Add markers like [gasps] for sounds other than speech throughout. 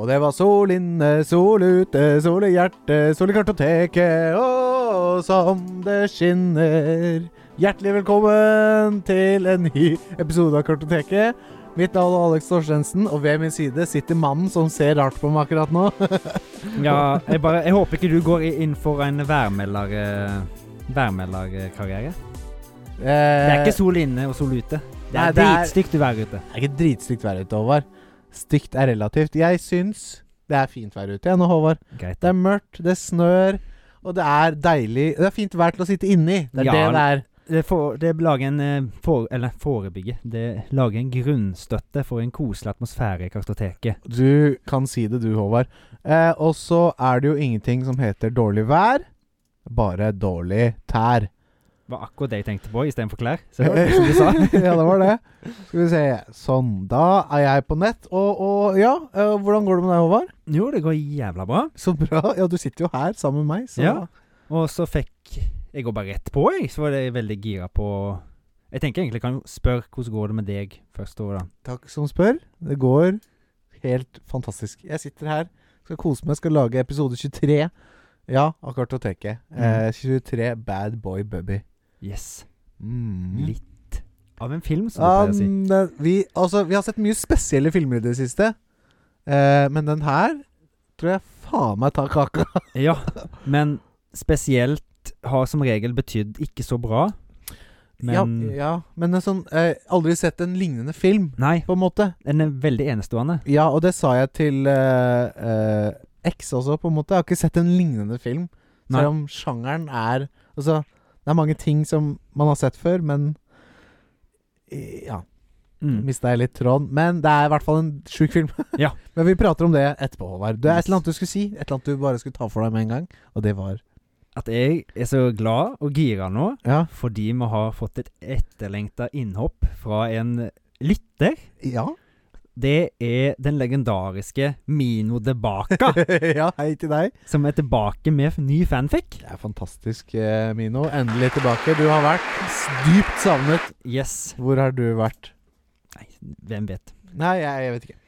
Og det var sol inne, sol ute, sol i hjertet, sol i kartoteket, og som det skinner. Hjertelig velkommen til en ny episode av Kartoteket. Mitt navn er Alex Torstensen, og ved min side sitter mannen som ser rart på meg akkurat nå. [laughs] Ja, jeg, bare, jeg håper ikke du går i- inn for en værmelder... eh, Værmelderkarriere. Eh, Det er ikke sol inne og sol ute. Det Nei, er det er- dritstygt vær ute. Det er ikke dritstygt vær ute, Håvard. Stygt er relativt. Jeg syns det er fint vær ute jeg nå, Håvard. Greit. Det er mørkt, det snør, og det er deilig Det er fint vær til å sitte inni. Det er Ja, det det er. Det, for, det lager en eh, for, Eller forebygge. Det lager en grunnstøtte for en koselig atmosfære i kartoteket. Du kan si det, du, Håvard. Eh, og så er det jo ingenting som heter dårlig vær, bare dårlig tær. Det var akkurat det jeg tenkte på istedenfor klær. Så det var [laughs] det som du sa. ja, det var det. Skal vi se. Sånn. Da er jeg på nett. Og, og ja, eh, hvordan går det med deg, Håvard? Jo, det går jævla bra. Så bra. Ja, du sitter jo her sammen med meg, så Ja. Og så fikk Jeg går bare rett på, jeg. Så var jeg veldig gira på Jeg tenker egentlig kan jo spørre hvordan går det med deg først. Og da. Takk som spør. Det går helt fantastisk. Jeg sitter her, skal kose meg, skal lage episode 23. Ja, av Kartoteket. Eh, Mm. 23 Bad Boy Bubby. Yes. Mm. Litt av en film, som du pleier å si. Um, det- vi, altså, vi har sett mye spesielle filmer i det siste, eh, men den her tror jeg faen meg tar kaka. Ja, men spesielt har som regel betydd ikke så bra. [laughs] Men ja, ja, men en sånn eh, Aldri sett en lignende film, Nei, på en måte. den er veldig enestående. Ja, og det sa jeg til eh, eh, X også, på en måte. Jeg har ikke sett en lignende film. Nei. Selv om sjangeren er Altså, det er mange ting som man har sett før, men eh, Ja, Mm. mista jeg litt tråden. Men det er i hvert fall en sjuk film. [laughs] Ja. men vi prater om det etterpå, Håvard. Det er et Yes. eller annet du skulle si. Et eller annet du bare skulle ta for deg med en gang. Og det var At jeg er så glad og gira nå Ja. fordi vi har fått et etterlengta innhopp fra en lytter. [laughs] Ja, Det er den legendariske Mino Debaka, ja hei til deg. som er tilbake med ny fanfic. Det er fantastisk, eh, Mino. Endelig tilbake. Du har vært s- dypt savnet. Yes. Hvor har du vært? Nei, hvem vet. Nei, jeg, jeg vet ikke.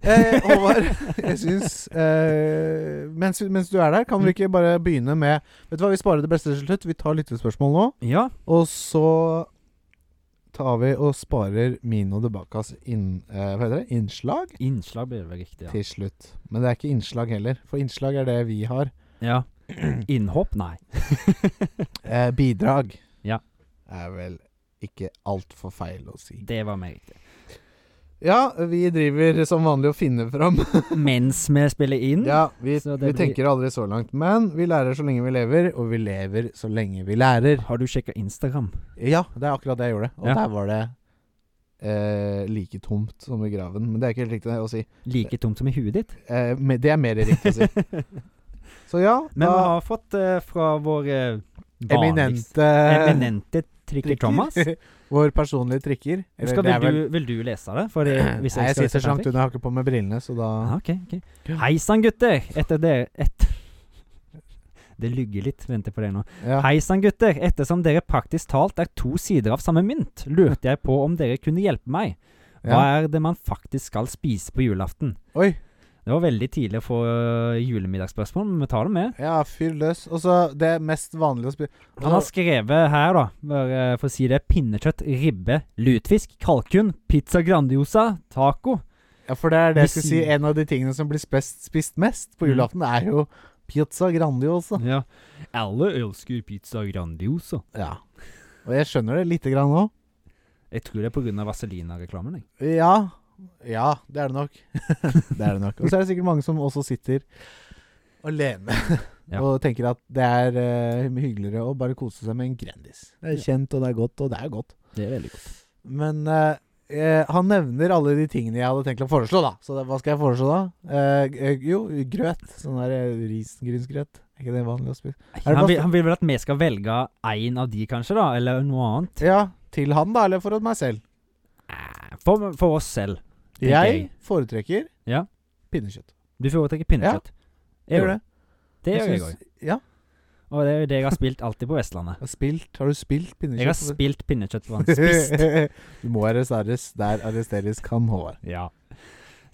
Eh, Håvard, [laughs] jeg syns eh, mens, mens du er der, kan vi ikke bare begynne med Vet du hva, vi sparer det beste til slutt. Vi tar lyttespørsmål nå. Ja. Og så tar vi og sparer Mino Debakas inn, eh, hva heter det? innslag Innslag blir vel riktig, ja. til slutt. Men det er ikke innslag heller, for innslag er det vi har. ja. Innhopp? Nei. Eh, bidrag Ja. er vel ikke altfor feil å si. Det var meg riktig. Ja, vi driver som vanlig og finner fram. Mens vi spiller inn ja, vi, Så det vi blir- tenker aldri så langt. Men vi lærer så lenge vi lever, og vi lever så lenge vi lærer. Har du sjekka Instagram? Ja, det er akkurat det jeg gjorde. Og Ja. der var det eh, like tomt som i graven. Men det er ikke helt riktig å si. Like tomt som i huet ditt? [laughs] Eh, me- det er mer riktig å si. Så ja, Men vi da har fått eh, fra vår eh, vanligste- Eminente eminente Tricker trikker. [laughs] Thomas. Vår personlige trikker. Eller Skal, det er vil, vel- du, vil du lese det? [clears throat] Fordi, hvis Nei, jeg skal lese sitter så langt fanfic? unna, jeg har ikke på meg brillene, så da Ah, ok, ok. Hei sann, gutter! Etter dere et... [laughs] Det lugger litt. Venter på det nå. ja. Hei sann, gutter. Ettersom dere praktisk talt er to sider av samme mynt, lurte jeg på om dere kunne hjelpe meg. Hva Ja. er det man faktisk skal spise på julaften? Oi. Det var veldig tidlig å få øh, julemiddagsspørsmål, men vi tar det med. Ja, fyr løs. Og så det mest vanlige å spille Han har skrevet her, da, bare eh, for å si det, pinnekjøtt, ribbe, lutfisk, kalkun, pizza grandiosa, [laughs] taco. Ja, for det er det jeg Vi skulle si. sier- En av de tingene som blir spist, spist mest på Mm. julaften, er jo pizza grandiosa. Ja. Alle elsker pizza grandiosa. Ja. Og jeg skjønner det lite grann nå. Jeg tror det er pga. Vazelina-reklamen. jeg. Ja. Ja, det er det nok. [laughs] det er det nok. Og så er det sikkert mange som også sitter alene [laughs] Ja. og tenker at det er eh, hyggeligere å bare kose seg med en Grandis. Det er kjent, og det er godt, og det er godt. Det er veldig godt. Men eh, eh, han nevner alle de tingene jeg hadde tenkt å foreslå, da. Så da, hva skal jeg foreslå da? Eh, eh, jo, grøt. Sånn der eh, risengrynsgrøt. Er ikke det vanlig å spise? det Han bare- vil, han vil vel at vi skal velge én av de, kanskje, da? Eller noe annet? Ja, til han, da, eller for meg selv? Eh, For, for oss selv. Tenker Jeg jeg. foretrekker Ja. pinnekjøtt. Du foretrekker pinnekjøtt. Gjør Jeg gjør det? det. Det gjør jeg syns- òg. Ja. Og det er jo det jeg har spilt alltid på Vestlandet. Har, spilt, har du spilt pinnekjøtt? [laughs] Jeg har spilt [laughs] pinnekjøtt på han. Spist. du må arresteres der arresteres kan, Håvard. Ja.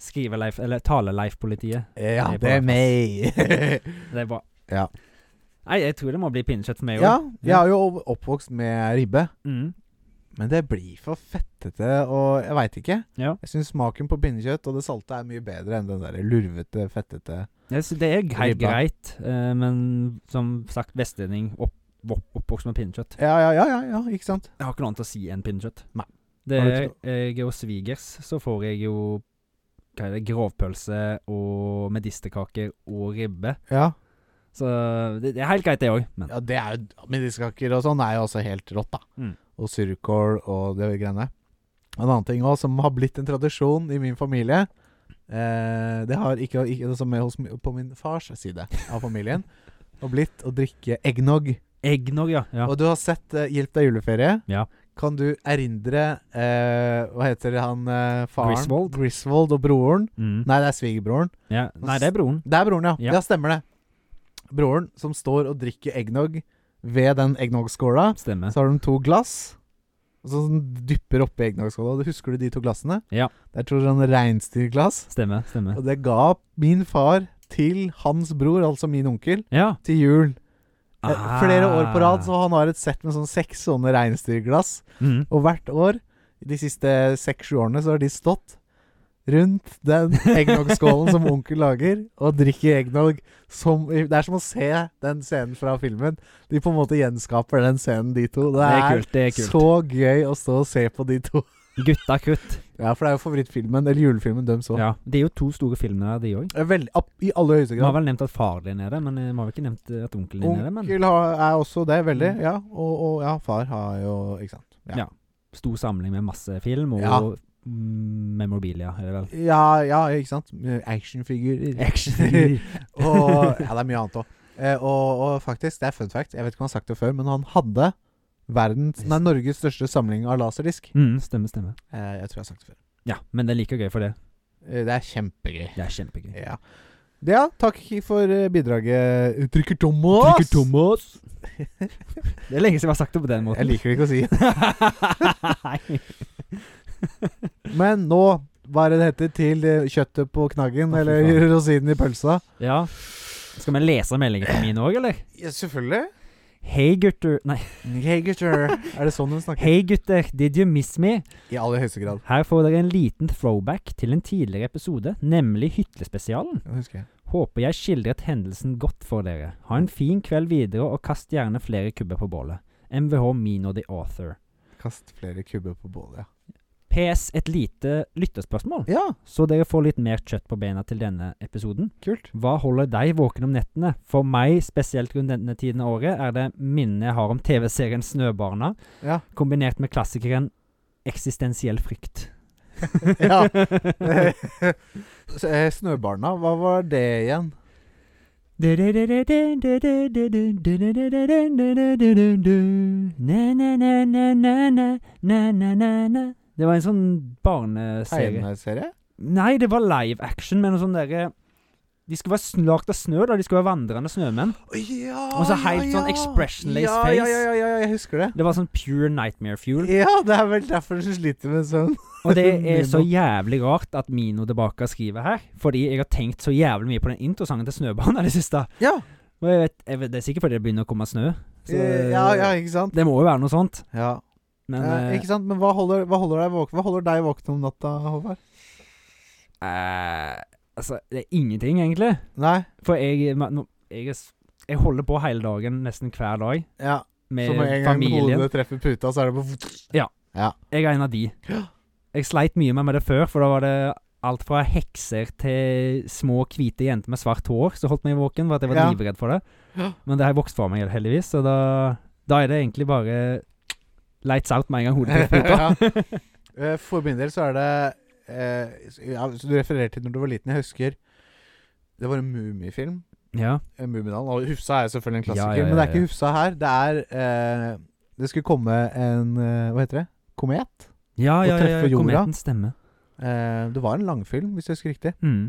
Skrive-Leif, eller Tale-Leif-politiet. Ja, Det det er er bra. [laughs] meg. Det er bra. Ja. Nei, jeg tror det må bli pinnekjøtt for meg òg. ja, jeg er jo oppvokst med ribbe. Mm. Men det blir for fettete, og jeg veit ikke. Ja. Jeg syns smaken på pinnekjøtt og det salte er mye bedre enn den der lurvete, fettete Jeg synes det er helt Ribba. greit, eh, men som sagt, vestlending opp, opp, oppvokst med pinnekjøtt. Ja, ja, ja, ja, ja ikke sant? Jeg har ikke noe annet å si enn pinnekjøtt. Nei. Det Har du er, ikke jeg er jo svigers, så får jeg jo hva er det, grovpølse og medisterkaker og ribbe. Ja, Så det, det er helt greit, det òg. Men ja det er jo Medisterkaker og sånn er jo også helt rått, da. Mm. Og surkål og det greiene. En annen ting òg som har blitt en tradisjon i min familie eh, Det har ikke, ikke det som er hos, mi- på min fars side av familien. Og blitt å drikke eggnog. eggnog, ja. ja. Og du har sett eh, 'Hjelp deg juleferie'. Ja. Kan du erindre eh, Hva heter han eh, faren? Griswold. Griswold og broren. Mm. Nei. Nei, det er svigerbroren. ja. Nei, det er broren. Det er broren, ja. Ja. ja. stemmer det. Broren som står og drikker eggnog ved den eggnoggskåla. Stemmer. Så har de to glass og så sånn dypper oppi eggnoggskåla. Du Husker du de to glassene? Ja. Det er tror jeg sånn reinsdyrglass. Stemmer. stemmer. Og det ga min far til hans bror, altså min onkel, Ja. til jul. Eh, Flere år på rad, Ah. så han har et sett med sånn seks sånne reinsdyrglass. mm. Og hvert år, de siste seks-sju årene, så har de stått rundt den eggnoggskålen som onkel lager, og drikker eggnog som Det er som å se den scenen fra filmen. De på en måte gjenskaper den scenen, de to. Det Det er er, kult. det er kult. så gøy å stå og se på de to. Gutta kutt. Ja, for det er jo favorittfilmen, eller julefilmen, deres òg. Ja. Det er jo to store filmer, de òg. I aller høyeste Vi har grad. vel nevnt at far din er det, men eh, vi har vel ikke nevnt eh, at onkelen din er det. Men Onkel har, er også det, veldig. Mm. Ja. Og, og ja, far har jo Ikke sant. Ja. Ja. stor samling med masse film og Ja. mm, memorabilia, er det [laughs] vel. Ja, ja, ikke sant? Actionfigurer. Action. [laughs] og Ja, det er mye annet òg. Eh, og, og faktisk, det er fun fact, jeg vet ikke om han har sagt det før, men han hadde verdens Nei, Norges største samling av laserdisk. mm, stemmer, stemmer. Eh, jeg tror jeg har sagt det før. Ja, men det er like gøy for det. Eh, det er kjempegøy. Det er kjempegøy. Ja. Det, ja. Takk for eh, bidraget, Trykker Thomas. Trykker [laughs] Thomas! det er lenge siden vi har sagt det på den Jeg måten. liker det ikke å si. [laughs] [laughs] Nei. Men nå, hva er det det heter til eh, kjøttet på knaggen, Å, fy eller faen. rosinen i pølsa? ja. Skal vi lese meldingen fra min òg, eller? Ja, selvfølgelig. Hei, gutter Nei. Hey, gutter. er det sånn hun snakker? Hei, gutter. Did you miss me? I aller høyeste grad. Her får dere en liten throwback til en tidligere episode, nemlig Hytlespesialen. Det husker jeg. Håper jeg skildret hendelsen godt for dere. Ha en fin kveld videre, og kast gjerne flere kubber på bålet. MVH Mino the Author. Kast flere kubber på bålet, ja. PS et lite lytterspørsmål, Ja, så dere får litt mer kjøtt på beina til denne episoden. kult. Hva holder deg våken om nettene? For meg, spesielt rundt denne tiden av året, er det minnet jeg har om TV-serien Snøbarna, Ja. kombinert med klassikeren Eksistensiell frykt. [laughs] [laughs] Ja. [laughs] Så, eh, Snøbarna, hva var det igjen? Det var en sånn barneserie. Tegneserie? Nei, det var live action med noe sånn derre De skulle være lagd av snø, da. De skulle være vandrende snømenn. Å, Ja, Og så helt sånn expressionless ja, face. Ja, ja, ja, ja, jeg husker det. Det var sånn pure nightmare fuel. Ja, det er vel derfor du sliter med søvn. Og [laughs] det er så Mino. jævlig rart at Mino tilbake skriver her, fordi jeg har tenkt så jævlig mye på den introsangen til Snøbanen i det siste. Ja. Og jeg vet, jeg vet, det er sikkert fordi det begynner å komme snø. Så Eh, ja, ja, ikke sant? det må jo være noe sånt. Ja. Men Eh, eh, ikke sant, men hva holder, hva holder deg våken Hva holder deg våken om natta, Håvard? eh, altså, det er ingenting, egentlig. Nei? For jeg, ma- nå- jeg, er s- jeg holder på hele dagen, nesten hver dag, Ja. med Så med en gang familien. hodet treffer puta, så er det på Jeg er en av de. Jeg sleit mye mer med det før, for da var det alt fra hekser til små hvite jenter med svart hår som holdt meg våken, for at jeg var Ja. livredd for det. Ja. Men det har vokst fra meg, heldigvis, så da, da er det egentlig bare lights out med en gang hodet [laughs] treffer puta. Eh, For min del så er det eh, s- ja, så Du refererer til når du var liten. Jeg husker det var en mummifilm. [laughs] ja. eh, Mummidalen. Og Hufsa er jo selvfølgelig en klassiker. Ja, ja, ja, Men det er ja. ikke Hufsa her. Det er eh, Det skulle komme en eh, Hva heter det? Komet. Ja, Å ja, ja, treffe ja. jorda. Kometen stemmer. Eh, det var en langfilm, hvis jeg husker riktig. Mm.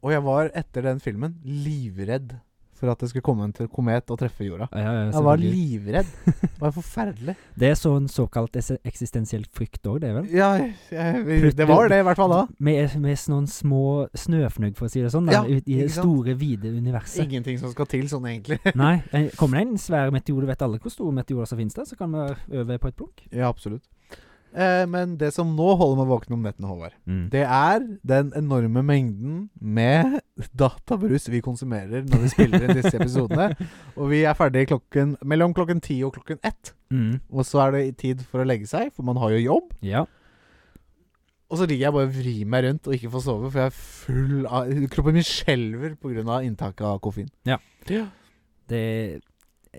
Og jeg var etter den filmen livredd for at det skulle komme en t- komet og treffe jorda. Ja, ja, Jeg var selvfølgelig. livredd. Det var forferdelig. det er sånn såkalt es- eksistensiell frykt òg, det, vel? [laughs] Ja, jeg, det var det i hvert fall [laughs] da. Med, med sånne små snøfnugg, for å si det sånn, Ja, da, ut i det ikke sant? store, vide universet. Ingenting som skal til sånn, egentlig. [laughs] Nei, eh, kommer det en svær meteor, du vet alle hvor store meteorer som finnes der, så kan vi øve på et plunk. Ja, absolutt. Eh, men det som nå holder meg våken om nettene, Håvard, Mm. det er den enorme mengden med [laughs] databrus vi konsumerer når vi spiller inn disse [laughs] episodene. Og vi er ferdige klokken, mellom klokken ti og klokken ett. Mm. Og så er det tid for å legge seg, for man har jo jobb. Ja. Og så ligger jeg bare og vrir meg rundt og ikke får sove, for jeg er full av Kroppen min skjelver pga. inntaket av koffein. Ja. Det,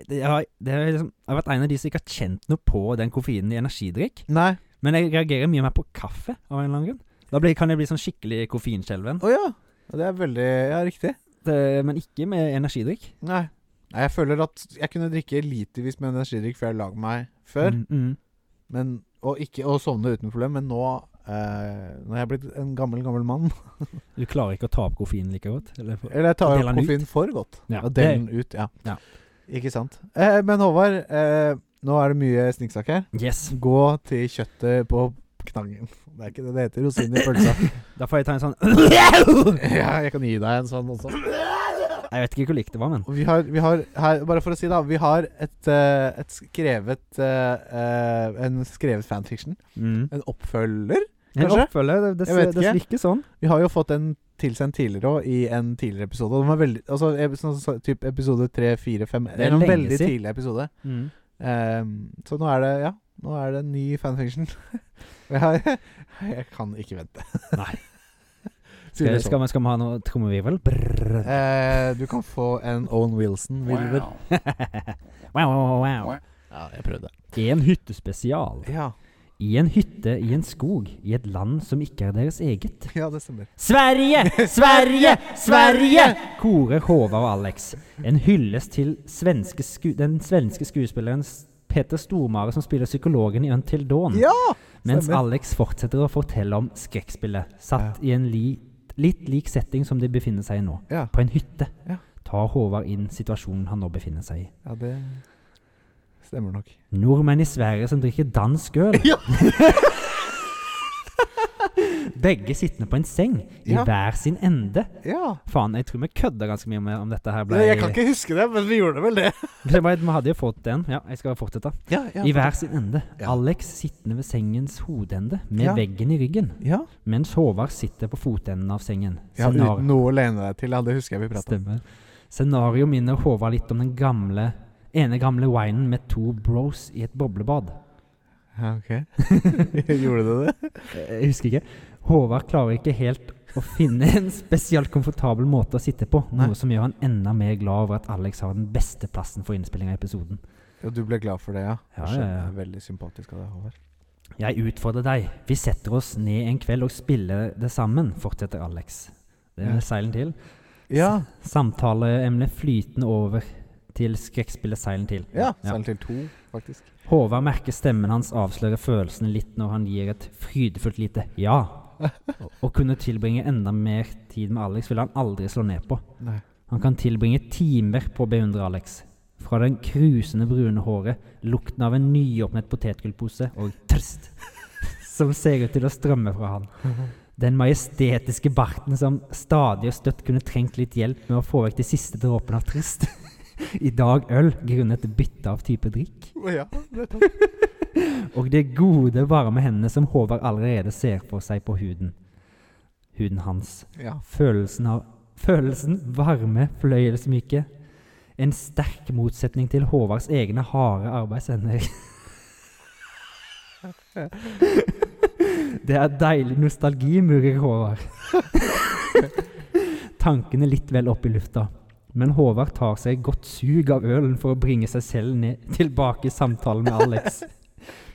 det, har, det har liksom, jeg har vært en av de som ikke har kjent noe på den koffeinen i energidrikk. Nei. Men jeg reagerer mye mer på kaffe, av en eller annen grunn. Da blir, kan jeg bli sånn skikkelig koffeinskjelven. Å ja. Ja, Det er veldig Ja, riktig. Det- Men ikke med energidrikk. Nei. Nei, jeg føler at jeg kunne drikke litervis med energidrikk før jeg la meg før, Mm, mm. men, og, ikke, og sovne uten problem, men nå eh, Når jeg er blitt en gammel, gammel mann [laughs] Du klarer ikke å ta opp koffeinen like godt. Eller, Eller jeg tar Deler den koffein for godt. Ja, og deler den ut, ja. Ja. Ikke sant. Eh, men Håvard, eh, nå er det mye snikksak her. yes. Gå til kjøttet på knaggen. Det er ikke det det heter. Rosinen i pølsa. [laughs] [laughs] Da får jeg ta en sånn ja, jeg kan gi deg en sånn også. [laughs] Jeg vet ikke hvor likt det var, men Og vi har, vi har her, bare for å si det, vi har et, eh, et skrevet eh, eh, En skrevet fanfiction. mm. En oppfølger. En Kanskje? oppfølger. Det, det, Jeg vet det ikke. virker sånn. Vi har jo fått en tilsendt tidligere òg, i en tidligere episode. Og Den var veldig, altså, ep- sånn, så, typ episode tre, fire, fem er En lenge veldig siden. tidlig episode. Ehm, så nå er det Ja, nå er det en ny fanfiction. [laughs] Og jeg, har- jeg kan ikke vente. Nei. [laughs] Sier Skal, det sånn. skal, man, skal man ha noe trommevirvel? Brrr. Eh, du kan få en Owen Wilson-vilver. Wow, wow, wow. Ja, jeg prøvde. I en hyttespesial. Ja, [laughs] I en hytte i en skog. I et land som ikke er deres eget. ja det stemmer. Sverige! Sverige! Sverige! Korer Håvard og Alex. En hyllest til svenske sku den svenske skuespilleren S- Peter Stormare, som spiller psykologen i Until Dawn. Ja! Mm. Mens Stemmer. Alex fortsetter å fortelle om skrekkspillet, satt i en li litt lik setting som de befinner seg i nå, Ja, på en hytte. Ja. Tar Håvard inn situasjonen han nå befinner seg i. ja det stemmer nok. Nordmenn i Sverige som drikker dansk øl. Ja. [laughs] Begge sittende på en seng, i Ja. hver sin ende. Ja. Faen, jeg tror vi kødda ganske mye med om dette her ble Jeg kan ikke huske det, men vi gjorde vel det. [laughs] Det var- Vi hadde jo fått en. Ja, jeg skal fortsette. [laughs] Ja, ja. I hver sin ende. Ja. Alex sittende ved sengens hodeende, med Ja. veggen i ryggen. Ja, Mens Håvard sitter på fotenden av sengen. ja Scenar- Uten noe å lene deg til. Ja, det husker jeg vi prata om. Stemmer. Scenario minner Håvard litt om den gamle ene gamle winen med to bros i et boblebad. Ja, ok. [laughs] gjorde du det? Eh, Jeg husker ikke. Håvard klarer ikke helt å finne en spesielt komfortabel måte å sitte på, noe Nei. som gjør han enda mer glad over at Alex har den beste plassen for innspilling av episoden. Ja, du ble glad for det, ja? Ja, Skjønner, ja, jeg ja. er Veldig sympatisk av deg, Håvard. Jeg utfordrer deg. Vi setter oss ned en kveld og spiller det sammen, fortsetter Alex. Det Ja. er seilen til. Ja. Samtaleemnet flytende over til skrekkspillet Seilen til. Ja, selv til to, faktisk. Håvard merker stemmen hans avsløre følelsene litt når han gir et frydefullt lite ja. [laughs] Å kunne tilbringe enda mer tid med Alex vil han aldri slå ned på. Nei. Han kan tilbringe timer på å beundre Alex. Fra den krusende brune håret, lukten av en nyåpnet potetgullpose og trst [laughs] som ser ut til å strømme fra han. Den majestetiske barten som stadig og støtt kunne trengt litt hjelp med å få vekk de siste dråpene av trist. [laughs] I dag øl grunnet bytte av type drikk. Ja, Og det gode, varme hendene som Håvard allerede ser for seg på huden. Huden hans. ja. Følelsen av Følelsen varme, fløyelsmyke. En sterk motsetning til Håvards egne harde arbeidsender. [laughs] Det er deilig nostalgi, murrer Håvard. [laughs] Tankene litt vel opp i lufta. Men Håvard tar seg et godt sug av ølen for å bringe seg selv ned, tilbake i samtalen med Alex.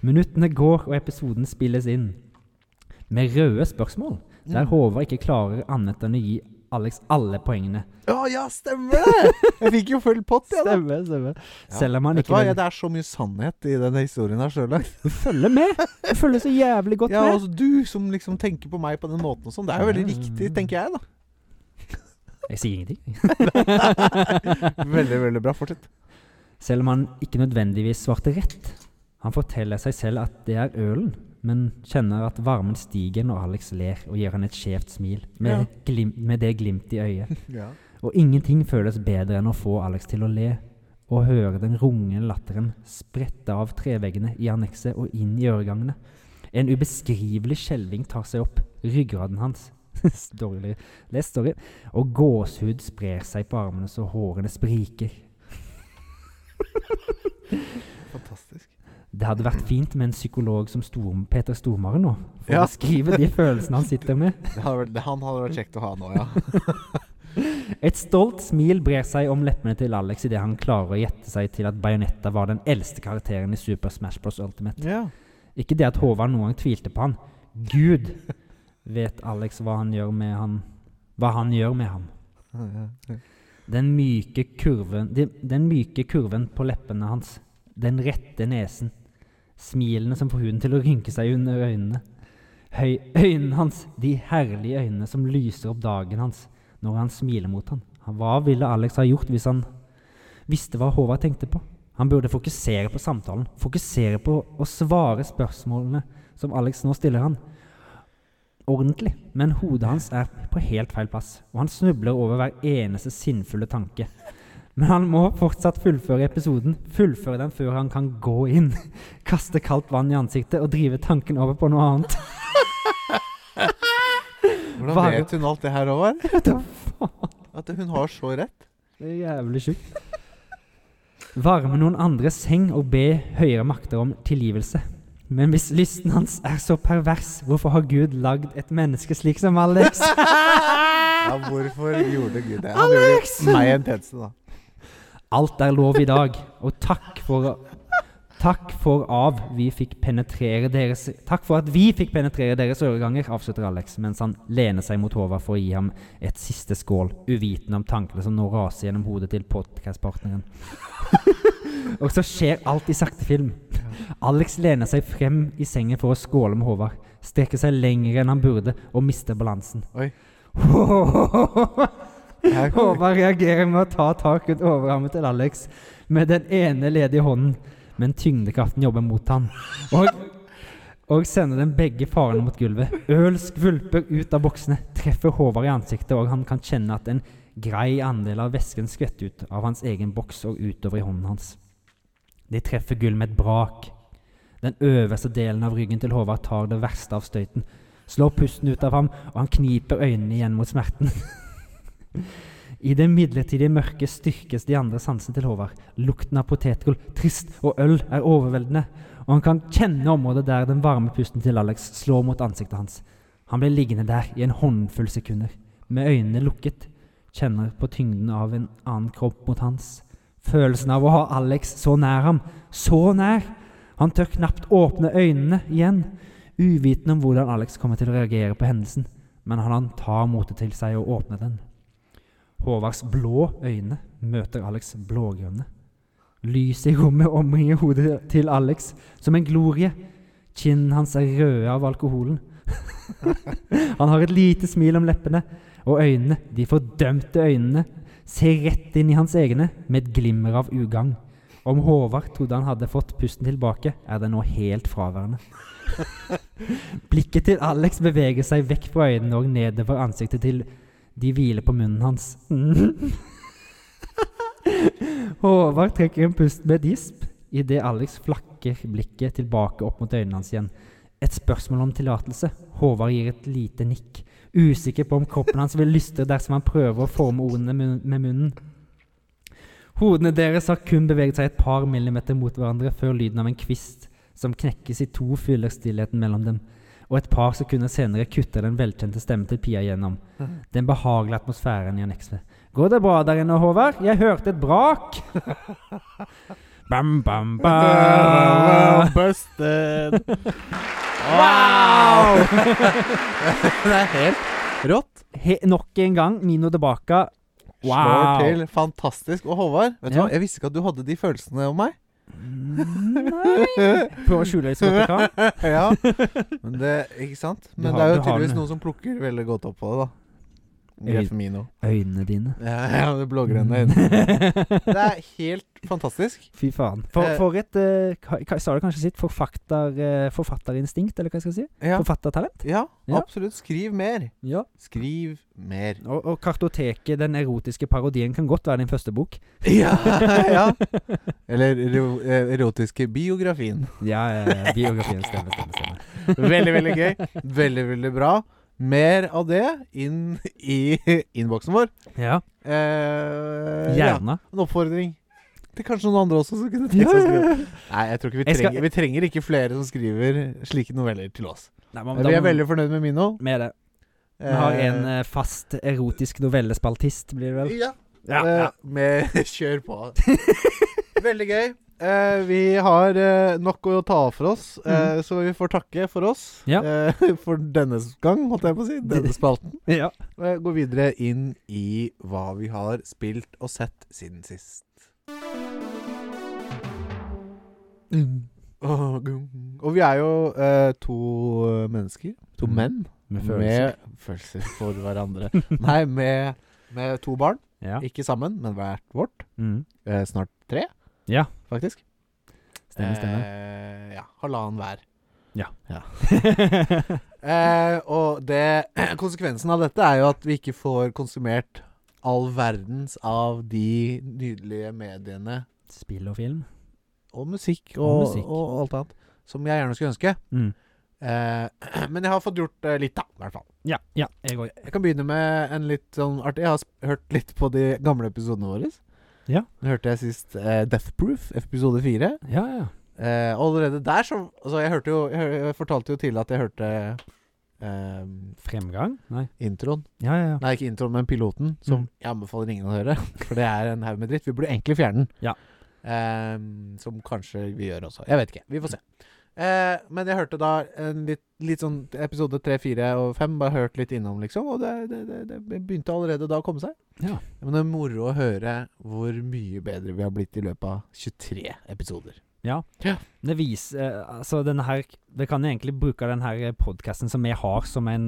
Minuttene går, og episoden spilles inn. Med røde spørsmål, Mm. der Håvard ikke klarer annet enn å gi Alex alle poengene. Å ja, stemmer det! Jeg fikk jo full pott, jeg, da. Stemmer, stemmer. Ja. Selv om han Vet du ikke hva, vil ja, Det er så mye sannhet i denne historien her sjøl. følge med. Jeg følger så jævlig godt Ja, med. altså, du som liksom tenker på meg på den måten og sånn. Det er jo veldig Ja. riktig, tenker jeg, da. Jeg sier ingenting. Veldig, veldig bra. Fortsett. [laughs] Selv om han ikke nødvendigvis svarte rett. Han forteller seg selv at det er ølen, men kjenner at varmen stiger når Alex ler og gir han et skjevt smil, med, Ja. glim med det glimt i øyet. Ja. Og ingenting føles bedre enn å få Alex til å le og høre den rungende latteren sprette av treveggene i annekset og inn i øregangene. En ubeskrivelig skjelving tar seg opp. Ryggraden hans [laughs] Dårlig lest, sorry. Og gåshud sprer seg på armene så hårene spriker. Fantastisk. Det hadde vært fint med en psykolog som Storm, Peter Stormare nå, for Ja. å beskrive de følelsene han sitter med. Det hadde vært, det, han hadde vært kjekt å ha nå, ja. Et stolt smil brer seg om leppene til Alex idet han klarer å gjette seg til at Bajonetta var den eldste karakteren i Super Smash Bros. Ultimate. [laughs] ja. Ikke det at Håvard noen gang tvilte på han. Gud vet Alex hva han gjør med han. Hva han gjør med ham. Den myke kurven de, Den myke kurven på leppene hans. Den rette nesen. Smilene som får huden til å rynke seg under øynene. Høy, øynene hans, de herlige øynene som lyser opp dagen hans når han smiler mot han. Hva ville Alex ha gjort hvis han visste hva Håvard tenkte på? Han burde fokusere på samtalen, fokusere på å svare spørsmålene som Alex nå stiller han. Ordentlig. Men hodet hans er på helt feil plass, og han snubler over hver eneste sinnfulle tanke. Men han må fortsatt fullføre episoden, fullføre den før han kan gå inn, [laughs] kaste kaldt vann i ansiktet og drive tanken over på noe annet. Hvordan Hva- vet hun alt det her, Håvard? [laughs] At hun har så rett? Det er jævlig sjukt. Varme noen andres seng og be høyere makter om tilgivelse. Men hvis lysten hans er så pervers, hvorfor har Gud lagd et menneske slik som Alex? Ja, hvorfor gjorde Gud det? Han gjorde meg en tjeneste, da. Alt er lov i dag, og takk for Takk for av vi fikk penetrere deres Takk for at vi fikk penetrere deres øreganger, avslutter Alex mens han lener seg mot Håvard for å gi ham et siste skål, uvitende om tankene som nå raser gjennom hodet til podcastpartneren. [laughs] og så skjer alt i sakte film. Alex lener seg frem i sengen for å skåle med Håvard, strekker seg lenger enn han burde og mister balansen. [laughs] Oi. Her kommer Håvard reagerer med å ta tak rundt overarmen til Alex med den ene ledige hånden, men tyngdekraften jobber mot ham. Og, og sender dem begge farene mot gulvet. Øl skvulper ut av boksene, treffer Håvard i ansiktet, og han kan kjenne at en grei andel av væsken skvetter ut av hans egen boks og utover i hånden hans. De treffer gull med et brak. Den øverste delen av ryggen til Håvard tar det verste av støyten, slår pusten ut av ham, og han kniper øynene igjen mot smerten. I det midlertidige mørket styrkes de andre sansene til Håvard. Lukten av potetgull, trist og øl er overveldende, og han kan kjenne området der den varme pusten til Alex slår mot ansiktet hans. Han blir liggende der i en håndfull sekunder, med øynene lukket, kjenner på tyngden av en annen kropp mot hans. Følelsen av å ha Alex så nær ham, så nær! Han tør knapt åpne øynene igjen, uvitende om hvordan Alex kommer til å reagere på hendelsen, men han tar motet til seg og åpner den. Håvards blå øyne møter Alex' blågrønne. Lyset i rommet omringer hodet til Alex som en glorie. Kinnene hans er røde av alkoholen. [laughs] Han har et lite smil om leppene, og øynene, de fordømte øynene, ser rett inn i hans egne med et glimmer av ugagn. Om Håvard trodde han hadde fått pusten tilbake, er det nå helt fraværende. [laughs] Blikket til Alex beveger seg vekk fra øynene og nedover ansiktet til de hviler på munnen hans. [laughs] Håvard trekker en pust med disp idet Alex flakker blikket tilbake opp mot øynene hans igjen. Et spørsmål om tillatelse. Håvard gir et lite nikk, usikker på om kroppen hans vil lystre dersom han prøver å forme ordene mun- med munnen. Hodene deres har kun beveget seg et par millimeter mot hverandre før lyden av en kvist som knekkes i to, fyller stillheten mellom dem, og et par sekunder senere kutter den velkjente stemmen til Pia gjennom [laughs] den behagelige atmosfæren i annekset. Går det bra der inne, Håvard? Jeg hørte et brak! [laughs] bam, bam, bam. Busted! Wow! [laughs] Det er helt rått. He nok en gang, Mino tilbake. Wow. Slår til. Fantastisk. Og Håvard, vet du Ja. hva? jeg visste ikke at du hadde de følelsene om meg. Prøv å [laughs] skjule deg så godt du kan. ja. Men det, ikke sant? Men Du har- det er jo du har tydeligvis den. noen som plukker veldig godt opp på det, da. Greit for Mino. [laughs] [laughs] Øynene dine. Ja, ja, det [laughs] blågrønne øynene. Det er helt fantastisk. Fy faen. For, Eh. for et eh, hva- hva- Sa du kanskje sitt forfatter, eh, forfatterinstinkt, eller hva jeg skal si? Ja, Forfattertalent? ja Ja. absolutt. Skriv mer. Ja. Skriv [laughs] mer. Og, og kartoteket, den erotiske parodien, kan godt være din første [laughs] bok. Ja, ja. Eller ero- eh, erotiske biografien. Ja, eh, biografien stemmer, stemmer, stemmer. Veldig, veldig gøy. Veldig, veldig bra. Mer av det inn i innboksen vår. Ja, Eh, ja, Gjerne. en oppfordring til kanskje noen andre også som kunne tenke Ja, seg å ja, skrive. ja. Nei, jeg tror ikke vi Jeg skal- trenger, vi trenger ikke flere som skriver slike noveller til oss. Nei, men da Vi er må- veldig fornøyd med Mino. Med det. Vi har en eh, fast erotisk novellespaltist, blir det vel? Ja. Ja, Eh, ja. [laughs] Med [laughs] kjør på. Veldig gøy. Eh, vi har eh, nok å ta av for oss, eh, så vi får takke for oss Mm. Ja. eh, [laughs] for denne gang, holdt jeg på å si. [laughs] Denne spalten. ja. Og jeg går videre inn i hva vi har spilt og sett siden sist. Og og vi er jo eh, to mennesker. To Mm. menn. Med følelser. Med følelser [laughs] for hverandre. Nei, med, med to barn. [laughs] Ja. Ikke sammen, men hvert vårt. Mm. Eh, snart tre, Ja. faktisk. Stemmer, stemmer. Eh, ja. Halvannen hver. [laughs] ja. Eh, og det, [clears throat] konsekvensen av dette er jo at vi ikke får konsumert all verdens av de nydelige mediene Spill og film. og musikk og, og, Og musikk. alt annet som jeg gjerne skulle ønske. Mm. Eh, [clears throat] men jeg har fått gjort eh, litt, da. I hvert fall. Ja, ja, jeg òg. Jeg kan begynne med en litt sånn artig Jeg har sp- hørt litt på de gamle episodene våre. Ja. Nå hørte jeg sist eh, Death Proof, episode fire. Ja, ja. Eh, og allerede der så altså jeg, hørte jo, jeg, hø- jeg fortalte jo tidligere at jeg hørte eh, Fremgang? Nei. introen. Ja, ja, ja. Nei, ikke introen, men piloten, som Mm. jeg anbefaler ingen å høre. [laughs] For det er en haug med dritt. Vi burde egentlig fjerne den. Ja. Ehm, som kanskje vi gjør også. Jeg vet ikke. Vi får se. Eh, men jeg hørte da en litt, litt sånn episode tre, fire og fem, bare hørt litt innom, liksom. Og det, det, det, det begynte allerede da å komme seg. Ja. Men det er moro å høre hvor mye bedre vi har blitt i løpet av 23 episoder. Det viser eh, Altså, den her Vi kan jo egentlig bruke den her podkasten som vi har, som en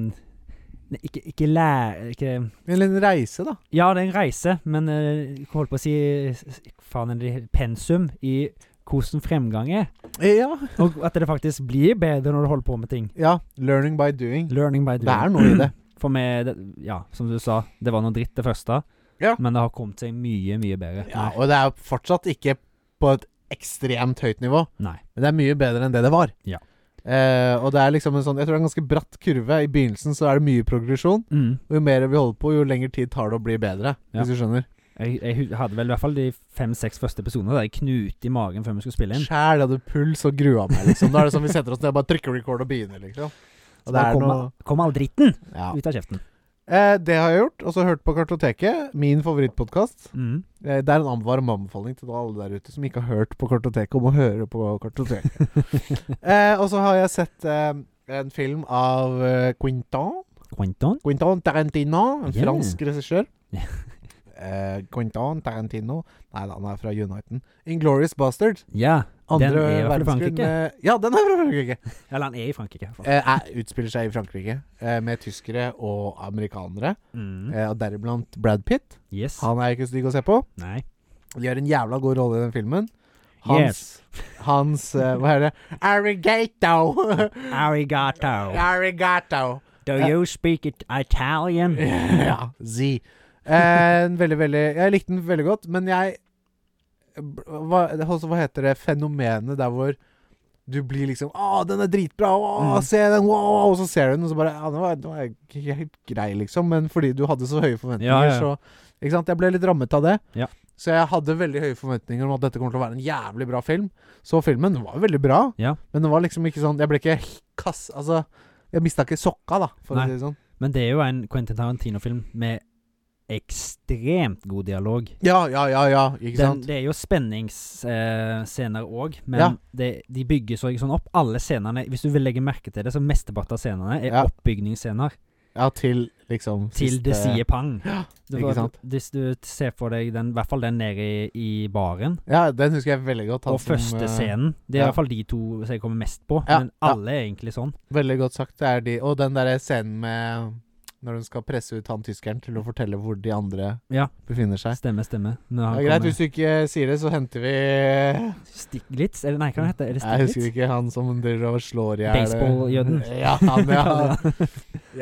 Nei, ikke, ikke lære ikke, Eller en reise, da. Ja, det er en reise, men eh, jeg holdt på å si s- s- Faen, er det pensum i hvordan fremgang er. Eh, Ja. Og at det faktisk blir bedre når du holder på med ting. ja. Learning by doing. Learning by Det er doing. noe i det. For meg, det, ja, som du sa, det var noe dritt det første. Ja. Men det har kommet seg mye, mye bedre. Ja, og det er jo fortsatt ikke på et ekstremt høyt nivå. Nei. Men det er mye bedre enn det det var. Ja. Eh, og det er liksom en sånn Jeg tror det er en ganske bratt kurve. I begynnelsen så er det mye progresjon. Mm. Og jo mer vi holder på, jo lengre tid tar det å bli bedre. Ja. Hvis du skjønner. Jeg, jeg hu- hadde vel i hvert fall de fem-seks første episodene der jeg knute i magen før vi skulle spille inn. Sjæl, jeg hadde puls og grua meg, liksom. Da er det sånn vi setter oss ned og bare trykker record og begynner, liksom. Og det Da er kom, noe kom all dritten ja. ut av kjeften. eh, Det har jeg gjort. Og så hørt på Kartoteket, min favorittpodkast. Mm. Eh, det er en varm anbefaling til alle der ute som ikke har hørt på Kartoteket, om å høre på Kartoteket. [laughs] eh, og så har jeg sett eh, en film av eh, Quintan. Quentin? Quentin Tarantino, en Yeah. fransk regissør. Ja. [laughs] Eh, Quentin Tarantino Nei da, han er fra Uniten. Inglorious Bastard. Ja. Andre Den er jo fra verdenskrig Frankrike. med Ja, den er fra Frankrike! Eller han er i Frankrike, i hvert fall. Eh, er- utspiller seg i Frankrike, eh, med tyskere og amerikanere. Mm. Eh, og deriblant Brad Pitt. Yes. Han er ikke stygg å se på. Nei. De gjør en jævla god rolle i den filmen. Hans, hans eh, Hva er det? Arigato! Arigato. Arigato! Do you speak it Italian? [laughs] [laughs] Ja, Z. Eh, en veldig, veldig Jeg likte den veldig godt, men jeg hva, altså, hva heter det fenomenet der hvor du blir liksom Å, den er dritbra! Å, Mm. se den! Wow! Og så ser du den, og så bare Ja, den var, den var ikke helt grei, liksom. Men fordi du hadde så høye forventninger, Ja, ja, ja. så Ikke sant? Jeg ble litt rammet av det. Ja. Så jeg hadde veldig høye forventninger om at dette kommer til å være en jævlig bra film. Så filmen. Den var jo veldig bra, Ja. men den var liksom ikke sånn Jeg ble ikke kass... Altså, jeg mista ikke sokka, da, for Nei. å si det sånn. Men det er jo en Quentin Tarantino-film med ekstremt god dialog. Ja, ja, ja, ja. Ikke Den, sant? det er jo spenningsscener òg, men Ja. det, de bygges også sånn opp. Alle scenene, hvis du vil legge merke til det, så mesteparten av scenene er Ja. oppbygningsscener Ja, til liksom til det sier pang. [gasps] Ja, Det ikke var- sant? Hvis du ser for deg den, i hvert fall den nede i, i baren, Ja, den husker jeg veldig godt. han og som, eh, første scenen Det er ja. i hvert fall de to som jeg kommer mest på, Ja, men ja. alle er egentlig sånn. Veldig godt sagt. Det er de Og den derre scenen med Når hun skal presse ut han tyskeren til å fortelle hvor de andre Ja. befinner seg. Stemme, stemme. Når Ja, han greit, kommer- hvis du ikke sier det, så henter vi Stiglitz? Eller nei, hva heter det? Er det Jeg husker Stiglitz? ikke han som driver og slår i hjel Baseballjøden. [laughs] Ja, han, [laughs] ja.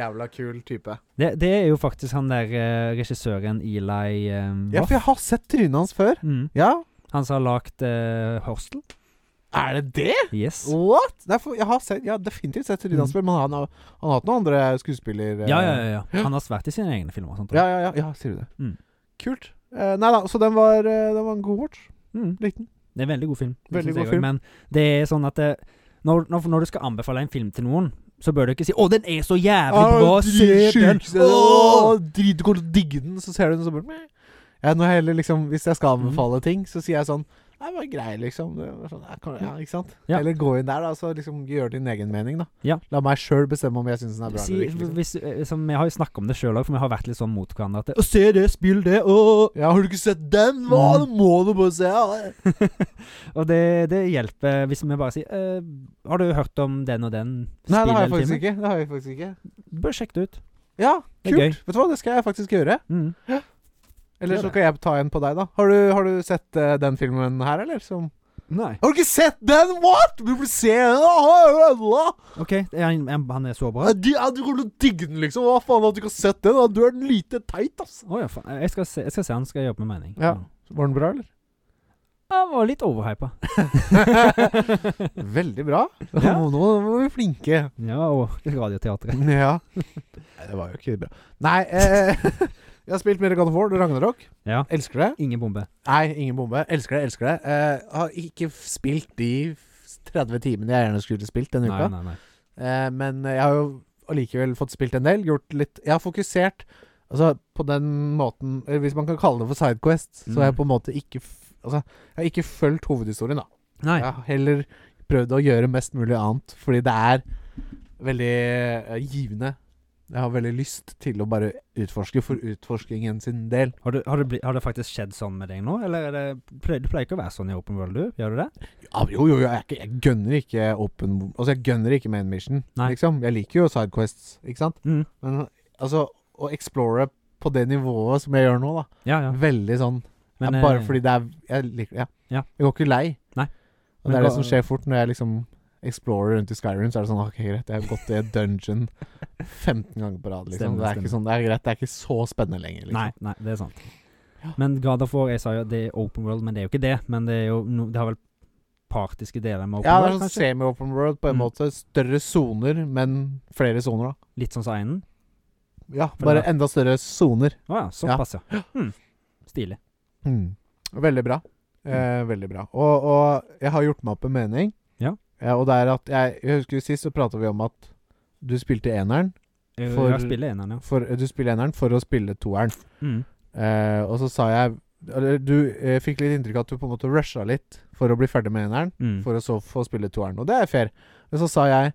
Jævla kul type. det, det er jo faktisk han der eh, regissøren Eli eh, Ja, Roth. for jeg har sett trynet hans før. Mm. Ja. Han som har lagd eh, Horstel. Er det det?! Yes. Mm. What?! Nei, for jeg har sett, jeg har definitivt sett trynet hans før, men han har, han har hatt noen andre skuespiller... eh, Ja, ja, ja, ja. Han har svært i sine egne filmer. sånn og Sånt, Ja, ja, ja, ja, sier du det. Mm. Kult. Eh, nei da, så den var, eh, den var en god watch. Mm. Likte den. Det er en veldig god film. det Veldig synes jeg god også, film. Men det er sånn at det, når, når, når du skal anbefale en film til noen, så bør du ikke si 'Å, den er så jævlig Ah, bra! Se den!' Åh, Åh!» drit, du kommer til å digge den, så ser du den så bare meh. ja, nå heller liksom, Hvis jeg Mm. skal anbefale ting, så sier jeg sånn Nei, det var grei, liksom. Det var sånn, ja, kan- ja, ikke sant? Ja. Eller gå inn der, da, så liksom gjør din egen mening, da. Ja. La meg sjøl bestemme om jeg syns den er bra Si, eller ikke. Liksom. hvis, eh, som jeg har jo snakket om det sjøl òg, for vi har vært litt sånn mot hverandre. At det, 'Å, se det! Spill det!' Åh! Ja, har du ikke sett den? Hva? Mm. Det må du bare se! Ja. Og det, det hjelper hvis vi bare sier eh, 'Har du hørt om den og den?' Nei, det har jeg eller faktisk time?» ikke. Det har jeg faktisk ikke. Bør sjekke det ut. Ja, Det er kult. gøy. Vet du hva, det skal jeg faktisk gjøre. Mm. Eller Gjør så det. kan jeg ta en på deg, da. Har du, har du sett eh, den filmen her, eller? Som Nei. Har du ikke sett den? What?! Du burde se den! Ah, ah, ah, ah. OK, er han, er- han er så bra? Ja, de- ja, Du kommer til å digge den, liksom. Hva faen, at du ikke har sett den? da? Du er den lite teit, ass. Å ja, faen. Jeg skal se, jeg skal se han skal jobbe med mening. Ja. Var den bra, [laughs] eller? Han var litt overhypa. [laughs] Veldig bra. Ja. Nå var vi flinke. ja, og Radioteatret. [laughs] Ja. Nei, det var jo ikke bra. Nei eh, [laughs] Jeg har spilt mer God of War, Ragnarok. Ja. Elsker det. Ingen bombe. Nei, ingen bombe. Elsker det, elsker det. Eh, har ikke spilt de 30 timene jeg gjerne skulle spilt denne uka. Nei, nei, nei. Eh, men jeg har jo allikevel fått spilt en del. Gjort litt Jeg har fokusert Altså, på den måten eller Hvis man kan kalle det for sidequest, så har jeg Mm. på en måte ikke f Altså, jeg har ikke fulgt hovedhistorien, da. Nei. Jeg har heller prøvd å gjøre mest mulig annet, fordi det er veldig eh, givende. Jeg har veldig lyst til å bare utforske for utforskingen sin del. Har, du, har, det bli, har det faktisk skjedd sånn med deg nå, eller er det, pleier, du pleier ikke å være sånn i Open World, du? Gjør du det? Ja, jo, jo, jeg, er ikke, jeg gønner ikke open Altså, jeg gønner ikke main mission, Nei. liksom. Jeg liker jo sidequests, ikke sant? Mm. Men altså, å explore på det nivået som jeg gjør nå, da. Ja, ja. Veldig sånn Men, ja, Bare eh, fordi det er Jeg liker Ja. Ja. Jeg går ikke lei. Nei. Og det Men er det hva- som skjer fort når jeg liksom explorer rundt i Skyrim, så er det sånn OK, greit, jeg har gått i et dungeon [laughs] 15 ganger på rad, liksom. Stemmer, det er ikke stemmer. sånn Det er greit, det er ikke så spennende lenger, liksom. Nei, nei, det er sant. Ja. Men God of War, jeg sa jo det er Open World, men det er jo ikke det. Men det er jo no, Det har vel partiske deler med Open Ja, det er World, sånn kanskje? semi-open world på en Mm. måte. Større soner, men flere soner, da. Litt sånn som Einen? Ja, For bare det- enda større soner. Å ja, såpass, ja. Mm. Stilig. Mm. Veldig bra. Eh, veldig bra. Og, og jeg har gjort meg opp en mening. Mm. Ja. Eh, og det er at jeg, jeg husker jo sist så prata vi om at du spilte eneren Jeg, For- jeg spiller eneren, ja. for, Du spiller eneren for å spille toeren. Mm. Eh, og så sa jeg eller Du eh, fikk litt inntrykk av at du på en måte rusha litt for å bli ferdig med eneren, Mm. for å så få spille toeren. Og det er fair. Men så sa jeg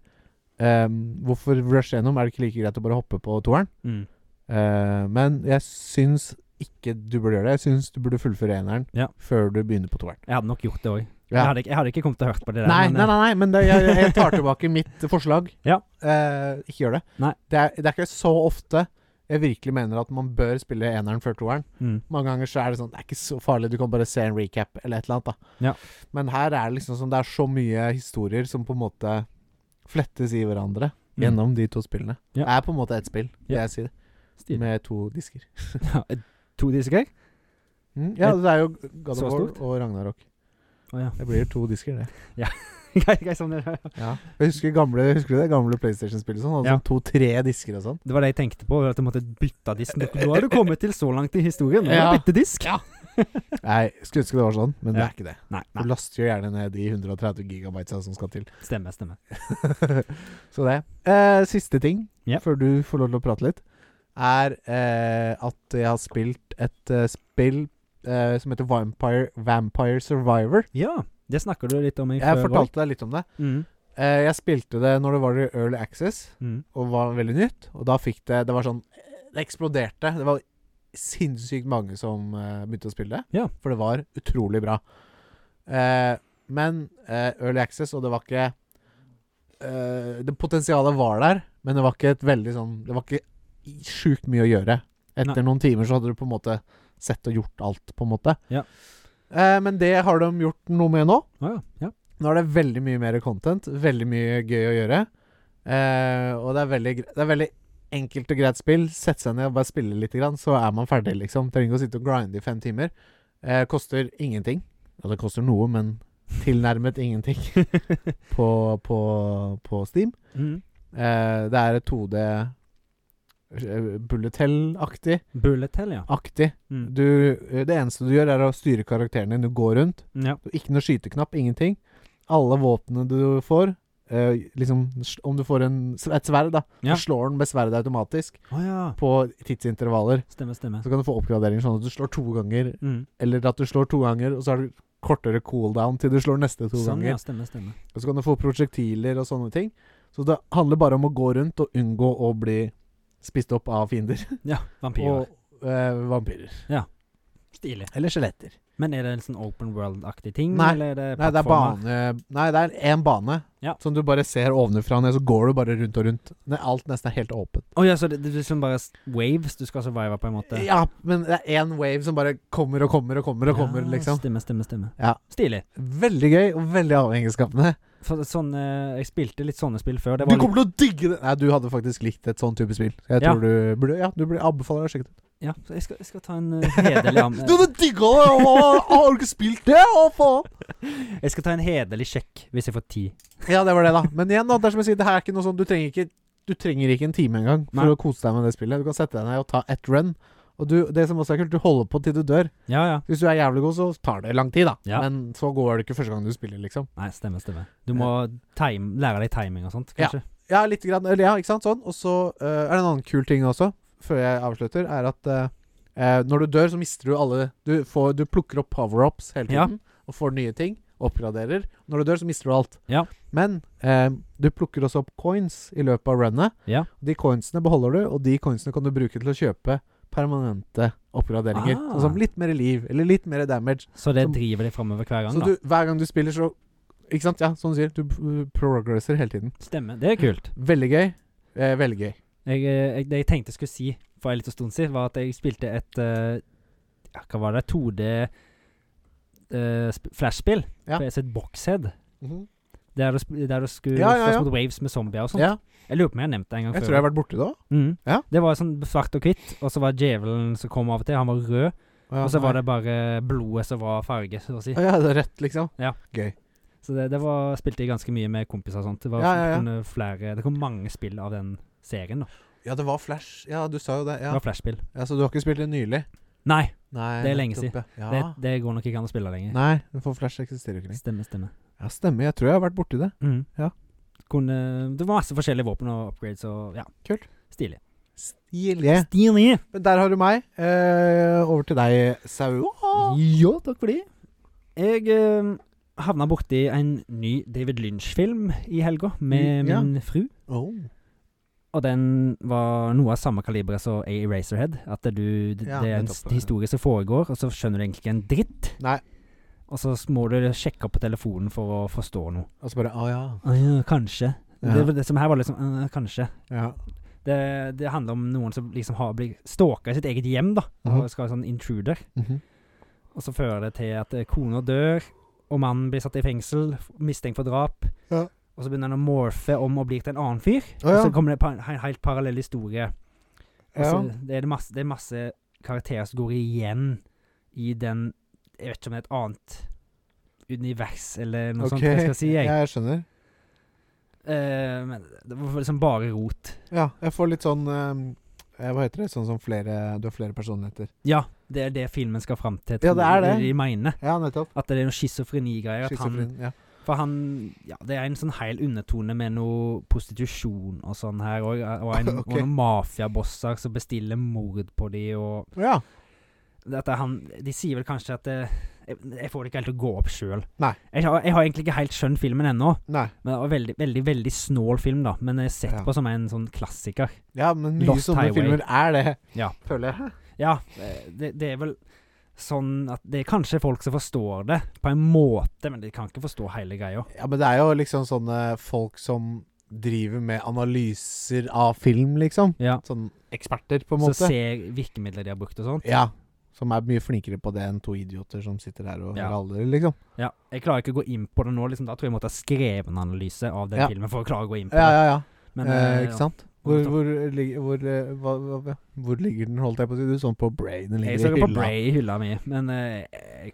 ehm, Hvorfor rushe gjennom? Er det ikke like greit å bare hoppe på toeren? Mm. Eh, men jeg syns ikke du burde gjøre det. Jeg syns du burde fullføre eneren Ja. før du begynner på toeren. Jeg hadde nok gjort det òg. Jeg, Ja. hadde ikke- jeg hadde ikke kommet til å hørt på det der. Nei, men, nei, nei, nei, men det, jeg, [laughs] jeg tar tilbake mitt forslag. Ja. Eh, ikke gjør det. Nei. Det, er, det er ikke så ofte jeg virkelig mener at man bør spille eneren før toeren. eh, Mm. Mange ganger så er det sånn Det er ikke så farlig, du kan bare se en recap eller et eller annet. da Ja. Men her er det liksom sånn Det er så mye historier som på en måte flettes i hverandre Mm. gjennom de to spillene. Ja. Det er på en måte ett spill, vil Ja. jeg si det. Stilig. Med to disker. [laughs] Ja, to disker? Mm, ja, det er jo God Så of War stort. og Ragnarok. Å ja. Det blir to disker, det. [laughs] Greit, greit, sånn er det. Ja. Jeg husker, gamle, husker du det gamle PlayStation-spillet? Sånn, hadde Ja. sånn to-tre disker [laughs] og sånn. Det var det jeg tenkte på, at jeg måtte bytte disk. Nå har du kommet til så langt i historien, nå må Ja. du bytte disk. Nei, skulle ønske det var sånn, men det Ja. er ikke det. Nei, Du nei, laster jo gjerne ned de 130 gigabytesa som skal til. [laughs] stemmer, stemmer. Så det. Eh, siste ting, Ja. før du får lov til å prate litt, er eh, at jeg har spilt et eh, spill eh, som heter Vampire, Vampire Survivor. Ja, det snakker du litt om i Jeg før også. fortalte deg litt om det. Mm, Eh, jeg spilte det når det var i Early Access, mm. og var veldig nytt. Og da fikk det Det var sånn Det eksploderte. Det var sinnssykt mange som eh, begynte å spille det. Ja. For det var utrolig bra. Eh, men eh, Early Access, og det var ikke eh, Det potensialet var der, men det var ikke et veldig sånn Det var ikke sjukt mye å gjøre. Etter Nei. noen timer så hadde du på en måte sett og gjort alt, på en måte. Ja. Eh, men det har de gjort noe med nå. Å [laughs] ja. ja. Nå er det veldig mye mer content, veldig mye gøy å gjøre. Eh, og det er, veldig, gre- det er veldig enkelt og greit spill. Sette seg ned og bare spille litt, grann, så er man ferdig, liksom. Trenger ikke å sitte og grinde i fem timer. Eh, koster ingenting. Ja, det koster noe, men [laughs] tilnærmet ingenting på, på, på Steam. Mm. Eh, det er et 2D eh, bullet hell-aktig. Bullet hell, ja. Aktig. Mm. Ah, Du, eh, det eneste du gjør, er å styre karakteren din. Du går rundt. ja. Du- Ikke noe skyteknapp, ingenting. Alle våpnene du får eh, liksom, s- Om du får en, s- et sverd, da, Ja. så slår den med sverdet automatisk Å ja. på tidsintervaller. Stemmer, stemmer. Så kan du få oppgradering sånn at du slår to ganger, Mm. eller at du slår to ganger, og så har du kortere cooldown til du slår neste to Sånn, ja. ganger. Stemmer, stemmer. Og så kan du få prosjektiler og sånne ting. Så det handler bare om å gå rundt og unngå å bli spist opp av fiender. Ja, vampyrer. Og eh, vampyrer. Stilig. Eller skjeletter. Men er det en sånn open world-aktig ting? Nei. Eller er det Nei, det er plattformer? bane Nei, det er én bane Ja. som du bare ser ovenfra og ned, så går du bare rundt og rundt. Ne- Alt nesten er helt åpent. Å ja, så det, det er liksom bare s- waves du skal survive på en måte? Ja, men det er én wave som bare kommer og kommer og kommer og kommer, Ja, liksom. Stemmer, stemmer, stemmer. Ja. Stilig. Veldig gøy, og veldig avhengighetsskapende. For det- sånn, eh, jeg spilte litt sånne spill før. Det Du var kommer til å digge det! Nei, du hadde faktisk likt et sånn type spill. Jeg Ja. tror du burde Ja, du burde anbefaler å sjekke det. litt, ja, så jeg, skal, jeg skal ta en eh, hederlig an- [laughs] Du hadde digga det! Å, Har du ikke spilt det? Å, faen! Jeg skal ta en hederlig sjekk hvis jeg får ti. Ja, det var det, da. Men igjen, da, det er som jeg sier, det her er ikke noe sånn Du trenger ikke, du trenger ikke en time engang for Nei. å kose deg med det spillet. Du kan sette deg ned og ta ett run. Og du, det som også er kult, du holder på til du dør. Ja, ja. Hvis du er jævlig god, så tar det lang tid, da. Ja. Men så går det ikke første gang du spiller, liksom. Nei, stemmer, stemmer. Du må time, lære deg timing og sånt, Ja. kanskje? Ja, litt grann, eller ja, ikke sant? Sånn. Og så eh, er det en annen kul ting også, før jeg avslutter, er at eh, eh, når du dør, så mister du alle Du, får, du plukker opp power-ups hele Ja. tiden, og får nye ting. Oppgraderer. Når du dør, så mister du alt. Ja. Men eh, du plukker også opp coins i løpet av runnet. Ja. De coinsene beholder du, og de coinsene kan du bruke til å kjøpe permanente oppgraderinger. Ah. Sånn som litt mer liv, eller litt mer damage. Så det Som- driver deg framover hver gang, Så da? du, hver gang du spiller, så Ikke sant? Ja, sånn som du sier. Du p- progresser hele tiden. Stemmer. Det er kult. Veldig gøy. Eh, veldig gøy. Jeg, eh, jeg, det jeg tenkte jeg skulle si for en liten stund siden, var at jeg spilte et eh, ja, Hva var det? 2D eh, sp- flashspill Ja. på et boxhead. Mhm, Der du, sp- der du skulle Ja, ja, slåss ja. mot waves med zombier og sånt. Ja, Jeg lurer på om jeg har nevnt det en gang jeg før. tror jeg har vært borti det òg. mm. Ja. Det var sånn svart og hvitt, og så var djevelen som kom av og til, han var rød. og så var det bare blodet som var farge, så å si. Ja, det er rett, liksom. Så det, det var, spilte jeg ganske mye med kompiser og sånt. Det, var, Ja, ja, ja. kunne Flere, det kom mange spill av den serien. da Ja, det var Flash. Ja, du sa jo det. Det Ja. var flashspill. ja Så du har ikke spilt det nylig? Nei, Nei, Det er lenge nettopp, Ja. det, Ja. det går nok ikke an å spille lenger. Ah. Nei, for Flash eksisterer jo ikke lenger. Stemmer, stemmer. Ja, stemmer. Jeg tror jeg har vært borti det. Mhm. Mm. Ja. Kunne, det var masse forskjellige våpen og upgrades og ja. Kult. Stilig. Stilig. Stilig! Men der har du meg. Eh, over til deg, Sau. Ja, takk for det. Jeg eh, havna borti en ny David Lynch-film i helga med Mm, ja. min fru. Oh. Og den var noe av samme kaliber som A Eraserhead. At du, det, Ja, det er en nettopp. s- historie som foregår, og så skjønner du egentlig ikke en dritt. Nei. Og så må du sjekke opp på telefonen for å forstå noe. Og så altså bare Å ja. Å ja, kanskje. Ja. Det, var det som her var liksom «Øh, Kanskje. ja. Det, det handler om noen som liksom har blitt stalka i sitt eget hjem, da. Mhm. Og skal være sånn intruder. Og så fører det til at eh, kona dør, og mannen blir satt i fengsel, f- mistenkt for drap. Ja. Og så begynner han å morfe om og blir til en annen fyr. Å ja. Og så kommer det pa- en helt parallell historie. ja. Og så det, er det masse, det er masse karakterer som går igjen i den Jeg vet ikke om det er et annet univers eller noe sånt. Ok, Hva skal jeg si? Jeg. Jeg skjønner. Eh, men det var liksom bare rot. Ja, jeg får litt sånn eh, Hva heter det? Sånn som flere Du har flere personligheter. Ja, det er det filmen skal fram til. Ja, tror det er jeg, det. De mener. Ja, nettopp. At det er noe schizofreni-greier. at han- Schizofren. Ja. For han Ja, det er en sånn heil undertone med noe prostitusjon og sånn her òg. Og, [laughs] en- Ok. og noen mafiabosser som bestiller mord på de og ja. dette han, De sier vel kanskje at det, jeg, jeg får det ikke helt til å gå opp sjøl. Nei. Jeg, har- jeg har egentlig ikke helt skjønt filmen ennå. Nei. Men det var veldig, veldig veldig snål film, da. Men jeg er sett Ja. på som en sånn klassiker. Ja, men mye Lost sånne Highway. filmer er det, Ja. føler jeg. Ja, eh, det, det er vel sånn at det er kanskje folk som forstår det på en måte, men de kan ikke forstå hele greia. Ja, men det er jo liksom sånne folk som driver med analyser av film, liksom. Ja. Sånn eksperter, på en Så måte. ser virkemidler de har brukt og sånn. Ja. Som er mye flinkere på det enn to idioter som sitter her og Ja. raller, liksom. Ja, jeg klarer ikke å gå inn på det nå. Liksom. Da tror jeg jeg måtte ha skrevet en analyse av den Ja. filmen for å klare å gå inn på Ja, det. ja, ja. Men, eh, eh, ja. ikke sant? Hvor, hvor, ligger- hvor, eh, hva, hva, hva- hvor ligger den, holdt jeg på å si? Du sånn på Bray. Den Jeg ligger så i på hylla. Bray i hylla mi, men eh,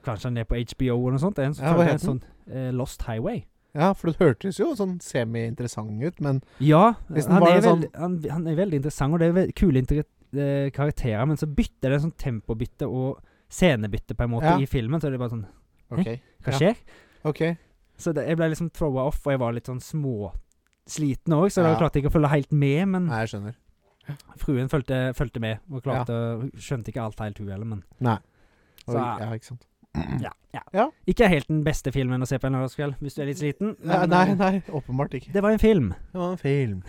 kanskje han er på HBO eller noe sånt. Det er en, Ja, hva det er het en sånn eh, Lost Highway. Ja, for det hørtes jo sånn semi-interessant ut, men Ja, Hvis den Eh, han var er, en sånn- veldig, han, han er veldig interessant, og det er ve- kule inter- eh, karakterer, men så bytter det sånn tempobytte og scenebytte på en måte Ja. i filmen, så det er bare sånn OK. Hva Ja. skjer? ok Så det, jeg ble liksom throwa off, og jeg var litt sånn småsliten òg, så Ja. jeg klarte ikke å følge helt med, men Nei, jeg skjønner. fruen fulgte, fulgte med, og klarte Hun skjønte ikke alt helt, hun heller, men Nei. Så- Oi, ja, ikke sant. [clears throat] ja, ja. Ja. Ikke helt den beste filmen å se på en lørdagskveld, hvis du er litt sliten. Nei, men, nei, eh, nei, åpenbart ikke. Det var en film. Det var en film.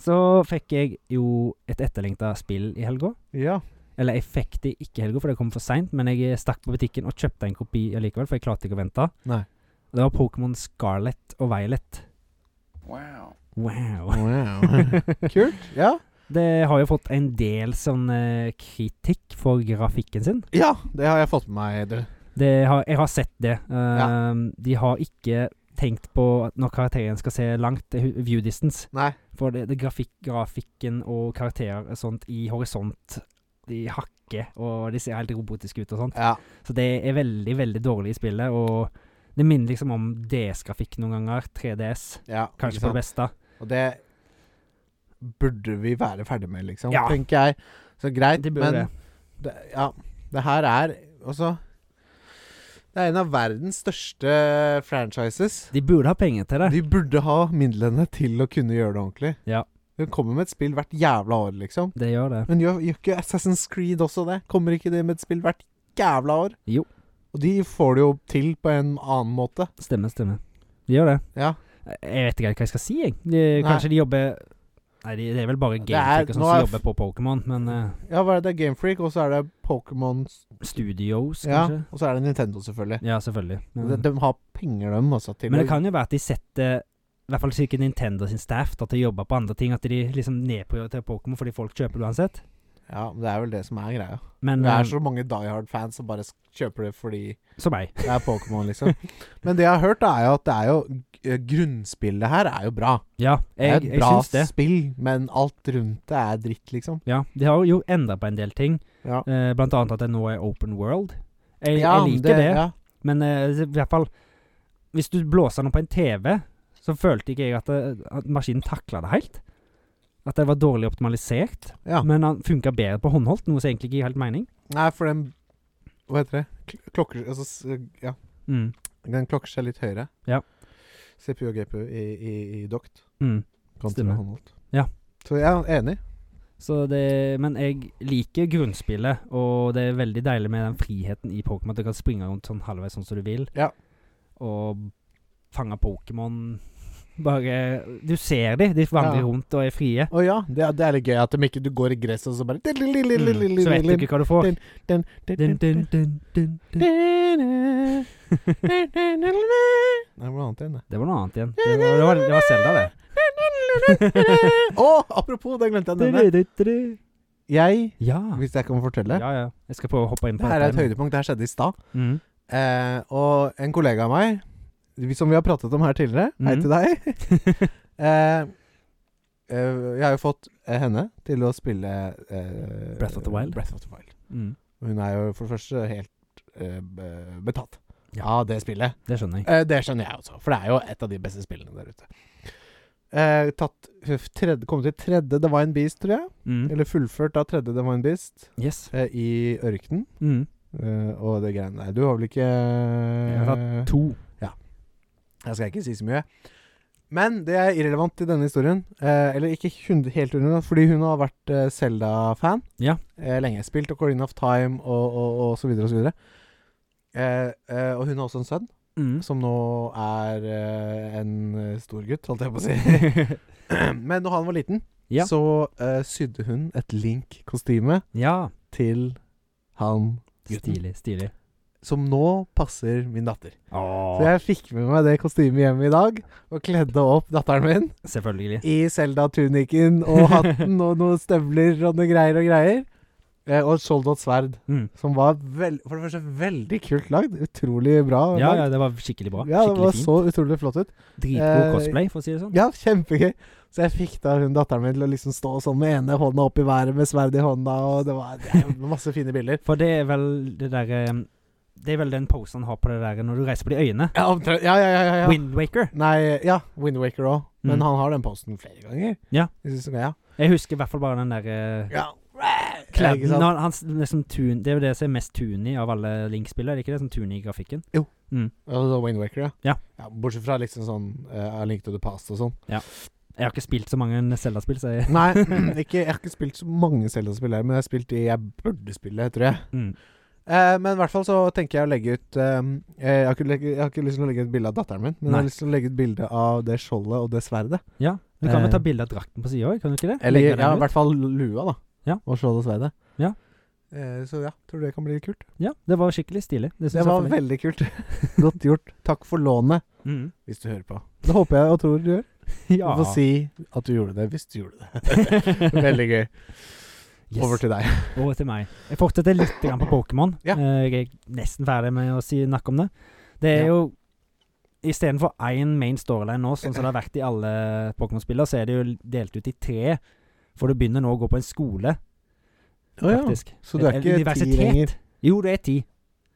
Så fikk jeg jo et etterlengta spill i helga. Ja. Eller jeg fikk det ikke i helga, for det kom for seint, men jeg stakk på butikken og kjøpte en kopi allikevel, for jeg klarte ikke å vente. Nei. Og Det var Pokémon Scarlett og Violet. Wow. Wow. [laughs] Kult. Ja. Det har jo fått en del sånn eh, kritikk for grafikken sin. ja, det har jeg fått med meg, du. Det har, jeg har sett det. Eh, De har ikke tenkt på at når karakteren skal se langt, det er hu- view distance. Nei. For det, det grafikk, grafikken og karakterer og sånt i horisont, de hakker, og de ser helt robotiske ut og sånt. Ja. Så det er veldig, veldig dårlig i spillet, og det minner liksom om DS-grafikk noen ganger. 3DS, ja kanskje ikke på det beste. sant? Og det burde vi være ferdig med, liksom, Ja. tenker jeg. Så greit, De burde men det, Ja. Det her er også Det er en av verdens største franchises. De burde ha penger til det. De burde ha midlene til å kunne gjøre det ordentlig. Ja. Hun kommer med et spill hvert jævla år, liksom. Det gjør det. Men gjør, gjør ikke Assassin's Creed også det? Kommer ikke det med et spill hvert jævla år? Jo. Og de får det jo til på en annen måte. Stemmer, stemmer. De gjør det. Ja. Jeg vet ikke helt hva jeg skal si, jeg. De, kanskje de jobber Nei, de, det er vel bare Det er- gamefolk og sånn nå som er f- jobber på Pokémon, men eh, Ja, hva er det? Det er Game Freak, og så er det Pokémon Studios, ja, kanskje? Og så er det Nintendo, selvfølgelig. Ja, selvfølgelig. Men, De, de har penger, dem, altså. Til men å- det kan jo være at de setter I hvert fall sikkert Nintendo sin staff, at de jobber på andre ting. At de liksom nedprioriterer Pokémon fordi folk kjøper det uansett. Ja, men det er vel det som er greia. Men Det eh, er så mange Die Hard-fans som bare sk- kjøper det fordi som meg. det er [laughs] Pokémon, liksom. Men det jeg har hørt, er jo at det er jo eh, Grunnspillet her er jo bra. Ja, Det er jeg, et jeg bra syns det. spill, men alt rundt det er dritt, liksom. Ja, de har jo endra på en del ting. Ja, Eh, blant annet at det nå er open world. Jeg, Ja, jeg liker det, Ja. men eh, i hvert fall Hvis du blåser den på en TV, så følte ikke jeg at, det, at maskinen takla det helt. At det var dårlig optimalisert. Ja. Men den funka bedre på håndholdt, noe som egentlig ikke gir helt mening. Nei, for den Hva heter det? Kl- Klokker altså, s- Ja, Mm. den klokker seg litt høyere. Ja. CPU og GPU i, i, i dokt. Mm. Kontra Stemmer. håndholdt. Ja. Så jeg er enig. Så det, men jeg liker grunnspillet, og det er veldig deilig med den friheten i Pokémon. At du kan springe rundt sånn halvveis sånn som du vil. Ja. Og fange Pokémon. [laughs] Bare Du ser de, de vandrer Ja. rundt og er frie. Å ja, det, er- det er litt gøy at de ikke du går i gresset og så bare Mm. Så vet du ikke hva du får. Dun, dun, dun, dun, dun. Nei, [laughs] det var noe annet igjen, det. Det var noe annet igjen. Det var, det var, det var Zelda, [laughs] det. Å, apropos, det glemte jeg å nevne. Du-du-du-du-du. Jeg, Ja. hvis jeg kan fortelle Ah. ja, ja. Jeg skal prøve å hoppe inn på Det her er dette et her nå. høydepunkt. Det her skjedde i stad. Mm. Eh, og en kollega av meg, vi- som vi har pratet om her tidligere Hei Mhm. til deg. [laughs] eh, eh, jeg har jo fått eh, henne til å spille eh, Breath of the Wild. Breath of the Wild. Mm. Hun er jo for det første helt eh, be- betatt Ja. av det spillet. Det skjønner jeg. Eh, det skjønner jeg også, for det er jo et av de beste spillene der ute. Eh, tatt f- tredje, Kom til tredje Divine Beast, tror jeg. Mm. Eller fullført av tredje Divine Beast Yes. eh, i ørkenen. Mm. eh, og det greiene der. Du har vel ikke Jeg har To. Jeg skal ikke si så mye. Men det er irrelevant til denne historien. Eh, eller ikke hund- helt under, fordi hun har vært eh, Zelda-fan Ja. eh, lenge. Spilt Ocarina of Time og, og, og så videre og så videre. Eh, eh, og hun har også en sønn, Mm. som nå er eh, en eh, stor gutt, holdt jeg på å si. [laughs] [clears throat] Men når han var liten, Ja. så eh, sydde hun et Link-kostyme Ja. til han gutten. Stilig. Stilig. som nå passer min datter. Så Åh, jeg fikk med meg det kostymet hjemme i dag, og kledde opp datteren min selvfølgelig. i Selda-tunikken og hatten og noen støvler og noe greier og greier. Eh, og et skjoldet sverd, Mm. som var vel- for det første veldig kult lagd. Utrolig bra. Ja, ja, lagd. det var skikkelig bra. ja det var Skikkelig fint. så utrolig flott ut. eh, Dritgod cosplay, for å si det sånn. Ja, kjempegøy. Så jeg fikk da hun datteren min til å liksom stå sånn med ene hånda opp i været med sverdet i hånda, og det var det er masse fine bilder. For det er vel det derre Det er vel den posen han har på det der når du reiser på de øyene. Ja, omtrent. Ja, ja, ja. ja, ja. Wind Waker. Nei, ja, Windwaker òg. Men Mm. han har den posten flere ganger. Ja. Jeg synes, ja. Jeg husker i hvert fall bare den eh, derre ja. Ikke Kledden sant? han, han, s- liksom tun, Det er jo det som er mest tuny av alle Link-spill, er det ikke det? Sånn tuny i grafikken. Ja, det var Wind Waker, ja. Ja. Bortsett fra liksom sånn uh, Link to the Past og sånn. Jeg har ikke spilt så mange Zelda-spill, så [laughs] jeg Nei, mm, ikke, jeg har ikke spilt så mange Zelda-spill her, men jeg har spilt de jeg burde spille, tror jeg. mm. Eh, men i hvert fall så tenker jeg å legge ut eh, jeg, har ikke, legge- jeg har ikke lyst til å legge ut bilde av datteren min, men jeg Nei. har lyst til å legge ut bilde av det skjoldet og det sverdet. Ja. Du kan vel Eh. ta bilde av drakten på sida òg, kan du ikke det? Eller ja, Legge den i ut? hvert fall lua, da. Ja. Og skjoldet og sverdet. Ja. Eh, så ja, tror det kan bli kult. ja, det var skikkelig stilig. Det, synes Det jeg var for meg. veldig kult. [laughs] Godt gjort. Takk for lånet, mm. hvis du hører på. Det håper jeg og tror du gjør. [laughs] Ja. Du får si at du gjorde det, hvis du gjorde [laughs] det. veldig gøy. Yes. Over til deg. Over til meg. Jeg fortsetter litt grann på Pokémon. Ja. Eh, Jeg er nesten ferdig med å si nakk om det. Det Ja. er jo Istedenfor én main storyline nå, sånn som det har vært i alle Pokémon-spiller, så er det jo delt ut i tre. For du begynner nå å gå på en skole, [laughs] Å ja. faktisk. Så du er Et- et ikke ti universitet. lenger? Jo, det er ti.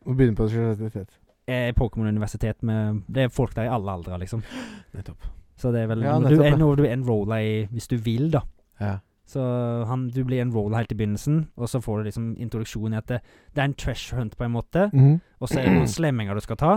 Å begynne på universitet. Eh, Pokémon-universitet med Det er folk der i alle aldre, liksom. Nettopp. Så det er vel Ja, når du, nettopp, ja. er, når du enroller i Hvis du vil, da. Ja. Så han, du blir enrolla helt i begynnelsen, og så får du liksom introduksjon i at det, det er en treasure hunt, på en måte. Og så er [clears throat] det noen slemminger du skal ta.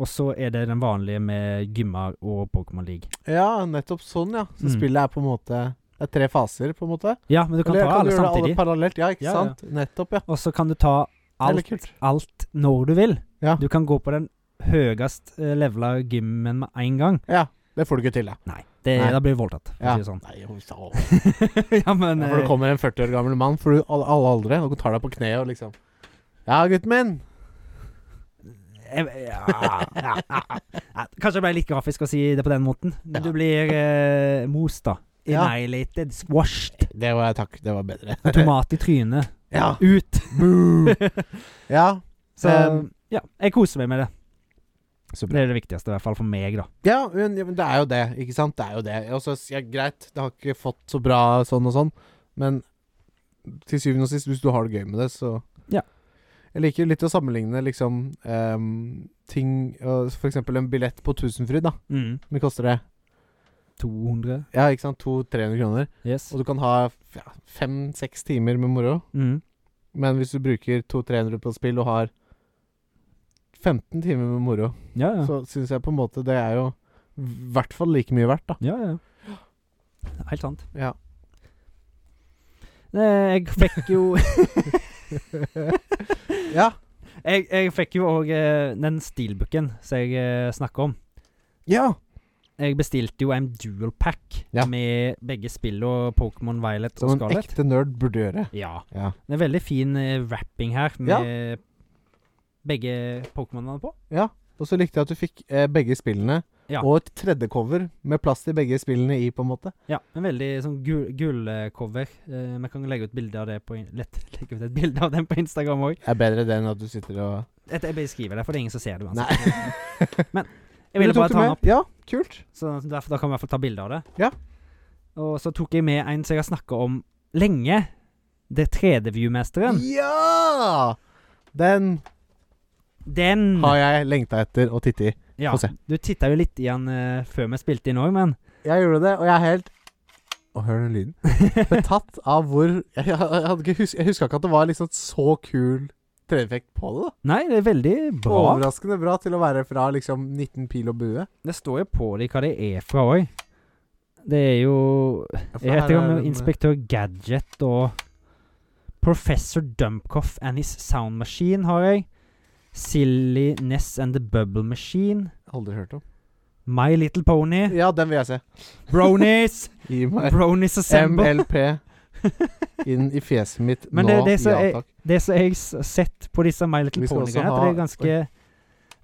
Og så er det den vanlige med gymmer og Pokémon League. ja, nettopp sånn, ja. Så Mm. spillet er på en måte Det er tre faser, på en måte. Ja, men du kan Eller ta alle gjøre det samtidig. alle parallelt. Ja, ikke Ja, ja. sant? Nettopp, ja. Og så kan du ta Veldig alt, kult. alt når du vil. Ja. Du kan gå på den høyest eh, levela gymmen med en gang. Ja. Det får du ikke til, da. Nei, det, Nei. da blir du voldtatt, for Ja. å si det sånn. Nei, hun sa- [laughs] ja, men ja, for det eh, kommer en 40 år gammel mann for du, alle, alle aldre og tar deg på kneet og liksom Ja, gutten min! jeg- ja. [laughs] Ja, Kanskje det ble litt grafisk å si det på den måten. Men du blir eh, most, da. Ja. Annihilated. Squashed. Det var takk. Det var bedre. Tomat i trynet. [laughs] Ja. Ut. [laughs] ja. Så Um, ja, jeg koser meg med det. Så Det er det viktigste, i hvert fall for meg, da. Ja, men, ja, men det er jo det, ikke sant? Det er jo det. Og så ja, greit, det har ikke fått så bra sånn og sånn, men til syvende og sist, hvis du har det gøy med det, så Ja. Jeg liker litt å sammenligne liksom ehm, ting og For eksempel en billett på Tusenfryd, da. Hvor mye koster det? 200. Ja, ikke sant? 200-300 kroner. Yes. Og du kan ha f- ja, fem-seks timer med moro, Mm. men hvis du bruker 200-300 på spill og har 15 timer med moro, Ja, ja. så syns jeg på en måte det er jo i hvert fall like mye verdt, da. ja, ja. Helt sant. Ja. Eh, Jeg fikk jo [laughs] ja. [laughs] Jeg, jeg fikk jo òg den steelbooken som jeg eh, snakker om. Ja. Jeg bestilte jo en dual pack Ja. med begge spill og Pokémon Violet Som og en Scarlet. ekte nerd burde gjøre. Ja. Ja. Det er veldig fin eh, wrapping her med begge Pokémonene på. Og så likte jeg at du fikk eh, begge spillene, Ja. og et tredje cover med plass til begge spillene i, på en måte. Ja, en veldig sånn gu- gullcover. Eh, vi kan legge ut bilde av det på in lett, [laughs] legge ut et bilde av den på Instagram òg. Er bedre det enn at du sitter og Jeg beskriver det, for det er ingen som ser det uansett. Nei. Jeg Du ville tok bare det ta den med. opp, Ja, kult. så derfor, da kan vi i hvert fall ta bilde av det. Ja. Og så tok jeg med en som jeg har snakka om lenge. Det er 3D-viewmesteren. Ja! Den Den har jeg lengta etter å titte i. Ja, få se. du titta jo litt i den eh, før vi spilte inn òg, men Jeg gjorde det, og jeg er helt Å, hør den lyden. Betatt av hvor Jeg, jeg, hadde ikke hus jeg huska ikke at det var liksom så kul 3D-effekt på det. da [laughs] Nei, det er veldig bra. Overraskende bra til å være fra liksom 19 pil og bue. Det står jo på dem hva det er fra òg. Det er jo Jeg Her er eh, heter jo den- Inspektør Gadget og Professor Dumpcoff and his Sound Machine har jeg. Silly Ness and the Bubble Machine. eh, Aldri hørt om. My Little Pony. Ja, den vil jeg se. [laughs] Bronies! Gi meg Bronies Assemble. MLP inn i fjeset mitt [laughs] Men nå. det- det som er- ja takk. Det som jeg har sett på disse My Little Vi skal også Pony-greiene, at det er ha- ganske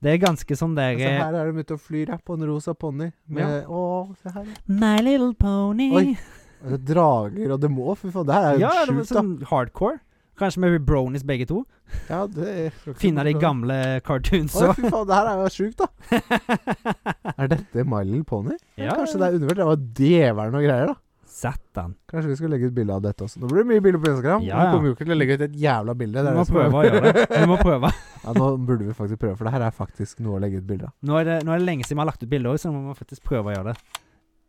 Det er ganske sånn der Se eh, Altså, her er de ute og flyr her på en rosa ponni. med- Å, se her. My Little Pony. Oi. Og det er Drager og demo. Fy faen, det her er jo Ja, det var sjukt, da. sånn hardcore. Kanskje med bronies begge to. Ja, det er- Finne de gamle cartoons [laughs] Å, og fy faen, det her er jo sjukt, da. [laughs] Er dette My Little Pony? Ja. Kanskje det er undervurdert? Det var djevelen og greier, da. Satan. Kanskje vi skal legge ut bilde av dette også. Nå blir det mye bilder på Instagram. Ja, men ja. Vi kommer jo ikke til å legge ut et jævla bilde. Vi det er må det som er- prøve å gjøre det. Vi må prøve. [laughs] ja, nå burde vi faktisk prøve, for det her er faktisk noe å legge ut bilde av. Nå er, det, nå er det lenge siden vi har lagt ut bilder, så nå må vi faktisk prøve å gjøre det.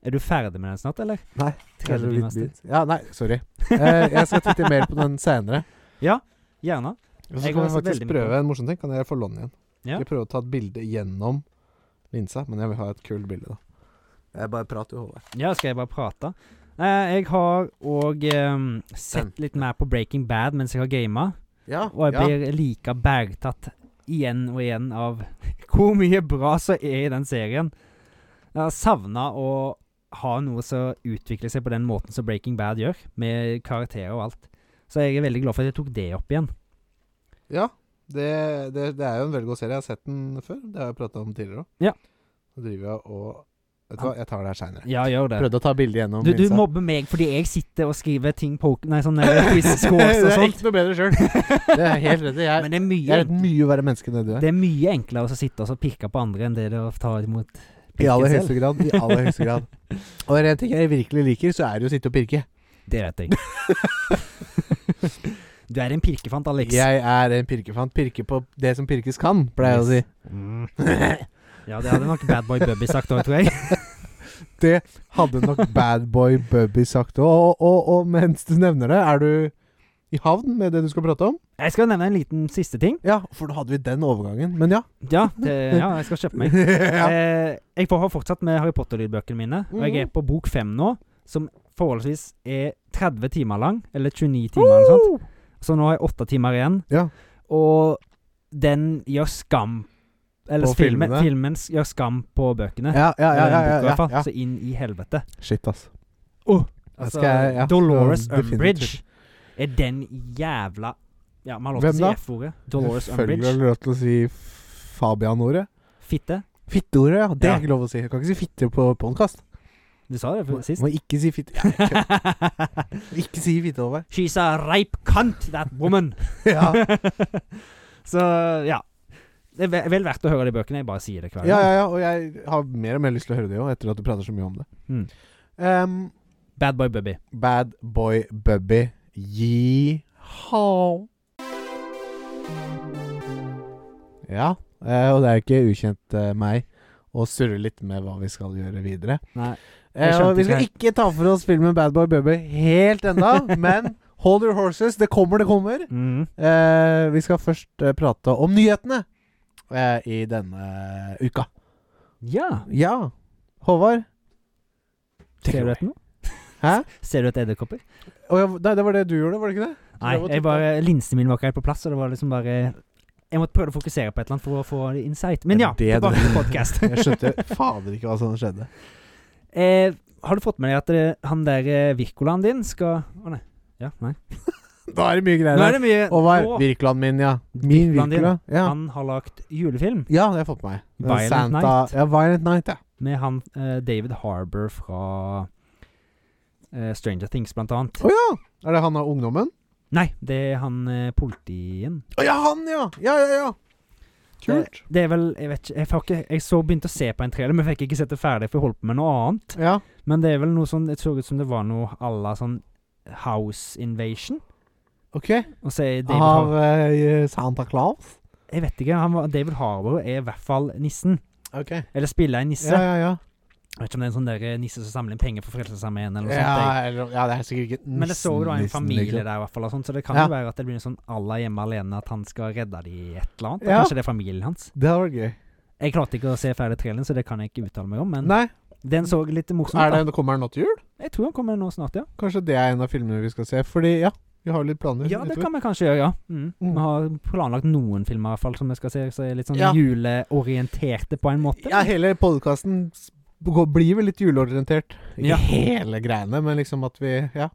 Er du ferdig med den snart, eller? Nei, Tredje Kanskje litt trimester. bit. Ja, nei, [laughs] sorry. Eh, jeg skal titte mer på den senere. Gjerne. Og så Jeg kan vi har sett veldig faktisk mye på prøve en morsom ting. Kan jeg få låne igjen? Ja. Vi prøver å ta et bilde gjennom linsa, men jeg vil ha et kult bilde, da. Jeg bare prater jo, Håvard. Ja, skal jeg bare prate? Eh, jeg har òg sett litt mer på Breaking Bad mens jeg har gama, Ja, og jeg blir like bergtatt igjen og igjen av [laughs] hvor mye bra som er i den serien. Jeg har savna å ha noe som utvikler seg på den måten som Breaking Bad gjør, med karakterer og alt. Så jeg er veldig glad for at jeg tok det opp igjen. Ja, det, det, det er jo en veldig god serie. Jeg har sett den før. Det har jeg prata om tidligere òg. Ja. Så driver jeg og Vet du hva, jeg tar det her seinere. Ja, gjør det. Prøvde å ta bilde gjennom Du, du [laughs] mobber meg fordi jeg sitter og skriver ting på Nei, sånne [laughs] [laughs] quiz-scores og sånt. noe bedre sjøl. Det er helt rett. Jeg, Men det er jeg mye, er et mye verre menneske enn det du er. det er mye enklere å sitte og så pirke på andre enn det det er å ta imot I aller pirken selv. høyeste grad. I aller høyeste grad. Og er det en ting jeg virkelig liker, så er det å sitte og pirke. Det vet jeg. [laughs] du er en pirkefant, Alex. Jeg er en pirkefant. Pirke på det som pirkes kan, pleier jeg å si. Mm. Ja, det hadde nok Bad Boy Bubby sagt òg, tror jeg. Det [laughs] hadde nok Badboy Bubby sagt. Og, og, og mens du nevner det, er du i havn med det du skal prate om? Jeg skal nevne en liten siste ting. Ja, for da hadde vi den overgangen. Men ja. Ja, det, ja jeg skal kjøpe meg. [laughs] ja. Eh, jeg får- har fortsatt med Harry Potter-lydbøkene mine, og jeg Mhm. er på bok fem nå, som forholdsvis er 30 timer lang, eller 29 timer eller noe sånt. Så nå har jeg åtte timer igjen. Ja. Og den gjør skam Eller På filmen, filmene? filmen s- gjør skam på bøkene. Ja, ja, ja, ja, Eller den boka i ja, hvert fall, ja, Så inn i helvete. Shit, ass. Jeg Altså, skal- ja, Dolores definitivt. Umbridge er den jævla Ja, vi har lov Hvem til da? å si F-ordet. Dolores Selvfølgelig Umbridge. har du lov til å si Fabian-ordet. Fitte. Fitteordet, ja. Det Ja. er ikke lov å si. Du kan ikke si fitte på podkast. Du sa det for- sist. Må ikke si fitte. Ja, ikke si fitte, [laughs] Håvard. [laughs] She's a rape cunt, that woman. [laughs] Ja. [laughs] Så ja. Det er ve- vel verdt å høre de bøkene. Jeg bare sier det hver gang. Ja, ja, ja, og jeg har mer og mer lyst til å høre det òg, etter at du prater så mye om det. Mm. Um, Bad Boy Bubby. bad boy Bubby. Yeehaw. Ja, eh, og det er jo ikke ukjent eh, meg å surre litt med hva vi skal gjøre videre. Nei. Jeg Eh, og skjønte vi skal ikke ta for oss filmen Bad Boy Bubby helt enda, [laughs] men hold your horses. Det kommer, det kommer. Mm. Eh, vi skal først eh, prate om nyhetene eh, i denne uka. Ja. Ja. Håvard? Ser du etter noe? Hæ? Ser du etter edderkopper? Å, ja, nei, det var det du gjorde, var det ikke det? Nei, Jeg var jeg typ- bare, linsene mine var ikke helt på plass, og det var liksom bare Jeg måtte prøve å fokusere på et eller annet for å få det insight. Men ja, Det er det tilbake du- til podkast. [laughs] Jeg skjønte fader ikke hva som skjedde. eh, har du fått med deg at eh, han der eh, Virkolaen din skal Å nei. Ja, nei. Da er det mye greier. Nå er det mye Håvard, nå- Virkeland min, ja. Min Virkeland din. Virkeland. Ja. Han har lagt julefilm ja, det har jeg fått med meg. Den Violent Night. Ja, Violent Night, ja. med han eh, David Harbour fra eh, Stranger Things, blant annet. Å ja! Er det han av ungdommen? Nei, det er han eh, politien. Å ja, han, ja! Ja, ja, ja. Kult. Det er vel Jeg vet ikke Jeg, får ikke, jeg så begynte å se på en trailer, men fikk ikke sett det ferdig, for jeg holdt på med noe annet. Eh, Ja. Men det er vel noe sånn Det så ut som det var noe à la sånn House Invasion. Ok. Og så er David Av Har eh, Santa Claus? Jeg vet ikke. Han var, David Harbour er i hvert fall nissen. Ok. Eller spiller en nisse. Ja, ja, ja. Jeg vet ikke om det er en sånn der eh, nisse som samler inn penger for Frelsesarmeen, eller noe Ja, sånt. jeg. eller, ja, det er sikkert ikke Men det så jo da en nissen, familie liksom. der, i hvert fall, og sånt, så det kan Ja. jo være at det blir en sånn à la hjemme alene, at han skal redde de i et eller annet. Og Ja. Kanskje det er familien hans. Det hadde vært gøy. Jeg klarte ikke å se ferdig traileren, så det kan jeg ikke uttale meg om, men Nei, den så litt morsom er ut. det, da. kommer den nå til jul? Jeg tror han kommer nå snart, ja. Kanskje det er en av filmene vi skal se. Fordi, ja, vi har litt planer. Ja, det utover. kan vi kanskje gjøre, ja. Mm. Mm. Vi har planlagt noen filmer i hvert fall som vi skal se, som er litt sånn Ja. juleorienterte på en måte. Ja, hele podkasten blir vel litt juleorientert. Ikke Ja. hele greiene, men liksom at vi Ja.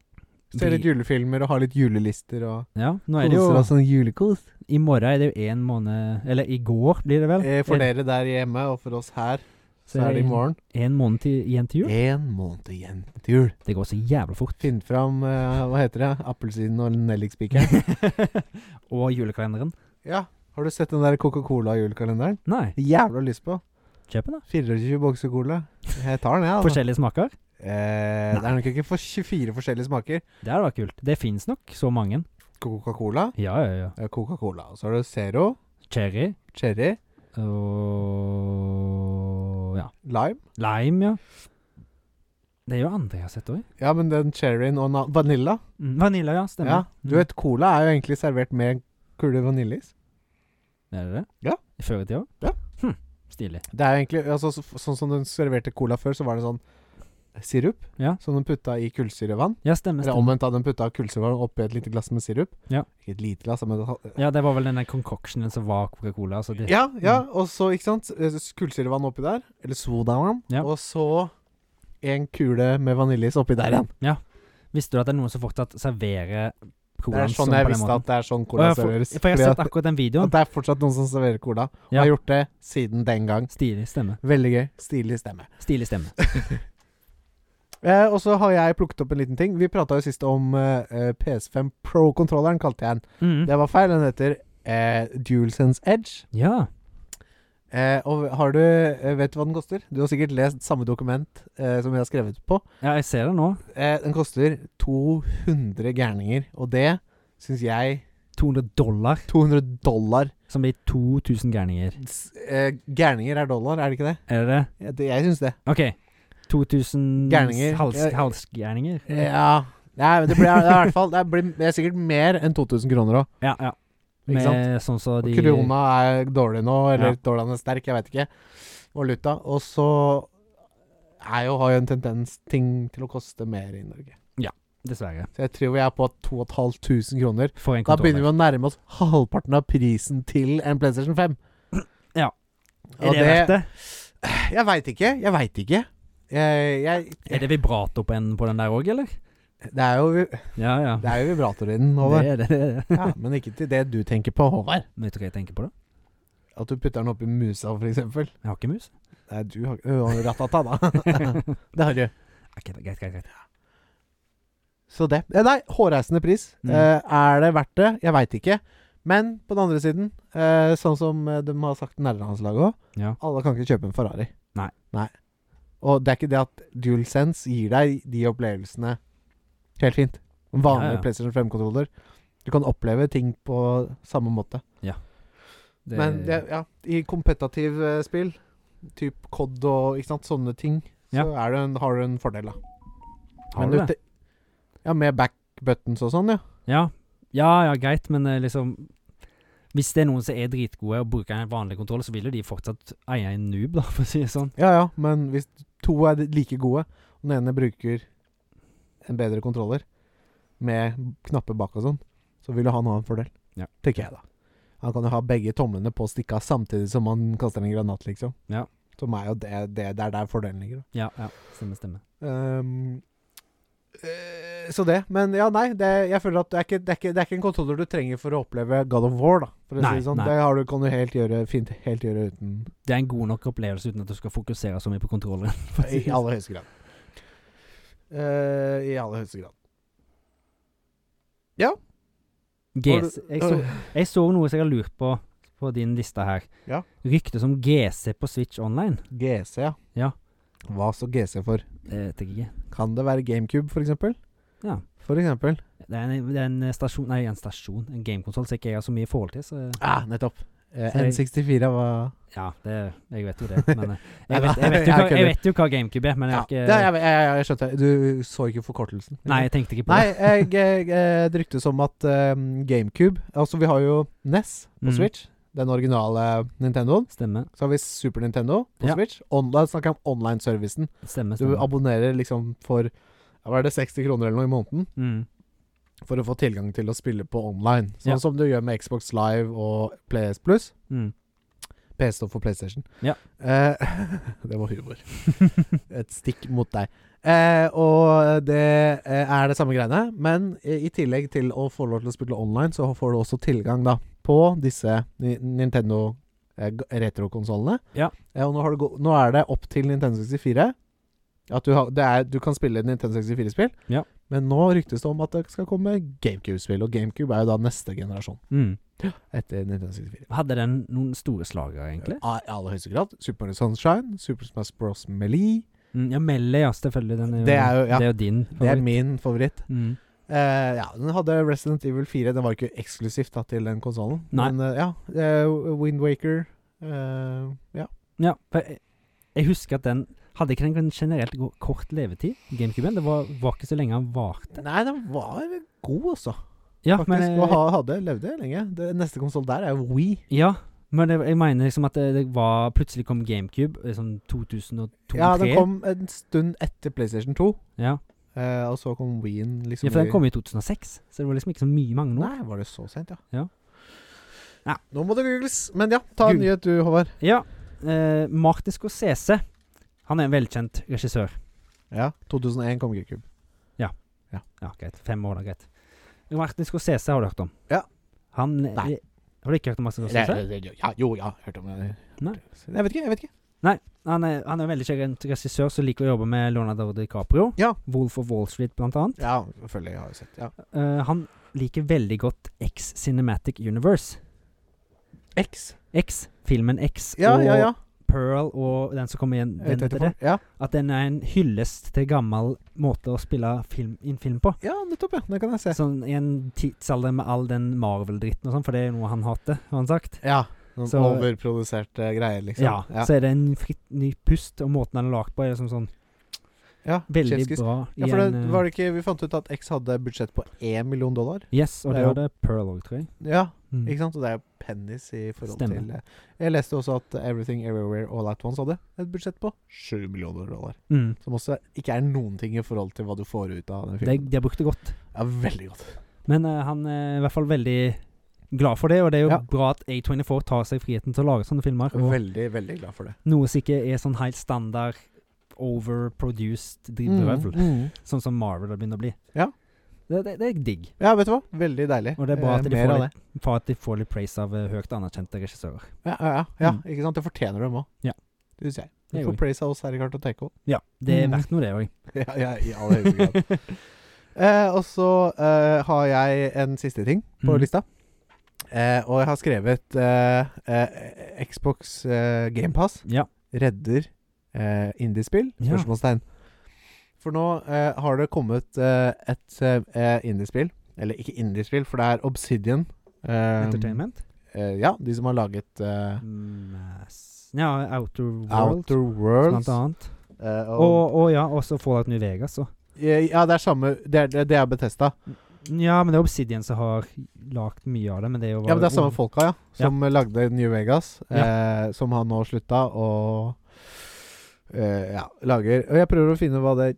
Ser litt julefilmer og har litt julelister og Ja, nå er det koser jo oss sånn julekos. I morgen er det jo én måned Eller i går blir det vel? Eh, For dere der hjemme, og for oss her, så er det i morgen. Én måned til, igjen til jul. Én måned igjen til jul. Det går så jævla [laughs] fort. Finn fram eh, hva heter det? Appelsinen og nellikspikeren. [laughs] og julekalenderen. ja. Har du sett den der Coca-Cola-julekalenderen? Nei, Jævla lyst på. kjøp den, da. 24 bokser cola. Jeg tar den, jeg, altså. Forskjellige smaker. Eh, det er nok ikke for 24 forskjellige smaker. Det hadde vært kult. Det fins nok så mange. Coca-Cola. Ja, ja, ja. eh, Coca-Cola. Og så har du Zero, Cherry Cherry, og Ja. Lime. Lime, ja. Det er jo andre jeg har sett òg. Ja, men den cherryen og na vanilla Vanilla, Mm, ja. Stemmer. Ja, Du vet, cola er jo egentlig servert med en kule vaniljeis. Mm. Er det det? Ja. I før i tida? Ja. Hm. Stilig. Det er jo egentlig altså, så, Sånn som den serverte cola før, så var det sånn sirup Ja. som den putta i kullsyrevann. Ja, stemmer. Eller stemmer. omvendt, da. Den putta kullsyrevann oppi et lite glass med sirup. Ja. Ikke et lite glass, men et- Ja, det var vel den der concoctionen som var Coca-Cola. Altså det, Ja, ja. Og så, ikke sant, eh, kullsyrevann oppi der. Eller sodavann. Ja. Og så en kule med vaniljeis oppi der igjen. Visste du at det er noen som fortsatt serverer Det colaen er sånn jeg visste at det er sånn Å, cola ja, for, serveres. for jeg Fordi har at- sett akkurat den At videoen. det er fortsatt noen som serverer cola. Og Ja. har gjort det siden den gang. Stilig stemme. Veldig gøy. Stilig stemme. Stilig stemme. Eh, og så har jeg plukket opp en liten ting. Vi prata jo sist om eh, eh, PS5 Pro-kontrolleren, kalte jeg den. Mm. Det var feil. Den heter eh, DualSense Edge. Ja. Eh, og har du eh, Vet du hva den koster? Du har sikkert lest samme dokument eh, som vi har skrevet på. ja, jeg ser det nå. Eh, den koster 200 gærninger, og det syns jeg 200 dollar, 200 dollar. som blir 2000 gærninger. S- Eh, gærninger er dollar, er det ikke det? Er det det? Ja, det jeg syns det. OK. 2000 Gærninger. Hals, Ja. halsgærninger? Ja Nei, men det blir, det er i hvert fall, det blir det er sikkert mer enn 2000 kroner òg. Ja, ja. Ikke sant? Med sånn så de Krona er dårlig nå, eller Ja. dollarene er sterk, jeg veit ikke. Valuta. Og så er jo, har jo en tendens ting til å koste mer i Norge. Dessverre. Så jeg tror vi er på 2500 kroner. For en Da begynner kontroller. vi å nærme oss halvparten av prisen til en PlayStation 5. [clears throat] Ja. Og Er det verdt det? Jeg veit ikke. Jeg veit ikke. Jeg, jeg, Er det vibrator på enden på den der òg, eller? det er jo, Ja, ja. det er jo vibrator i den, Det Håvard. er det. det, er det. Ja, [laughs] men ikke til det du tenker på, Håvard. Vet du hva jeg tenker på, da? At du putter den oppi musa, for eksempel. Jeg har ikke mus. Nei, du har ikke Ratata, da. [laughs] det har du. Ok, da, greit, greit, greit. Så det. Eh, Nei, hårreisende pris. Mm. Eh, er det verdt det? Jeg veit ikke. Men på den andre siden, eh, sånn som eh, de har sagt nærlandslaget òg, Ja. alle kan ikke kjøpe en Ferrari. Nei. Og det er ikke det at DualSense gir deg de opplevelsene helt fint. En vanlig Ja, ja. PlayStation 5-kontroller. Du kan oppleve ting på samme måte. Det, Men det, ja, i kompetativ eh, spill, typ COD og ikke sant, sånne ting, Ja. så er det en, har du en fordel, da. har Men du du det? te- Ja, med back buttons og sånn, ja. Ja. ja, ja, greit, men eh, liksom Hvis det er noen som er dritgode og bruker en vanlig kontroll, så vil jo de fortsatt eie en noob, da, [laughs] for å si det sånn. Ja ja, men hvis to er like gode, og den ene bruker en bedre kontroller med knapper bak og sånn, så vil jo han ha en fordel. Ja. Tenker jeg, da. Han kan jo ha begge tomlene på stikka samtidig som han kaster en granat, liksom. Ja. Som er jo det, det, det er der fordelen ligger. da. Ja, ja, stemmer, stemmer. Ehm, eh, så det. Men ja, nei. Det, jeg føler at det er, ikke, det, er ikke, det er ikke en kontroller du trenger for å oppleve God of War, da. For å Nei, si det sånn. nei. Det har du, kan du helt gjøre, fint helt gjøre [laughs] uten Det er en god nok opplevelse uten at du skal fokusere så mye på kontrolleren. for å si I det sånn. aller høyeste grad. Eh, I aller høyeste grad. GC, jeg, så, [sighs] Øh, jeg så noe som jeg har lurt på på din liste her. Ja. Ryktes om GC på Switch Online. GC, ja. Ja. Hva står GC for? Det vet jeg ikke. Kan det være GameCube, for eksempel? Ja. For eksempel. Det er en, det er en stasjon Nei, en stasjon. En gamekonsoll som ikke jeg har så mye forhold til, så Ah, nettopp. Eh, Så jeg- N64 var Ja, det, jeg vet jo det. Men eh, Nei, jeg vet, jeg, vet jo jeg hva, jeg kødder. vet jo hva GameCube er, men jeg Ja, har ikke det, jeg, jeg, jeg, jeg skjønte. Du så ikke forkortelsen? Nei, jeg tenkte ikke på Nei, jeg, jeg, eh, det ryktes om at eh, GameCube Altså, vi har jo NES på Mm. Switch. Den originale Nintendoen. det. Stemme. Så har vi Super Nintendo på Ja. Switch. Online, snakker jeg om online-servicen. Stemme, Du stemme. abonnerer liksom for ja, Hva er det, 60 kroner eller noe i måneden Mm. for å få tilgang til å spille på online. Sånn Ja. som du gjør med Xbox Live og PS Plus. Mm. PC står for PlayStation. Ja. Eh, [laughs] det var humor. Et stikk mot deg. Eh, og det eh, er det samme greiene, men i i tillegg til å få lov til å spille online, så får du også tilgang da på disse Ni- Nintendo eh, g- retrokonsollene. Ja. Eh, og nå, har du gå- nå er det opp til Nintendo 64. At du, har, det er, du kan spille Nintendo 64-spill, Ja. men nå ryktes det om at det skal komme GameCube-spill. Og GameCube er jo da neste generasjon Mm. etter Nintendo 64. Hadde den noen store slagere, egentlig? Ja, I aller høyeste grad. Super Mario Sunshine, Super Smash Bros. Melee. Mm, ja, Melee, ja, selvfølgelig. Den er jo, Det er jo- ja. det er jo din. Det er favoritt. min favoritt. Mm. Eh, ja, Den hadde Resident Evil 4. Den var ikke eksklusivt da, til den konsollen. Nei. Men eh, ja, eh, Wind Waker eh, Ja. Ja, for jeg, jeg husker at den hadde ikke den en generelt go- kort levetid, GameCuben. Det var, var ikke så lenge han varte. Nei, den var god, altså. Ja, Faktisk. men, eh, og ha, jeg, hadde levde lenge. Det, neste konsoll der er jo Wii. eh, ja, men jeg, jeg mener liksom at det, det var Plutselig kom GameCube, liksom 2002-2003. Ja, den kom en stund etter PlayStation 2. Ja. eh, og så kom Wien liksom ja, for i- den kom i 2006, så det var liksom ikke så mye mange nå. Nei, var det så sent, ja? Ja. Ja. Nå må det googles. Men ja, ta en Gud. nyhet du, Håvard. Ja, eh, Martin Scorsese, han er en velkjent regissør. Ja, 2001 kom GameCube. Ja, greit. Fem år, da, greit. Martin Scorsese har du hørt om? Ja. Han eh, Nei. Har du ikke hørt om Martin Scorsese? ja, jo, jeg har hørt om det. Nei. Jeg vet ikke. jeg vet ikke Han er, han er en veldig kjent regissør som liker å jobbe med Leonardo DiCaprio. Ja. Wolf of Wall Street, blant annet. Ja, selvfølgelig. Jeg har jo sett ja. Eh, han liker veldig godt X Cinematic Universe. X. X, filmen X Ja, og ja, ja. Pearl og den som kommer igjen Jeg den vet etter det. etterpå. Ja. At den er en hyllest til gammel måte å spille film, inn film på. ja, nettopp. ja, Det kan jeg se. Sånn i en tidsalder med all den Marvel-dritten og sånn, for det er jo noe han hater, har han sagt. Ja, Noen Så- overproduserte greier, liksom. Ja, Så er det en fritt ny pust, og måten han er lagd på, er liksom sånn Ja, veldig Chefskis. bra. Ja, i for en, det, eh, var det ikke, Vi fant ut at X hadde budsjett på én million dollar. eh, Yes, og det det er jo- var det Pearl òg, tror jeg. Ja, Mm. ikke sant? Og det er jo pennies i forhold Stemmer. til eh, Jeg leste også at Everything Everywhere All At Once hadde et budsjett på sju millioner dollar. Mm. Som også ikke er noen ting i forhold til hva du får ut av den Det, filmen. de har brukt det godt. Ja, veldig godt. Men eh, han er i hvert fall veldig glad for det, og det er jo Ja. bra at A24 tar seg friheten til å lage sånne filmer. Og Veldig, veldig glad for det. noe som ikke er sånn helt standard overproduced drøvel, Mm. sånn som Marvel har begynt å bli. Ja. Det, det, det er digg. Ja, vet du hva? Veldig deilig. Og det er bra Eh, at de Mer får av litt- For at de får litt praise av eh, høyt anerkjente regissører. Ja, ja, ja, ja Mm. ikke sant? Det fortjener de òg. Ja. Det syns jeg. Du Det får gjør vi. praise av oss her i Kartoteket [laughs] òg. Ja, det er Mm. verdt noe, det òg. ja, ja, i aller høyeste grad. [laughs] Eh, og så eh, har jeg en siste ting på Mm. lista. Eh, og jeg har skrevet eh, eh, Xbox eh, GamePass Ja. redder eh, indiespill? Ja. Spørsmålstegn. For nå eh, har det kommet eh, et eh, indiespill. Eller ikke indiespill, for det er Obsidian. eh, Entertainment. Eh, ja, de som har laget eh, Mm, s- ja, Outer World, Outer Worlds. blant annet. eh, og, Og, og ja, også Fallout New Vegas. Og. Eh, ja, det er samme Det er, det er Betesta. Ja, men det er Obsidian som har lagd mye av det. Men det er jo Ja, men det er samme folka, ja. Som lagde New Vegas. Eh, Som har nå slutta å eh, Ja, lager Og jeg prøver å finne hva det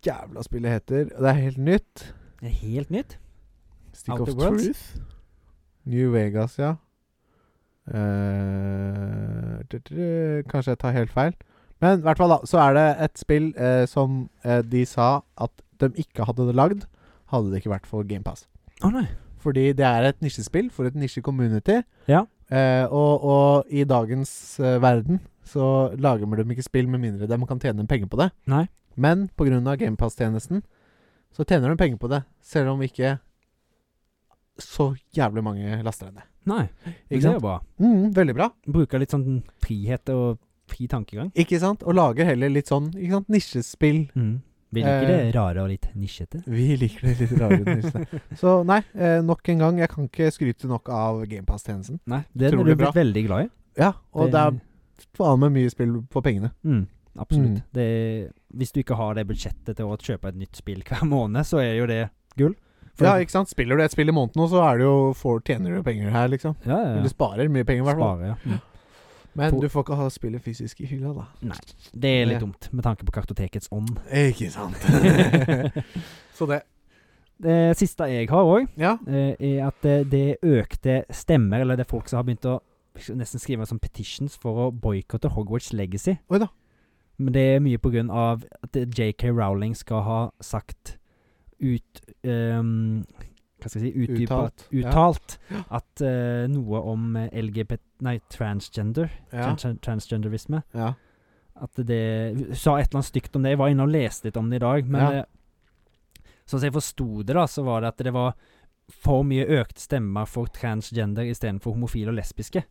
jævla spillet heter. Det er helt nytt. Det er helt nytt. Stick Outer of Worlds? Truth. New Vegas, ja. Eh, tr- tr- kanskje jeg tar helt feil. Men i hvert fall, da, så er det et spill eh, som eh, de sa at de ikke hadde lagd, hadde det ikke vært for GamePass. Å nei. Fordi det er et nisjespill for et nisje-community. Ja. Eh, og, og i dagens eh, verden så lager man dem ikke spill med mindre de kan tjene penger på det. Nei. Men pga. GamePass-tjenesten så tjener de penger på det, selv om ikke så jævlig mange laster den ned. Nei. Men Ikke det er sant? jo bra. Mm, veldig bra. Bruker litt sånn frihet og fri tankegang. Ikke sant? Og lager heller litt sånn ikke sant? nisjespill. Mm. Vil du ikke Eh. det rare og litt nisjete? Vi liker det litt [laughs] rare nisjene. så nei, eh, nok en gang, jeg kan ikke skryte nok av GamePass-tjenesten. Nei, det er Utrolig bra. du blitt veldig glad i. Ja, og det, Det- er faen meg mye spill for pengene. Mm. Absolutt. Mm. Det er, hvis du ikke har det budsjettet til å kjøpe et nytt spill hver måned, så er jo det gull. For- ja, ikke sant? Spiller du et spill i måneden nå, så er det jo får, tjener du penger her, liksom. ja, ja, Du ja. sparer mye penger, i hvert fall. Spare, ja. Mm. Men På- du får ikke ha spillet fysisk i hylla, da. Det er Ja. litt dumt, med tanke på kartotekets ånd. Ikke sant. [laughs] så det det siste jeg har òg, Ja. eh, er at det, det økte stemmer, eller det er folk som har begynt å skal nesten skrive som petitions for å boikotte Hogwarts Legacy. Oi da. Men det er mye på grunn av at JK Rowling skal ha sagt ut ehm, Hva skal jeg si utdypet- Uttalt, ja. Uttalt at eh, noe om eh, LGBT Nei, transgender. Ja. Tran transgenderisme. ja. At det Sa et eller annet stygt om det. Jeg var inne og leste litt om det i dag, men Ja. eh, sånn som jeg forsto det, da, så var det at det var for mye økte stemmer for transgender istedenfor homofile og lesbiske.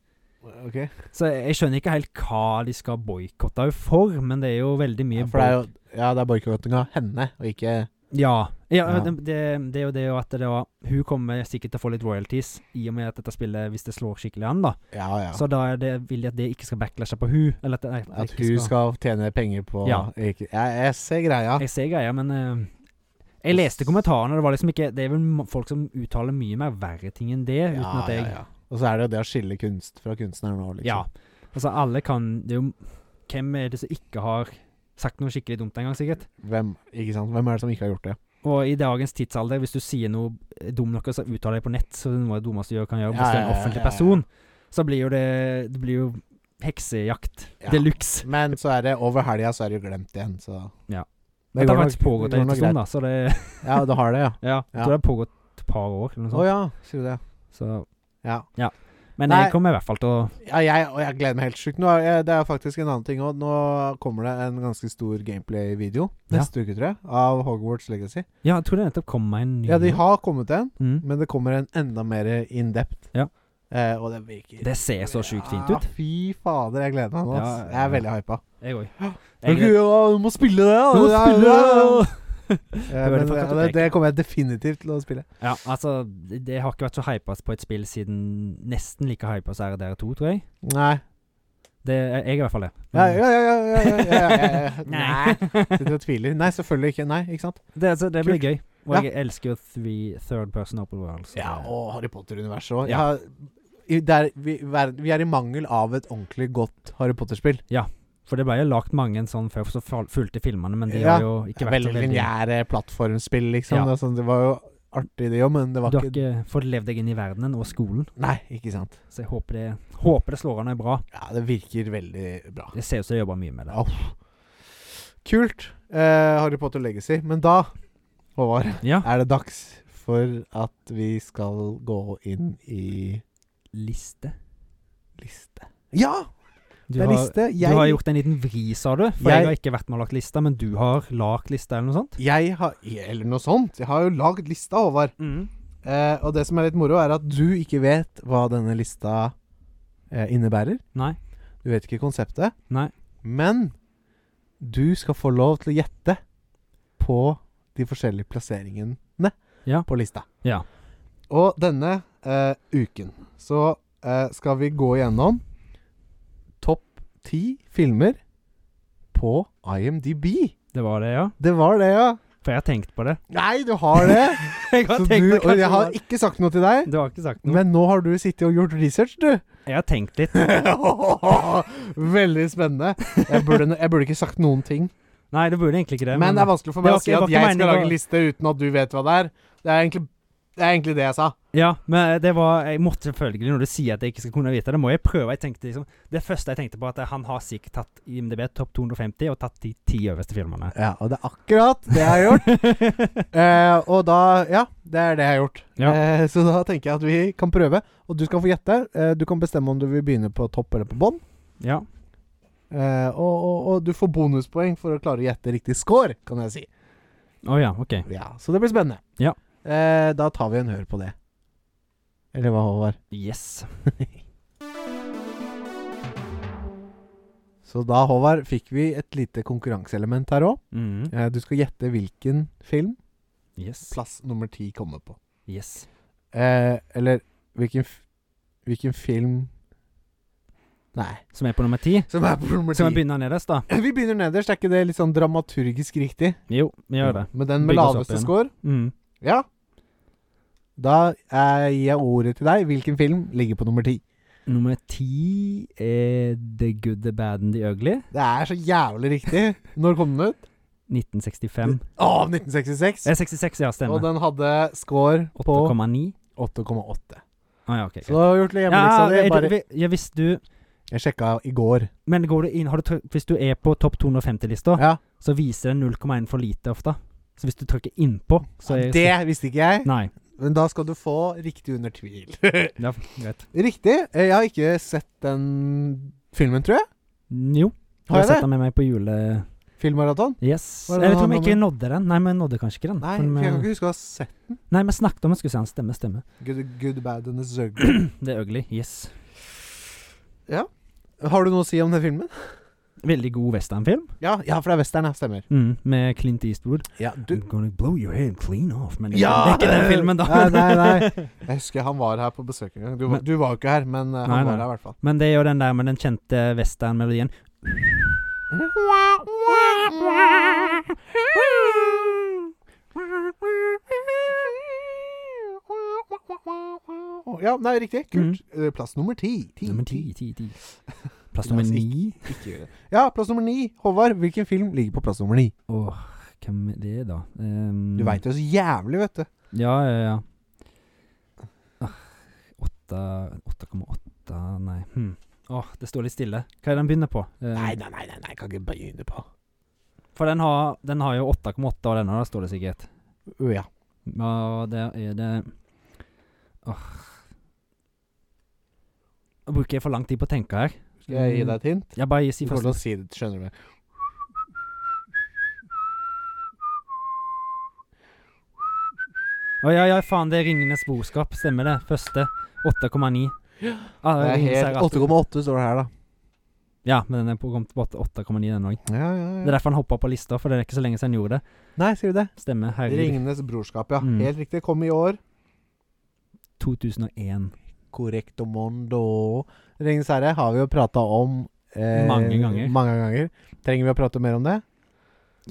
OK. Så jeg, jeg skjønner ikke helt hva de skal boikotte henne for, men det er jo veldig mye Ja, for det er jo Ja, det er boikotting av henne, og ikke Ja. ja, Ja. Det, det er jo det jo at det var, hun kommer sikkert til å få litt royalties i og med at dette spillet, hvis det slår skikkelig an, da. Ja, ja. Så da er det, vil de at det ikke skal backlashe på hun. Eller at, det- nei, det At ikke hun skal tjene penger på Ja. ikke, ja, Jeg ser greia. Jeg ser greia, men eh, Jeg leste kommentarene, og det var liksom ikke Det er vel ma- folk som uttaler mye mer verre ting enn det, uten Ja, at jeg ja, ja. Og så er det jo det å skille kunst fra kunstner nå, liksom. Ja. Altså, alle kan Det er jo Hvem er det som ikke har sagt noe skikkelig dumt en gang, sikkert? Hvem, ikke sant? Hvem er det som ikke har gjort det? Og i dagens tidsalder, hvis du sier noe eh, dum nok, og så uttaler deg på nett, så det er noe av det dummeste du gjør, kan gjøre, Ja, hvis du er ja, en ja, offentlig ja, ja. person, så blir jo det Det blir jo heksejakt Ja. de luxe. Men så er det over helga så er det jo glemt igjen, så Ja. Det Dette har går faktisk nok- pågått det går en nok greit. stund, da, så det [laughs] Ja, det har det, ja. Ja, jeg Ja. tror det har pågått et par år, eller noe Å sånt. ja, sier du det. Så, Ja. men Nei. jeg kommer i hvert fall til å Ja, jeg, og jeg gleder meg helt sjukt. Nå er, jeg- det er faktisk en annen ting òg. Nå kommer det en ganske stor gameplay-video Ja. neste uke, tror jeg, av Hogwarts Legacy. Ja, jeg tror det nettopp kom meg en ny Ja, de har kommet en, mm. men det kommer en enda mer in depth. Ja. Eh, og det virker Det ser så sjukt fint Ja, ut. fy fader, jeg gleder meg nå. ass. Ja, Jeg er ja. veldig hypa. [gasps] Jeg òg. Men gud, ja, du må spille det! da. må Ja, spille det! Ja, Hør men det fra det, det, kartoteket. det kommer jeg definitivt til å spille. Ja, altså, det det har ikke vært så hypa på et spill siden nesten like hypa som RDR2, tror jeg. Nei. Det, jeg er i hvert fall det. Ja, ja, ja, ja, ja, ja, ja, ja, [laughs] ja. Nei. Nei. Sitter og tviler. Nei, selvfølgelig ikke. Nei, ikke sant? Det, altså, det blir Kult. gøy. Og Ja. jeg elsker jo three, third person open world. så Ja, det- og Harry Potter-universet òg. Ja. vi, ver- vi er i mangel av et ordentlig godt Harry Potter-spill. For det ble jo lagt mange sånn før, så fal- fulgte filmene, men de Ja. har jo ikke vært Veldig så veldig lineære plattformspill, liksom. Ja. Det, er sånn, det var jo artig, det òg, men det var Du har ikke ikke fått levd deg inn i verdenen og skolen, Nei, ikke sant. så jeg håper det, håper det slår an og er bra. Ja, det virker veldig bra. Det ser ut som jeg jobber mye med det. Ja. Kult. Eh, Harry Potter Legacy. Men da, Håvard, Ja, er det dags for at vi skal gå inn i liste. liste. Ja! Du Det er har, liste. du Jeg, har gjort en liten vri, sa du. For jeg, Jeg- har ikke vært med og lagt lista, men du har lagt lista, eller noe sånt? jeg har Eller noe sånt. Jeg har jo lagd lista, Håvard. Eh, og det som er litt moro, er at du ikke vet hva denne lista eh, innebærer. Nei. Du vet ikke konseptet. Nei. Men du skal få lov til å gjette på de forskjellige plasseringene Ja. på lista. Ja. Og denne eh, uken så eh, skal vi gå gjennom topp ti filmer på IMDb. Det var det, ja. Det var det, ja. For jeg har tenkt på det. Nei, du har det! [laughs] jeg Så har tenkt du, på og jeg har kanskje- ikke sagt noe til deg. Du har ikke sagt noe. Men nå har du sittet og gjort research, [laughs] du. Jeg har tenkt litt. Veldig spennende. Jeg burde, jeg burde ikke sagt noen ting. Nei, det burde egentlig ikke det. Men det er vanskelig for meg Det å var si ikke- at det var ikke jeg skal meningen å- lage en liste uten at du vet hva det er. Det er egentlig det, er egentlig det jeg sa. Ja, men det var Jeg måtte selvfølgelig, når du sier at jeg ikke skal kunne vite det, må jeg prøve. Jeg tenkte liksom Det første jeg tenkte på, at han har sikkert tatt IMDb topp 250 og tatt de ti øverste filmene. Ja, og det er akkurat det jeg har gjort. [laughs] Eh, og da Ja, det er det jeg har gjort. Ja. Eh, så da tenker jeg at vi kan prøve. Og du skal få gjette. Eh, du kan bestemme om du vil begynne på topp eller på bånn. ja. Eh, og, og, og du får bonuspoeng for å klare å gjette riktig score, kan jeg si. Å ja, OK. Ja, Så det blir spennende. Ja. Eh, da tar vi en hør på det. Eller hva, Håvard? Yes. Så da, Håvard, fikk vi et lite konkurranseelement her òg. Mm. Eh, du skal gjette hvilken film Yes. plass nummer ti kommer på. Yes. Eh, eller hvilken, f hvilken film Nei. Som er på nummer ti. Som er på nummer Skal vi ti. begynne nederst, da? Vi begynner nederst. Er ikke det litt sånn dramaturgisk riktig? Jo, vi gjør det. Med den med Bygg oss opp laveste igjen. score? Mm. Ja. Da eh, gir jeg ordet til deg. Hvilken film ligger på nummer ti? Nummer ti er The Good, The Bad and The Ugly. Det er så jævlig riktig. Når kom den ut? 1965. Å, 1966. Eh, 66, ja, Og stemmer. den hadde score på 8,9. 8,8. Ah, ja, ok. Så da har du gjort hjemmeleksa Ja, di. er du- Bare vi- ja, hvis du Jeg sjekka i går. Men går du inn har du, tryk- Hvis du er på topp 250-lista, Ja. så viser den 0,1 for lite ofte. Så hvis du trykker innpå, så er Det visste ikke jeg. Nei. Men da skal du få riktig under tvil. [laughs] Ja, greit. riktig. Eh, Jeg har ikke sett den filmen, tror jeg. Jo. Mm. Har jeg sett det? den med meg på jule... Filmmaraton? Yes. Hva er det Jeg vet han om jeg handler ikke nådde den. Nei, men jeg nådde kanskje ikke den. Nei, eh, For for jeg kan vi, ikke huske å ha sett nei, vi snakket om at jeg skulle se han stemme, stemme. Good, good Bad and the Zugger. Det er ugly. Yes. Har du noe å si om den filmen? Veldig god westernfilm. Ja, ja for det er western, ja. Stemmer. Mm, med Clint Eastwood. Ja, du I'm gonna blow your head clean off. Men det- Ja! eh, det er ikke den filmen, da. Nei, nei, nei. Jeg husker han var her på besøk en gang. Du, var- Men- du var jo ikke her, men eh, han Nei, var nei. her i hvert fall. [laughs] Men det er jo den der med den kjente westernmelodien. Ja, nei, riktig. Kult. Eh, Plass nummer ti. ti. Mm. Nummer ti, ti, ti. Plass nummer La oss ni. Ikke gjør det. Ja, plass nummer ni. Håvard, hvilken film ligger på plass nummer ni? Åh, hvem er det, da? Ehm, Du veit jo så jævlig, vet Eh. du. Ja, ja, ja. Ah, åtta- 8,8 Nei. Hm. Åh, det står litt stille. Hva er det den begynner på? Eh, Nei, nei, nei, nei, nei kan ikke begynne på For den har, den har jo 8,8 av denne, da, står det sikkert. Å, Ja. Ja, der er det Åh. Nå Bruker jeg for lang tid på å tenke her? Skal Mm. jeg gi deg et hint? Jeg bare Du sier kommer først til å si det, skjønner du. Å ja, ja, faen, det er Ringenes boskap. Stemmer det. Første. 8,9. [gasps] Ah, Det er Ringenes helt herre, 8,8 står det her, da. Ja, men den er på kommet på åtte- 8,9, den òg. Ja, Det ja, er ja. derfor han hoppa på lista, for det er ikke så lenge siden han gjorde det. Nei, sier du det? Stemmer. Herregud. Ringenes brorskap, ja. Mm. Helt riktig. Kom i år. 2001. Correcto mondo. Ringenes herre har vi jo prata om eh, Mange ganger. mange ganger. Trenger vi å prate mer om det?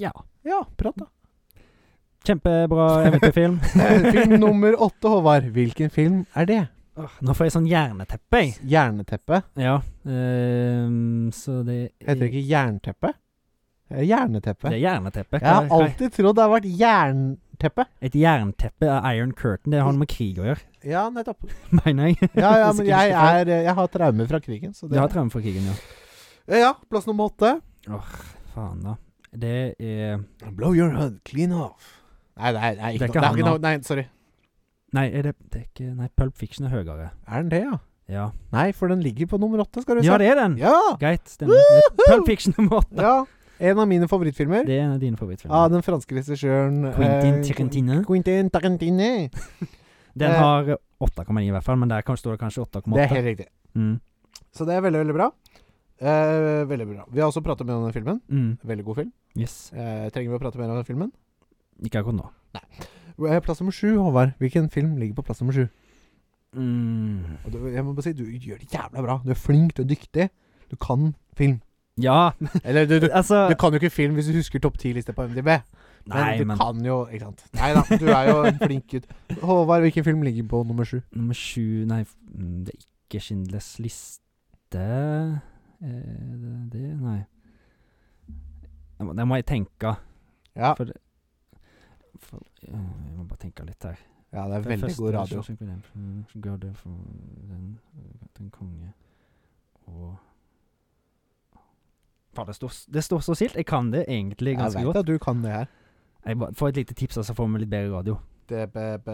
Ja. Ja, prat, da. Kjempebra [laughs] eventyrfilm. Eh, film nummer åtte, Håvard. Hvilken film er det? [laughs] Åh, Nå får jeg sånn jerneteppe, jeg. Jernteppe. Ja. ehm, så det Heter det ikke jernteppe? Det er Jerneteppe. Det er jerneteppe. Jeg har Hva- hva- alltid trodd det har vært jernteppe. Et jernteppe er Iron Curtain. Det har noe med krig å gjøre, [laughs] Ja, nettopp. mener jeg. Ja, [laughs] ja, men Hvis ikke jeg, husker feil. er, eh, jeg har traumer fra krigen, så Du det Eh, har traume fra krigen, ja. Ja, ja, plass nummer åtte. Faen, da. Det er Blow your head clean off. Nei, nei, nei, Det er ikke, noe- ikke det er han ikke nå. noe. Nei, sorry. Nei, er det, det er ikke Nei, Pulp Fiction er høyere. Er den det, ja? Ja, Nei, for den ligger på nummer åtte, skal du ja se. det er den! Ja! Greit, stemmer. Pulp Fiction nummer åtte. [laughs] ja. En av mine favorittfilmer. Det er en av dine favorittfilmer. Av den franske regissøren Quentin eh, Tarantino. Quentin Tarantino. Den eh, har 8,9 i hvert fall, men der kan- står det kanskje Det er 8,8. helt riktig. Mm. Så det er veldig, veldig bra. Eh, veldig bra. Vi har også pratet mer om den filmen. Mm. Veldig god film. Yes. Eh, trenger vi å prate mer om den filmen? Ikke akkurat nå. Eh, Plass nummer sju, Håvard. Hvilken film ligger på plass nummer sju? Mm. Og du, jeg må bare si, du gjør det jævla bra. Du er flink, du er dyktig. Du kan film. Ja, Eller du, du, altså du kan jo ikke film hvis du husker topp ti-liste på MDB. Men Nei, du men kan jo Ikke sant. Nei da, du er jo en flink gutt. Håvard, hvilken film ligger på nummer sju? nummer sju Nei, f- mm, det er ikke Schindlers liste. Er det det? Nei. Jeg må- Der må jeg tenke. Ja, For, for eh, Jeg må bare tenke litt her. ja det er Den veldig første god radio. Shawshank Redemption ga det for den, den konge og Faen, det, står s- det står så stilt. Jeg kan det egentlig Jeg ganske vet godt. at du kan det her. Jeg bare får et lite tips, og så får vi litt bedre radio. Det be, be.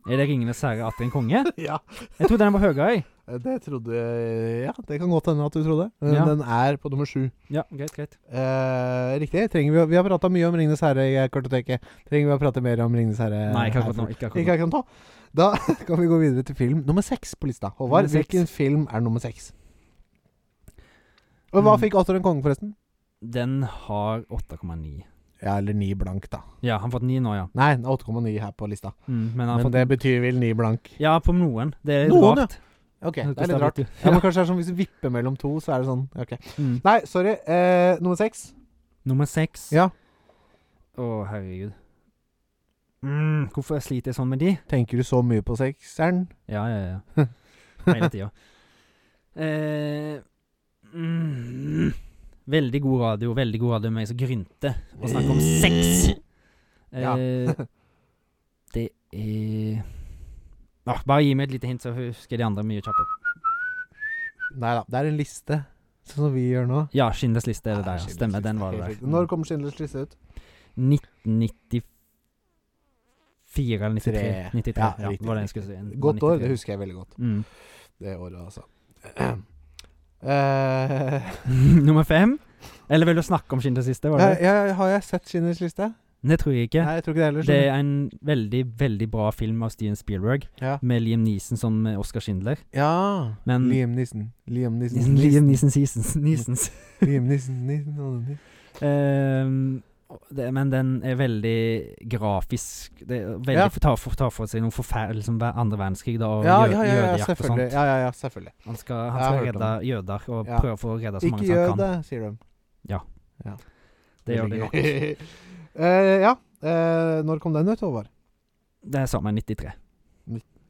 [laughs] Er det 'Ringenes herre' atter en konge? Ja, Jeg trodde den var høyere. jeg. det trodde Ja, det kan godt hende at du trodde. Men Ja. den er på nummer sju. Ja, greit, greit. Eh, riktig. Trenger vi, å- vi har prata mye om 'Ringenes herre' i kartoteket. Trenger vi å prate mer om 'Ringenes herre'? Eh, Nei, ikke her akkurat nå. for- Ikke akkurat Ikke nå. akkurat nå. Da [laughs] kan vi gå videre til film nummer seks på lista. Håvard, Nummer seks. hvilken film er nummer seks? Og hva Mm. fikk Atter en konge, forresten? Den har 8,9. Ja, eller ni blank, da. Ja, han har fått 9 nå, ja. Nei, den er 8,9 her på lista. Mm, men han har Men fått det betyr vel ni blank. Ja, på noen. Det er Noen, ja. rart. Ok, det Hvordan er litt rart. blitt, Ja, men kanskje det er sånn hvis du vipper mellom to, så er det sånn. Ok. du? Mm. Nei, sorry. Eh, nummer seks. Nummer seks. Ja. Å, herregud. Mm, hvorfor sliter jeg sånn med de? Tenker du så mye på sekseren? Ja, ja, [laughs] ja. Hele tida. Eh, mm, veldig god radio. Veldig god [laughs] radio med meg som grynte og snakke om sex. Eh, Ja. det Eh, ah, bare gi meg et lite hint, så husker de andre mye kjappere. Nei da, det er en liste, sånn som vi gjør nå. Ja, Schindlers liste er det Ja, der. ja. Schindlers Stemmer, liste, den var det helt der. riktig. Når kom Schindlers liste ut? 1994 eller 93? Tre. 93 Ja, ja, riktig, var det riktig. jeg skulle si. Godt år, 93. det husker jeg veldig godt. Mm. Det året, altså. [clears throat] Eh, Mm. [laughs] Nummer fem? Eller vil du snakke om Schindlers liste? Var det? jeg, jeg, har jeg sett Schindlers liste? Nei, det tror jeg ikke. Nei, jeg tror ikke det heller. Det er en veldig, veldig bra film av Steven Spielberg, Ja. med Liam Neeson som eh, Oscar Schindler. ja. Men Liam Nissen. Liam Nissen. Liam Neeson Seasons. Neesons. Liam Nissen. Nissen. og Nissen. Ehm, og det, men den er veldig grafisk. Det er veldig, Ja. tar, for, tar for seg noen forferdelig liksom, hver- andre verdenskrig da, og Ja, jø- ja, ja, ja, jødejakt og selvfølgelig. sånt. Ja, ja, ja, selvfølgelig. Han skal, han Jeg har skal hørt om redde jøder og Ja. prøve å få redde så Ikke mange som gjør han kan. det, sier de. Det gjør det [laughs] nok. Eh, ja. Eh, når kom den ut, Håvard? Det er samme 93.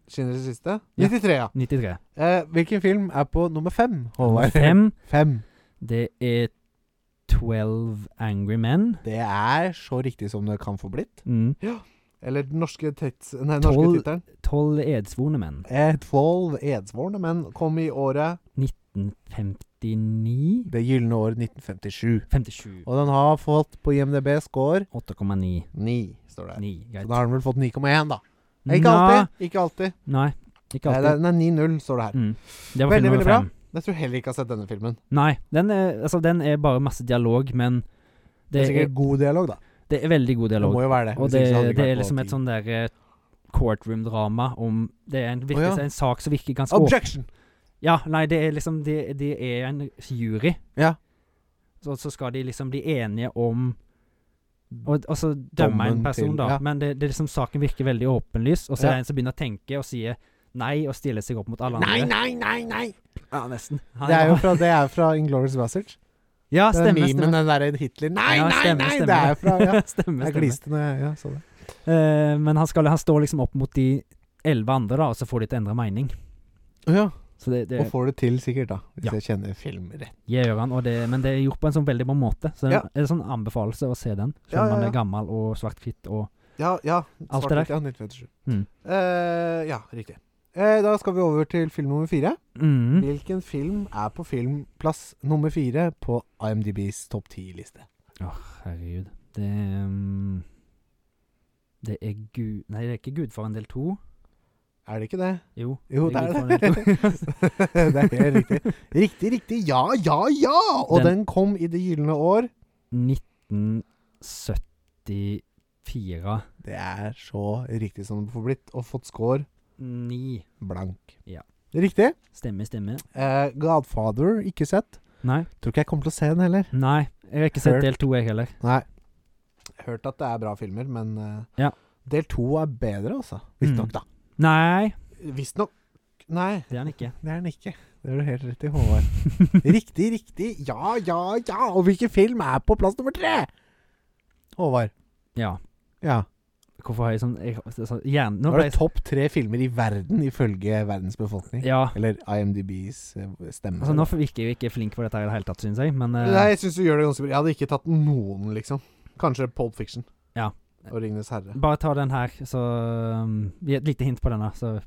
Schindlers liste? Ja. 93, ja. 93. Eh, hvilken film er på nummer fem, Nummer Håvard? fem, [laughs] Fem. det er 12 Angry Men. Det er så riktig som det kan få blitt. Mm. Eller den norske, tets, nei, den Tolv- norske tittelen. 12 edsvorne menn. Eh, Tolv edsvorne menn kom i året 1959 Det gylne år 1957. 57. Og den har fått på IMDb score 8,9. 9, står det. her. 9. Så Greit. da har den vel fått 9,1, da. Eh, Ikke alltid. Ikke alltid. Nei, ikke Nei, det er- alltid. den er 9-0, står det her. Mm. Det Veldig, var film veldig nummer bra. fem. Jeg tror heller ikke jeg har sett denne filmen. Nei, den er, altså, den er bare masse dialog, men Det det er er, sikkert god dialog, da. det er veldig god Det dialog. må jo være det. Og hvis det, ikke så hadde det ikke er vært liksom på et sånn der eh, courtroom-drama om Det er en, virker, Å, ja. som en sak som virker ganske åpen. Objection! Ja, nei, det er liksom Det, det er en jury. Ja. Så, så skal de liksom bli enige om og, og så dømme en Mm. Dommen person, til- da. ja. Men det, det er liksom saken virker veldig åpenlys, og så Ja. er det en som begynner å tenke og sier nei, og stiller seg opp mot alle andre. Nei, nei, nei, nei! Ja, nesten. Han- Det er jo fra, det er fra Inglourious Basterds. Ja, Det er stemmer, memen stemmer. den derre Hitler Nei, Ja, nei, stemmer, nei! Det stemmer. er [laughs] fra ja. stemmer, Jeg stemmer. gliste når jeg ja, så det. Eh, men han, skal, han står liksom opp mot de elleve andre, da, og så får de til å endre mening. Ja, Så det, det Og får det til, sikkert, da. Hvis Ja. jeg kjenner film rett. Jeg gjør han, og det, men det er gjort på en sånn veldig bra måte. Så det Ja. er en sånn anbefalelse å se den. Selv Ja, om ja, man ja. er gammel og svart-hvitt og Ja, ja. Alt det svart-hvitt, Ja, 1957. Mm. Eh, ja, riktig. Eh, da skal vi over til film nummer fire. mm. Hvilken film er på filmplass nummer fire på IMDbs topp ti-liste? Herregud. Det er, mm, Det er Gud... Nei, det er ikke Gudfaren del to. Er det ikke det? [laughs] Jo. Jo, det er det. Gudfaren del to. det er helt [laughs] riktig. Riktig, riktig. Ja, ja, ja! Og Den- den, kom i det gylne år. 1974. Det er så riktig som det får blitt, og fått score Ni. blank. Ja. Riktig. Stemmer, stemmer. Eh, Godfather, ikke sett. Nei. Tror ikke jeg kommer til å se den heller. Nei, jeg har ikke sett Hørt. del to, jeg heller. Nei. Hørt at det er bra filmer, men eh, Ja. del to er bedre, altså. Visstnok, Mm. da. Nei, Visstnok Nei, det er han ikke. det er den ikke. Det har du helt rett i, [laughs] Håvard. riktig, riktig. Ja, ja, ja. Og hvilken film er på plass nummer tre? Håvard. Ja. Ja. Hvorfor har jeg sånn, jeg, sånn hjern, Nå Nå ble er det jeg topp tre filmer i verden ifølge verdens befolkning. Ja. Eller IMDbs eh, stemme. Altså, nå virker jeg jo ikke flink på dette her i det hele tatt, syns jeg, men eh, Nei, jeg syns du gjør det ganske bra. Jeg hadde ikke tatt noen, liksom. Kanskje Pulp Fiction. Ja. Og Ringenes herre. bare ta den her, så um, gi Et lite hint på denne, så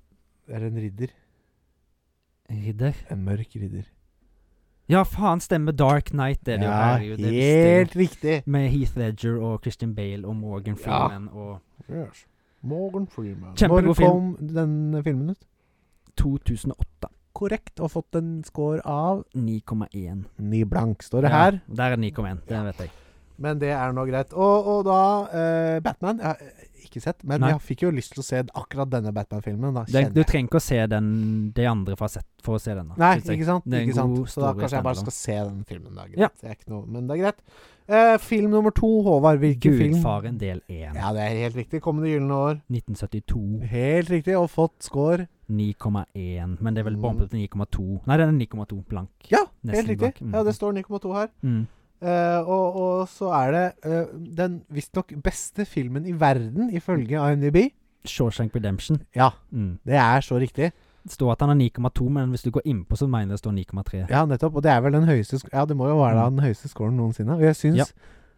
Det er en ridder. Ridder. En mørk ridder. Ja, faen, stemmer Dark Knight, det er det jo. ja, Herregud, det visste jeg jo. helt riktig! Med Heath Ledger og Christian Bale og Morgan Ja. Freeman og Yes. Morgan Freeman. Kjempegod Når kom film. den filmen ut? 2008. Korrekt, og fått en score av 9,1. ni blank, står det her. Ja, der er det 9,1. Det Ja. vet jeg. Men det er nå greit. Og, og da eh, Batman. Jeg har eh, ikke sett, men Nei. jeg fikk jo lyst til å se akkurat denne Batman-filmen. Da Den, kjenner du jeg trenger ikke å se den, de andre for å, sett, for å se den. da, Nei, synes jeg. ikke sant? Det er en Ikke sant? god Så da story kanskje jeg bare standalone. skal se den filmen. Da. Greit. Ja. Det er ikke noe, men det er greit. Eh, film nummer to, Håvard. Hvilken film? Gudfaren del 1. Ja, det er helt riktig. Kommende gylne år. 1972. Helt riktig, og fått score. 9,1, men det er vel Mm. bombet til 9,2. Nei, den er 9,2 blank. Ja, Nesten helt riktig. blank. Mm. Ja, det står 9,2 her. Mm. Eh, og, og så er det eh, den visstnok beste filmen i verden, ifølge IMDb. Shawshank Redemption. Ja, Mm. det er så riktig. Det står at han er 9,2, men hvis du går innpå, så mener jeg det står 9,3. Mm. Ja, nettopp. Og det er vel den høyeste sk- Ja, det må jo være da den høyeste scoren noensinne. Og jeg syns Ja.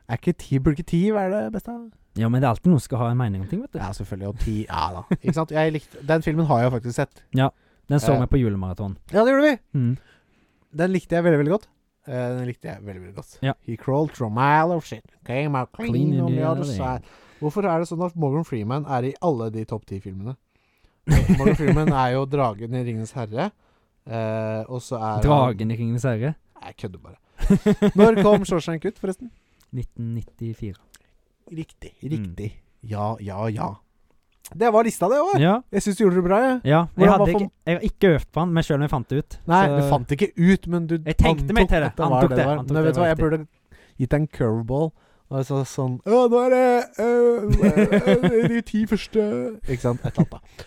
Er ikke ti, burde ikke ti være det beste? Ja, men det er alltid noen som skal ha en mening om ting, vet du. Ja, selvfølgelig. Og ti Ja da. Ikke sant? Jeg likte, den filmen har jeg faktisk sett. Den så Eh. vi på julemaraton. Ja, det gjorde vi! Mm. Den likte jeg veldig, veldig godt. Eh, den likte jeg veldig, veldig godt. Ja. He crawled through a mile of shit. Came out clean, Clean on in the the other other side. Hvorfor er det sånn at Morgan Freeman er i alle de topp ti-filmene? Morgan [laughs] Freeman er jo dragen i 'Ringenes herre'. eh, og så er han Dragen i Ringenes herre. Nei, Jeg kødder bare. Når kom Shawshank ut, forresten? 1994. Riktig. Riktig. Mm. Ja, ja, ja. Det var lista, det òg. Ja. Jeg syns du gjorde det bra, jeg. ja. Hvordan Jeg, var hadde form- ikke, jeg har ikke øvd på han, men sjøl om jeg fant det ut. Nei, så- du fant det ikke ut, men du Jeg tenkte meg til det. at var Antok det. var. Antok Men det vet du hva, var jeg burde gitt deg en curveball. Og så sånn Å, nå er det øh, øh, øh, de ti første Ikke sant? Et eller annet. da.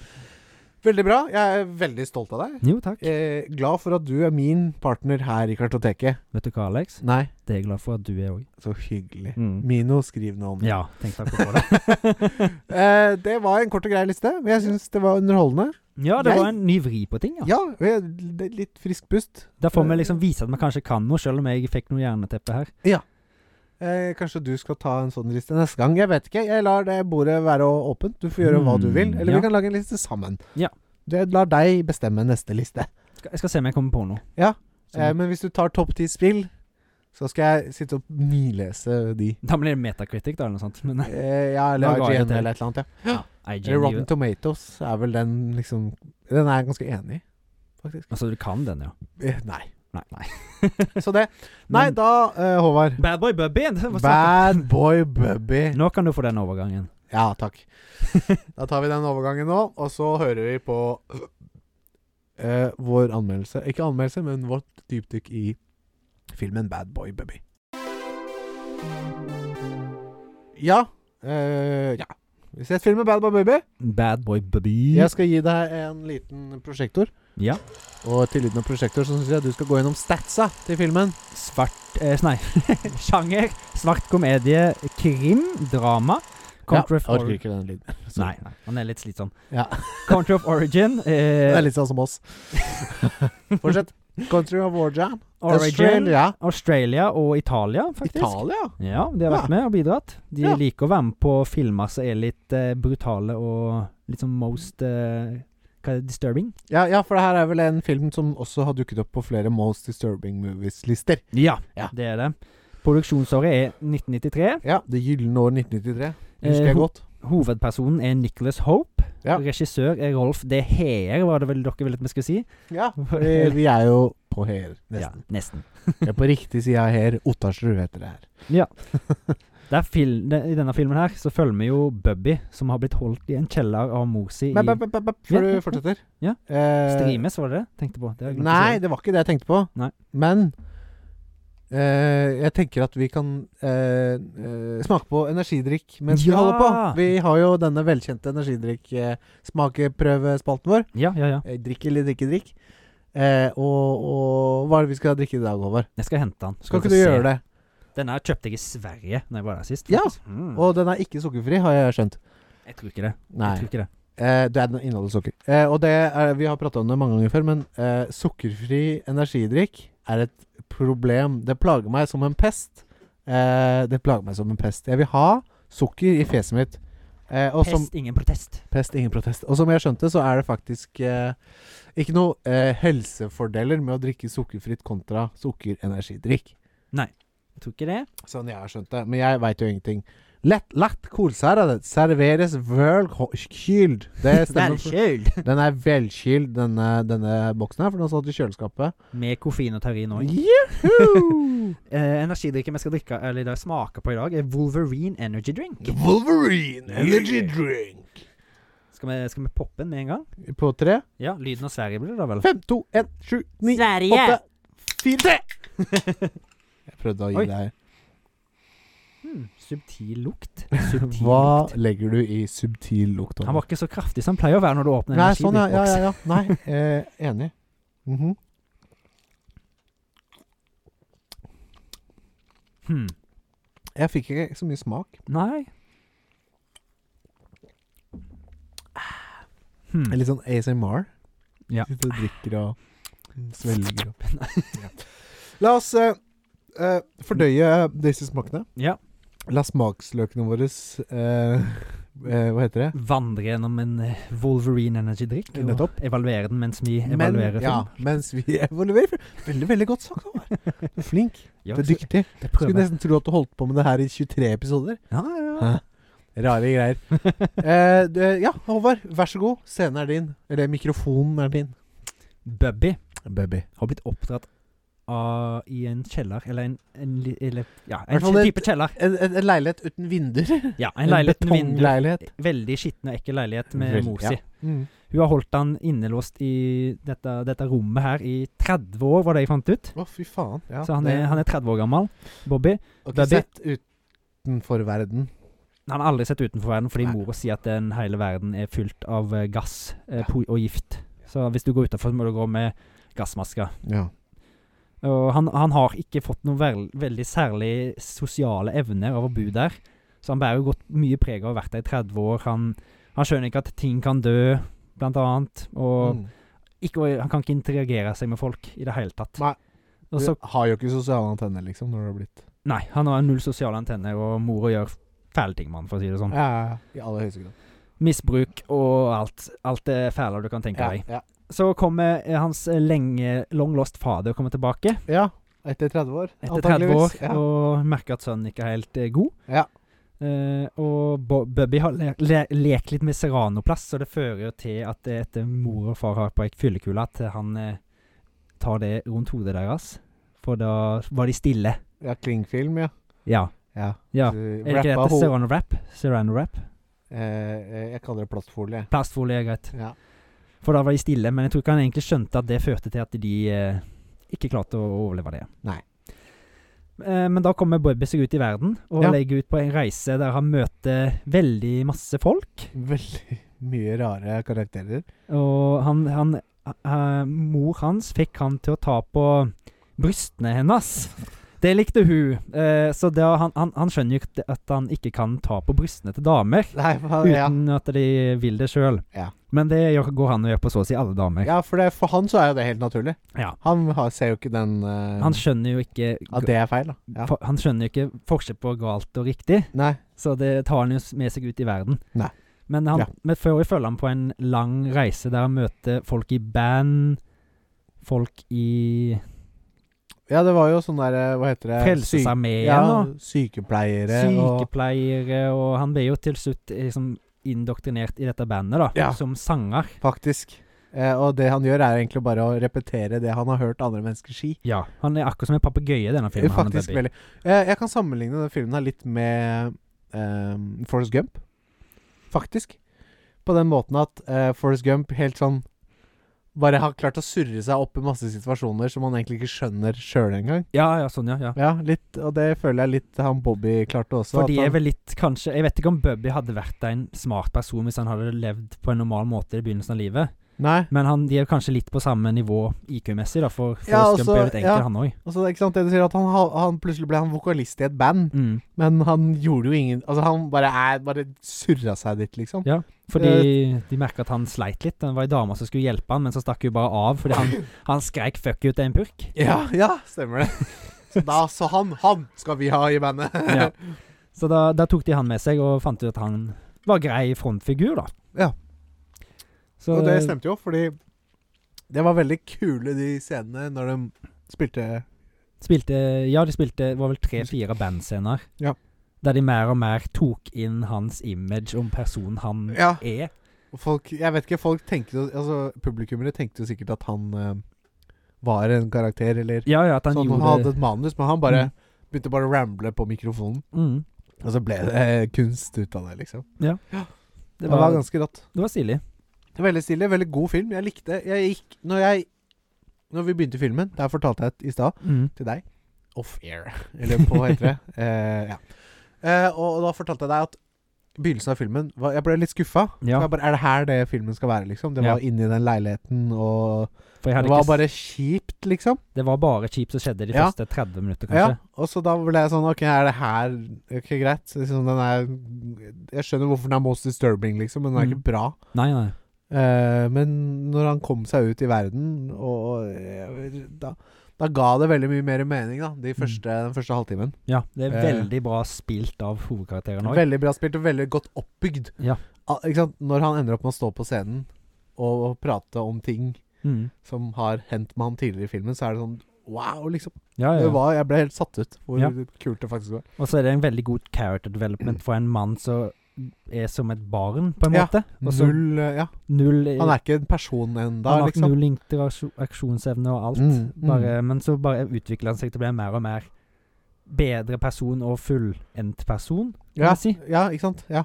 Veldig bra. Jeg er veldig stolt av deg. Jo, takk. Eh, glad for at du er min partner her i Kartoteket. Vet du hva, Alex? Nei, Det er jeg glad for at du er òg. så hyggelig. Mm. Mino, skriv noe om det. Ja, tenkte akkurat på det. [laughs] Eh, det var en kort og grei liste, men jeg syns det var underholdende. Ja, det Jeg- var en ny vri på ting, ja. Ja, og jeg- det er litt frisk pust. Da får vi liksom vise at vi kanskje kan noe, sjøl om jeg fikk noe jerneteppe her. Eh, kanskje du skal ta en sånn liste neste gang. Jeg vet ikke. Jeg lar det bordet være å- åpent. Du får gjøre hva du vil. Mm, Eller ja. vi kan lage en liste sammen. Ja. Jeg lar deg bestemme neste liste. Skal, jeg skal se om jeg kommer på noe. Ja, Som- Eh, men hvis du tar topp ti spill, så skal jeg sitte og nilese [laughs] de. Da blir det metacritic, da, eller noe sånt. Men Eh, [laughs] ja, eller Da ga jeg IGN til. eller et eller annet. Ja. IGN, Eller Rotten Tomatoes er vel den liksom Den er jeg ganske enig i, faktisk. Altså, du kan den, ja. Eh, nei. Nei. [laughs] nei. Så det. Nei, Men- da, eh, Håvard. Bad boy Bubby! det var sant. [laughs] Bad boy Bubby. Nå kan du få den overgangen. Ja, takk. Da tar vi den overgangen nå, og så hører vi på eh, vår anmeldelse. Ikke anmeldelse, men vårt dypdykk i filmen Bad Boy Baby. Ja. eh, ja. Vi ser filmen Bad Boy Baby. Bad boy Bubby. Jeg skal gi deg en liten prosjektor. Ja. Og til lyden av prosjektor så syns jeg du skal gå gjennom statsa til filmen. Svart eh, Nei. [laughs] Sjanger. Svart komedie. Krim. Drama. ja, Country of jeg orker Ori- ikke den lyden. Nei, nei, han er litt slitsom. Ja. Country of Origin. [laughs] Det Eh, er litt sånn som [laughs] oss. Fortsett. Country of Origin. Origin. Australia. Australia og Italia, faktisk. Italia? Ja, de har vært Ja. med og bidratt. De Ja. liker å være med på filmer som er litt eh, brutale og litt sånn most eh, Hva er det? Disturbing? Ja, ja, for det her er vel en film som også har dukket opp på flere Most Disturbing Movies-lister. Ja, Ja. det er det. Produksjonsåret er 1993. Ja, Det gylne år 1993. Husker Eh, jeg ho- godt. Hovedpersonen er Nicholas Hope. Ja. Regissør er Rolf D. Heer, var det vel dere ville at vi skulle si? Ja, [laughs] vi, vi er jo på her, Ja, nesten. nesten. Vi er på riktig side av her. Ottarsrud heter det her. Det er fil det, I denne filmen her så følger vi jo Bubby, som har blitt holdt i en kjeller av mor si i Men, men, men, men, men, før Ja, du ja, fortsetter ja. eh, Strimes, var det det? Tenkte på. Det har jeg glemt å Nei, si. det var ikke det jeg tenkte på. Nei. Men eh, jeg tenker at vi kan eh, eh, smake på energidrikk mens vi Ja! holder på. Vi har jo denne velkjente energidrikk-smakeprøvespalten vår. Ja, ja, ja. Eh, Drikk eller drikke drikk. Eh, og, og hva er det vi skal drikke i dag, Håvard? Jeg skal hente den. Skal ikke du gjøre det? Denne her kjøpte jeg i Sverige Når jeg var der sist. Ja, faktisk. Mm. Og den er ikke sukkerfri, har jeg skjønt. Jeg tror ikke det. Nei. Jeg tror ikke det. Eh, det er den inneholder sukker. Eh, og det er, vi har prata om det mange ganger før, men eh, sukkerfri energidrikk er et problem. Det plager meg som en pest. Eh, det plager meg som en pest. Jeg vil ha sukker i fjeset mitt. Eh, og som Pest, ingen protest. Pest, ingen protest. Og som jeg skjønte, så er det faktisk eh, ikke noe eh, helsefordeler med å drikke sukkerfritt kontra sukkerenergidrikk. Jeg tror ikke det. Sånn jeg har skjønt det. Men jeg veit jo ingenting. Lett, lett kolsærede serveres vølkyld. Det [laughs] stemmer. for- Velkjøl! Den er velkyld, denne, denne boksen her, for den har stått i kjøleskapet. Med koffein og terrin òg. [laughs] Juhu! Eh, energidrikken vi skal drikke Eller det jeg smaker på i dag, er Wolverine Energy Drink. Wolverine energy drink. Skal vi, skal vi poppe den med en gang? På tre. Ja, lyden av Sverige blir det da vel? Fem, to, en, sju, ni, Sverige! åtte, fire, tre. [laughs] Jeg prøvde å gi Oi. deg Hmm, subtil lukt. Subtil Hva lukt. legger du i subtil lukt? Han var ikke så kraftig som han pleier å være når du åpner en Nei, sånn, ja. ja, energidrikkboks. ja, ja. [laughs] Nei, eh, enig. Mhm. Hmm. Jeg fikk ikke så mye smak. Nei. Hmm. Litt sånn ASMR. Ja. Sitter og drikker og svelger og Ja. La oss eh, eh, fordøye disse smakene. Ja. La smaksløkene våre eh, eh, Hva heter det? Vandre gjennom en eh, Wolverine Energy-drikk. og Nettopp. Evaluere den mens vi evaluerer ja, film. mens vi [laughs] evaluerer film. Veldig, veldig godt sagt. Håvard. Du er flink. Ja, Du er så dyktig. jeg Skulle prøver. nesten tro at du holdt på med det her i 23 episoder. Ja, ja, ja. Hæ? Rare [laughs] greier. Eh, du, ja, Håvard, vær så god. Scenen er din. Eller mikrofonen er din. Bubby Baby. har blitt oppdratt av, i en kjeller, eller en, en, li- eller, ja, en Hvert fall type kjeller. En, en, en leilighet uten [laughs] vinduer. Ja, en leilighet med vindu. betongleilighet. Veldig skitten og ekkel leilighet med Vel- mor ja. si. Mm. Hun har holdt han innelåst i dette, dette rommet her i 30 år, var det jeg fant ut. Å, fy faen. Ja, Så han er, han er 30 år gammel, Bobby. Og ikke baby. sett utenfor verden. Han har aldri sett utenfor verden fordi Nei. mora sier at den hele verden er fylt av eh, gass eh, Ja. po- og gift. Så hvis du går utenfor, må du gå med gassmasker. Ja. Og han, han har ikke fått noen vel, veldig særlig sosiale evner av å bo der. Så han bærer jo godt mye preg av å ha vært der i 30 år. Han, han skjønner ikke at ting kan dø, blant annet. Og Mm. ikke, han kan ikke interagere seg med folk i det hele tatt. Nei. Og så, Du har jo ikke sosiale antenner, liksom, når du har blitt nei, han har null sosiale antenner, og mora gjør fæle ting med han, for å si det sånn. ja, ja, ja, I aller høyeste grad. Misbruk og alt. Alt det fæle du kan tenke Ja, deg. ja. Så kommer eh, hans eh, lenge long lost fader kommer tilbake ja. Etter 30 år. etter 30 år antageligvis. Ja. og merker at sønnen ikke er helt eh, god. Ja. Eh, og Bo Bubby har le le lekt litt med Serranoplass, så det fører jo til at eh, etter mor og far har på ei fyllekule, at han eh, tar det rundt hodet deres. For da var de stille. ja, Klingfilm, ja. Ja. ja. ja. Så Er det ikke rappa dette ho- Serrano-wrap? Serrano-wrap? eh, eh, Jeg kaller det plastfolie. Plastfolie er greit. Ja. For da var de stille, men jeg tror ikke han egentlig skjønte at det førte til at de eh, ikke klarte å overleve det. Nei. Eh, men da kommer Bobby seg ut i verden, og Ja. legger ut på en reise der han møter veldig masse folk. Veldig mye rare karakterer. Og han, han eh, Mor hans fikk han til å ta på brystene hennes. Det likte hun. Eh, så da, han, han, han skjønner jo ikke at han ikke kan ta på brystene til damer. Nei, for, Ah, ja. Uten at de vil det sjøl. Ja. Men det gjør- går han og gjør på så å si alle damer. ja, for, det, for han så er jo det helt naturlig. Ja. Han har, ser jo ikke den eh, Han skjønner jo ikke At det er feil, da. Ja. For, han skjønner jo ikke forskjell på galt og riktig, Nei. så det tar han jo s- med seg ut i verden. Nei. Men, han, Ja. men før vi følger han på en lang reise der han møter folk i band, folk i Eh, Ja, det var jo sånn der eh, Hva heter det? Syk- Frelsesarmeen ja, og sykepleiere og sykepleiere, og han ble jo til slutt eh, liksom indoktrinert i dette bandet, da, Ja. som sanger. Faktisk. Eh, og det han gjør, er egentlig bare å repetere det han har hørt andre mennesker si. Ja. Han er akkurat som en papegøye i denne filmen. han er Faktisk baby. veldig. Eh, jeg kan sammenligne den filmen her litt med eh, Forrest Gump. Faktisk. På den måten at eh, Forrest Gump helt sånn bare har klart å surre seg opp i masse situasjoner som han egentlig ikke skjønner sjøl engang. Ja, ja, sånn, ja. ja. Ja, litt, og det føler jeg litt han Bobby klarte også. For at de er han, vel litt, kanskje Jeg vet ikke om Bubby hadde vært en smart person hvis han hadde levd på en normal måte i begynnelsen av livet. nei, Men han, de er kanskje litt på samme nivå IQ-messig, da, for Forrest Ja, Gump altså, er jo litt enkel, ja. han òg. altså, det er ikke sant det du sier, at han, ha- han plutselig ble han vokalist i et band, Mm. men han gjorde jo ingen Altså, han bare, er, bare surra seg dit, liksom. Ja, fordi Eh. de merka at han sleit litt. Det var ei dame som skulle hjelpe han, men så stakk hun bare av fordi [laughs] han, han skreik 'fuck you' til en purk. Ja, ja, stemmer [laughs] det. Så da sa han Han skal vi ha i bandet. Ja. Så da, da tok de han med seg og fant ut at han var grei frontfigur, da. Ja. Så, Og det stemte jo, fordi det var veldig kule de scenene når de spilte Spilte Ja, de spilte det var vel tre-fire bandscener. Ja. Der de mer og mer tok inn hans image om personen han Ja. er. Og folk Jeg vet ikke, folk tenkte jo Altså, publikummere tenkte jo sikkert at han eh, var en karakter, eller Ja, ja, at han sånn. Han hadde gjorde et manus, men han bare Mm. begynte bare å ramble på mikrofonen. mm, Og så ble det eh, kunst ut av det, liksom. det, var, det, var ganske rått. stilig. Veldig stilig. Veldig god film. Jeg likte Jeg gikk Når jeg Når vi begynte filmen, der fortalte jeg i stad Mm. til deg. Off-air, [laughs] eller på hva heter det. Eh, ja. Eh, og, og da fortalte jeg deg at begynnelsen av filmen var, Jeg ble litt skuffa. Ja. For jeg bare, er det her det filmen skal være, liksom? Det Ja. var inni den leiligheten, og For jeg Det hadde var ikke bare kjipt, liksom. Det var bare kjipt som skjedde de Ja. første 30 minutter, Ja, kanskje. og så da ble jeg sånn Ok, er det her Ok, greit. Så Liksom, den er Jeg skjønner hvorfor den er most disturbing, liksom, men den er Mm. ikke bra. Nei, nei. Eh, men når han kom seg ut i verden, og eh, da, Da ga det veldig mye mer mening, da, Mm. de første, den første halvtimen. Ja, det er Eh. veldig bra spilt av hovedkarakteren òg. Veldig bra spilt og veldig godt oppbygd. Ja. Ah, ikke sant? Når han ender opp med å stå på scenen og prate om ting Mm. som har hendt med han tidligere i filmen, så er det sånn wow, liksom. Ja, ja, Det ja. var, jeg ble helt satt ut hvor Ja. kult det faktisk var. Og så er det en veldig god character development for en mann som er som et barn, på en Ja, måte. Og så Null, eh, ja. null Han er ikke en person han ennå, har liksom. null interaksjonsevne og alt. Mm, mm. Bare, Men så bare utvikler han seg til å bli en mer og mer bedre person og fullendt person, ja. jeg si. ja, ikke sant. Ja.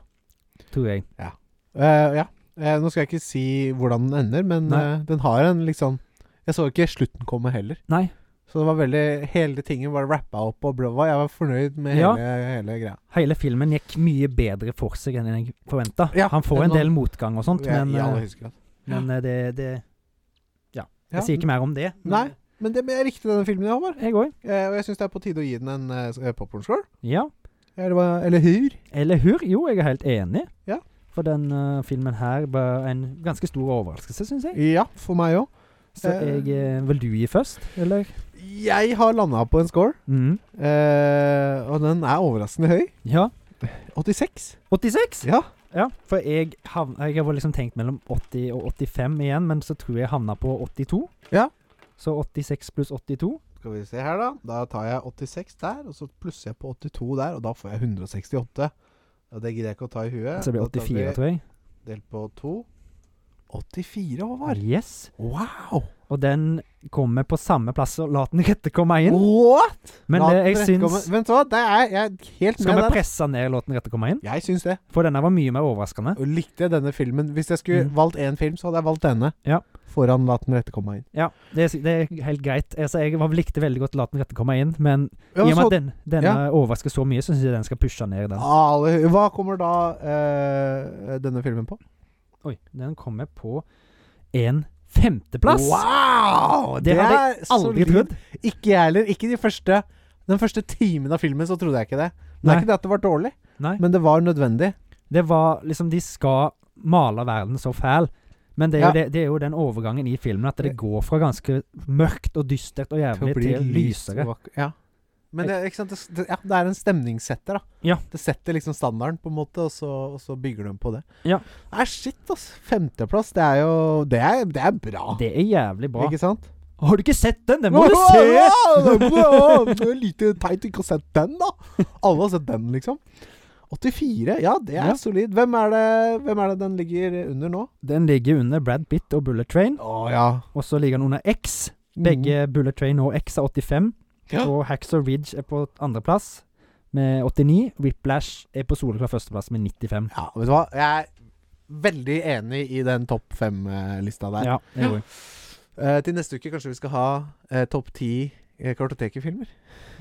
tror jeg. Eh, ja. Eh, nå skal jeg ikke si hvordan den ender, men Nei. eh, den har en liksom Jeg så ikke slutten komme heller. Nei. Så det var veldig Hele tingen var rappa opp og blå. Jeg var fornøyd med Ja. hele, hele greia. Hele filmen gikk mye bedre for seg enn jeg forventa. Ja, han får en nå- del motgang og sånt, Jeg- men, i aller eh, høyeste grad. men eh, det, det Ja. Ja. Jeg sier ikke mer om det. men- Nei. Men det, men jeg likte denne filmen, jeg, Håvard. Jeg òg. Eh, og jeg syns det er på tide å gi den en uh, popkornscore. Ja. Eller, hva- eller hur? Eller hur? Jo, jeg er helt enig. Ja. For den eh, filmen her var en ganske stor overraskelse, syns jeg. Ja, for meg òg. Så eh, jeg eh, Vil du gi først, eller? Jeg har landa på en score, Mm. eh, og den er overraskende høy. Ja. 86. 86? Ja. Ja, for jeg, havn, jeg har liksom tenkt mellom 80 og 85 igjen, men så tror jeg jeg havna på 82. Ja. Så 86 pluss 82. Skal vi se her, da. Da tar jeg 86 der, og så plusser jeg på 82 der, og da får jeg 168. Og det gidder jeg ikke å ta i huet. Så det blir Da tar 84, vi tror jeg. Delt på 2. 84, Håvard. Yes. Wow! Og den kommer på samme plass, og la den rette komme inn. What?! Men Oh, La det, jeg den komme- syns Vent, hva? Det er jeg er helt Skal med vi der. presse ned låten rette komme inn? Jeg syns det. For denne var mye mer overraskende. Og likte jeg denne filmen. Hvis jeg skulle Mm. valgt én film, så hadde jeg valgt denne. Ja. Foran La den rette komme inn. Ja, det, er- det er helt greit. Altså, jeg var- likte veldig godt La den rette komme inn, men i og med at den, denne ja. Ah. overrasker så mye, så syns jeg den skal pushe ned den. Ale- Hva kommer da eh, denne filmen på? Oi, den kommer på en femteplass! Wow! Det hadde er Aldri solid. trodd. Ikke jeg heller. Ikke de første Den første timen av filmen så trodde jeg ikke det. Men det Nei. er ikke det at det var dårlig, Nei. men det var nødvendig. Det var liksom De skal male verden så fæl. Men det er, jo Ja. det, det er jo den overgangen i filmen at det Det- går fra ganske mørkt og dystert Til og å jævlig bli til lyst og lysere. vakker. Ja. Men det, ikke sant? Det, det, ja, det er en stemningssetter, da. Ja. Det setter liksom standarden, på en måte, og så, og så bygger de på det. Ja. Nei, shit, altså. Femteplass, det er jo Det er, det er bra. Det er jævlig bra. Ikke sant? Har du ikke sett den? Den må du se! Wow, det er bra! Det er Lite teit ikke å ha sett den, da. Alle har sett den, liksom. 84. Ja, det er Ja. solid. Hvem er, det, hvem er det den ligger under nå? Den ligger under Brad Pitt og Bullet Train. Å ja. Og så ligger den under X. Begge Bullet Train og X er 85. Mm. Ja. Og Hacksaw Ridge er på andreplass med 89. Whiplash er på soleklar førsteplass med 95. Ja, vet du hva? Jeg er veldig enig i den topp fem-lista der. Ja, [laughs] det går. Eh, til neste uke kanskje vi skal ha eh, topp ti eh, kartotekefilmer. [laughs]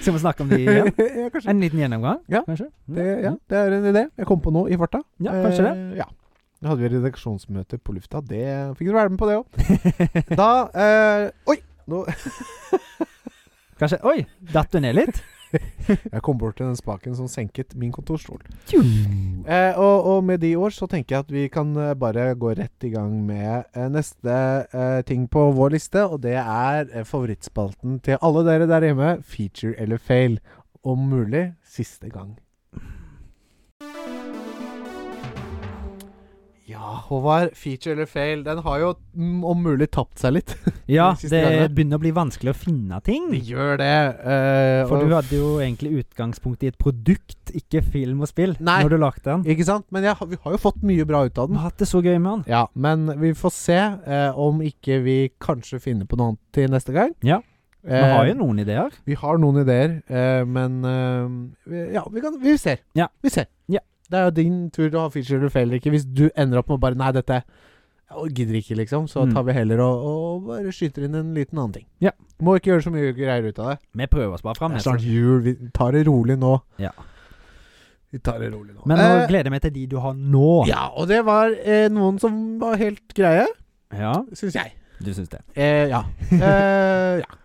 Skal vi snakke om de [laughs] Ja. igjen? kanskje. En liten gjennomgang, Ja. kanskje? Mm. Det, ja, det er en idé. Jeg kom på noe i farta. Ja, kanskje det. Eh, ja. Da hadde vi redaksjonsmøte på lufta. Det fikk du være med på, det òg. [laughs] da eh, Oi! Kanskje Oi! Datt du ned litt? [laughs] Jeg kom bort til den spaken som senket min kontorstol. Eh, og, og med de ord så tenker jeg at vi kan eh, bare gå rett i gang med eh, neste eh, ting på vår liste, og det er eh, favorittspalten til alle dere der hjemme, feature eller fail. Om mulig siste gang. Ja, Håvard. Feature eller fail. Den har jo mm, om mulig tapt seg litt. Ja, Siste det gangene. begynner å bli vanskelig å finne ting. Den gjør det. eh, For og- du hadde jo egentlig utgangspunkt i et produkt, ikke film og spill, Nei. når du lagde den. Ikke sant? Men jeg, har- vi har jo fått mye bra ut av Vi den. har hatt det så gøy med den. Ja, men vi får se eh, om ikke vi kanskje finner på noe annet til neste gang. Ja. Vi Eh, har jo noen ideer. vi har noen ideer, eh, men eh, vi, Ja, vi, kan, vi ser. Ja. Vi ser. Ja. Det er jo din tur til å ha feature eller fail, ikke? Hvis du ender opp med bare Nei, dette jeg gidder ikke, liksom. Så Mm. tar vi heller og, og bare skyter inn en liten annen ting. Ja. Må ikke gjøre så mye greier ut av det. Vi prøver oss bare fram. Det er altså. snart jul. Vi tar det rolig nå. Ja. Vi tar det rolig nå. Men nå Eh, gleder jeg meg til de du har nå. ja, og det var eh, noen som var helt greie, Ja, syns jeg. du syns det. Eh, [laughs] ja. Eh, ja.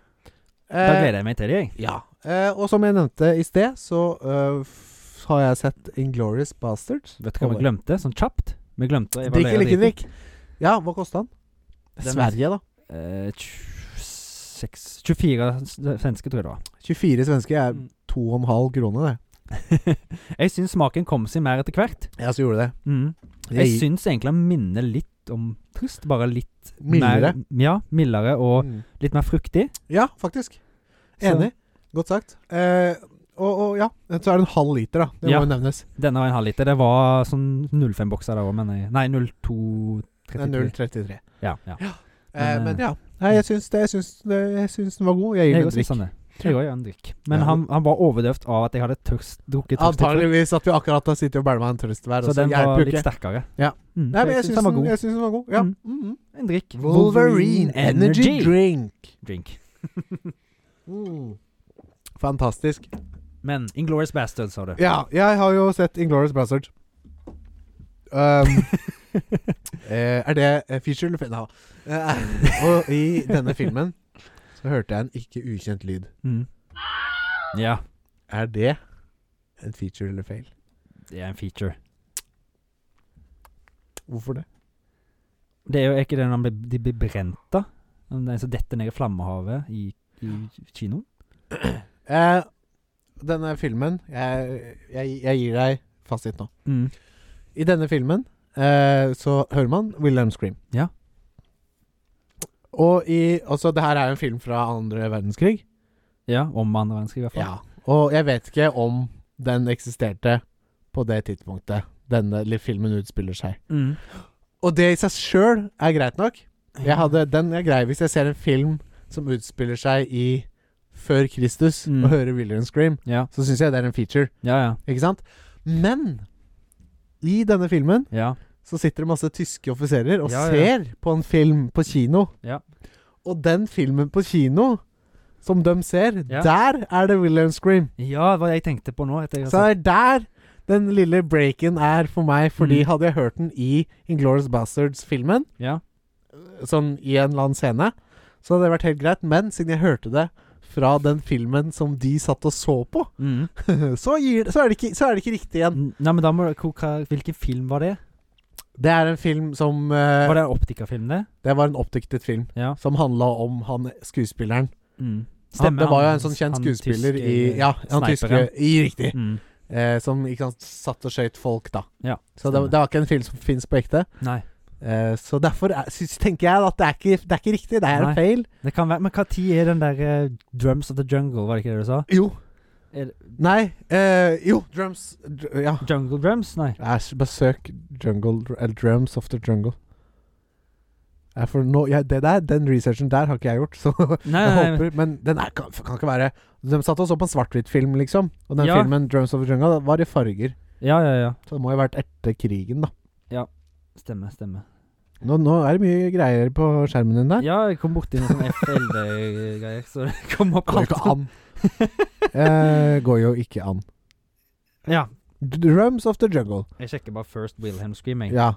Da Eh, gleder jeg meg til de, jeg. ja. Eh, og som jeg nevnte i sted, så eh, f- har jeg sett Inglorious Bastards. Vet du hva vi glemte, sånn kjapt? Vi glemte å Drikk evaluere eller ikke driten. drikk? Ja, hva kosta den? Den- Sverige, da. Eh, tj- seks- 24 s- svenske, tror jeg det var. 24 svenske er Mm. to og en halv krone, det. Jeg syns smaken kom seg mer etter hvert. Mm. Ja, så gjorde det. Jeg syns egentlig den minner litt om trist. Bare litt Mildere. Mer, ja, mildere og Mm. litt mer fruktig. Ja, faktisk. Enig. Godt sagt. Eh, og, og ja, så er det en halv liter, da. Det Ja. må jo nevnes. Denne var en halv liter. Det var sånn 05-bokser der òg, men jeg, Nei, 0233. Det er 0,33. Ja, ja. Eh, Men, men eh, ja. Nei, jeg syns, det, jeg, syns, det, jeg syns den var god. Jeg gir den Jeg en òg drikk. syns han det. Jeg òg gir han en drikk. Men Ja. han, han var overdøvd av at jeg hadde tørst, drukket tørst. Antakeligvis at vi akkurat har sittet og bæla med en trøst hver. Så den var hjelper jo litt ikke. sterkere. Ja. Mm, Nei, men jeg synes syns den, jeg syns den var god. Ja. Mm. Mm -hmm. En drikk. Wolverine Energy Drink. Drink. Mm. Fantastisk. Men Inglorious Bastards, sa du. Ja, jeg har jo sett Um, Inglorious Brassard. er det [laughs] eh, feature eller fe- Nei. Eh, og i denne filmen så hørte jeg en ikke ukjent lyd. Mm. Ja, Er det en feature eller fail? det er en feature. Hvorfor det? Det er jo ikke det når han blir, de blir brent, da. Om Den som detter ned i flammehavet i, i kinoen. Eh, denne filmen jeg, jeg, jeg gir deg fasit nå. Mm. I denne filmen eh, så hører man Wilhelm Scream. Ja. Og i Altså, det her er jo en film fra andre verdenskrig. Ja, om andre verdenskrig, i hvert fall. Ja. Og jeg vet ikke om den eksisterte på det tidspunktet denne li- filmen utspiller seg. Mm. Og det i seg sjøl er greit nok. Jeg hadde, den er grei hvis jeg ser en film som utspiller seg i før Kristus, Mm. og hører Wilhelm Scream, Ja, så syns jeg det er en feature. ja. ja. Ikke sant? Men i denne filmen ja. så sitter det masse tyske offiserer og Ja, ja. ser på en film på kino. Ja. Og den filmen på kino som de ser, Ja. der er det Wilhelm Scream. Ja, hva jeg tenkte på nå. Etter jeg Så har sett- det er der den lille breaken er for meg, fordi Mm. hadde jeg hørt den i Inglorious Bastards-filmen, ja. sånn i en eller annen scene, så hadde det vært helt greit. Men siden jeg hørte det fra den filmen som de satt og så på, [laughs] Mm. så, gir, så, er, det ikke, så er det ikke riktig igjen. N- Nei, men da må du hvor- hva- Hvilken film var det? Det er en film som eh, Var det en optikerfilm, det? Det var en oppdiktet film Ja. som handla om han skuespilleren. Mm. han, det var jo en sånn han kjent skuespiller tyske i Ja, han tyske sniperen. i Riktig. Mm. Eh, som ikke sant, satt og skøyt folk, da. Ja, så det, stemmer. det var ikke en film som fins på ekte. Nei. Eh, så derfor er, syns- tenker jeg at det er ikke, det er ikke riktig. Det er Nei. en feil. Det kan være, Men hva tid er den der eh, Drums of the Jungle, var det ikke det du sa? Jo. Er det- Nei. Eh, jo, drums dr Ja. Jungle Drums? Nei. Æsj, bare søk jungle, dr- eller Drums of the Jungle. Nei, for nå, ja, det der, Den researchen der har ikke jeg gjort, [laughs] så Nei, Jeg nei, nei, håper, men den er, kan, kan ikke være De satt og så på en svart-hvitt-film, liksom. Og den Ja. filmen, 'Drums of the Jungle', var i farger. Ja, ja, ja. Så det må jo ha vært etter krigen, da. Stemmer, stemmer. Nå, nå er det mye greier på skjermen din der. Ja, jeg kom borti noe sånn F11-greier, så det kom opp Går jo ikke [laughs] an. eh, går jo ikke an. Ja. 'Drums of the Jungle'. Jeg sjekker bare First Wilhelm Screaming. Ja.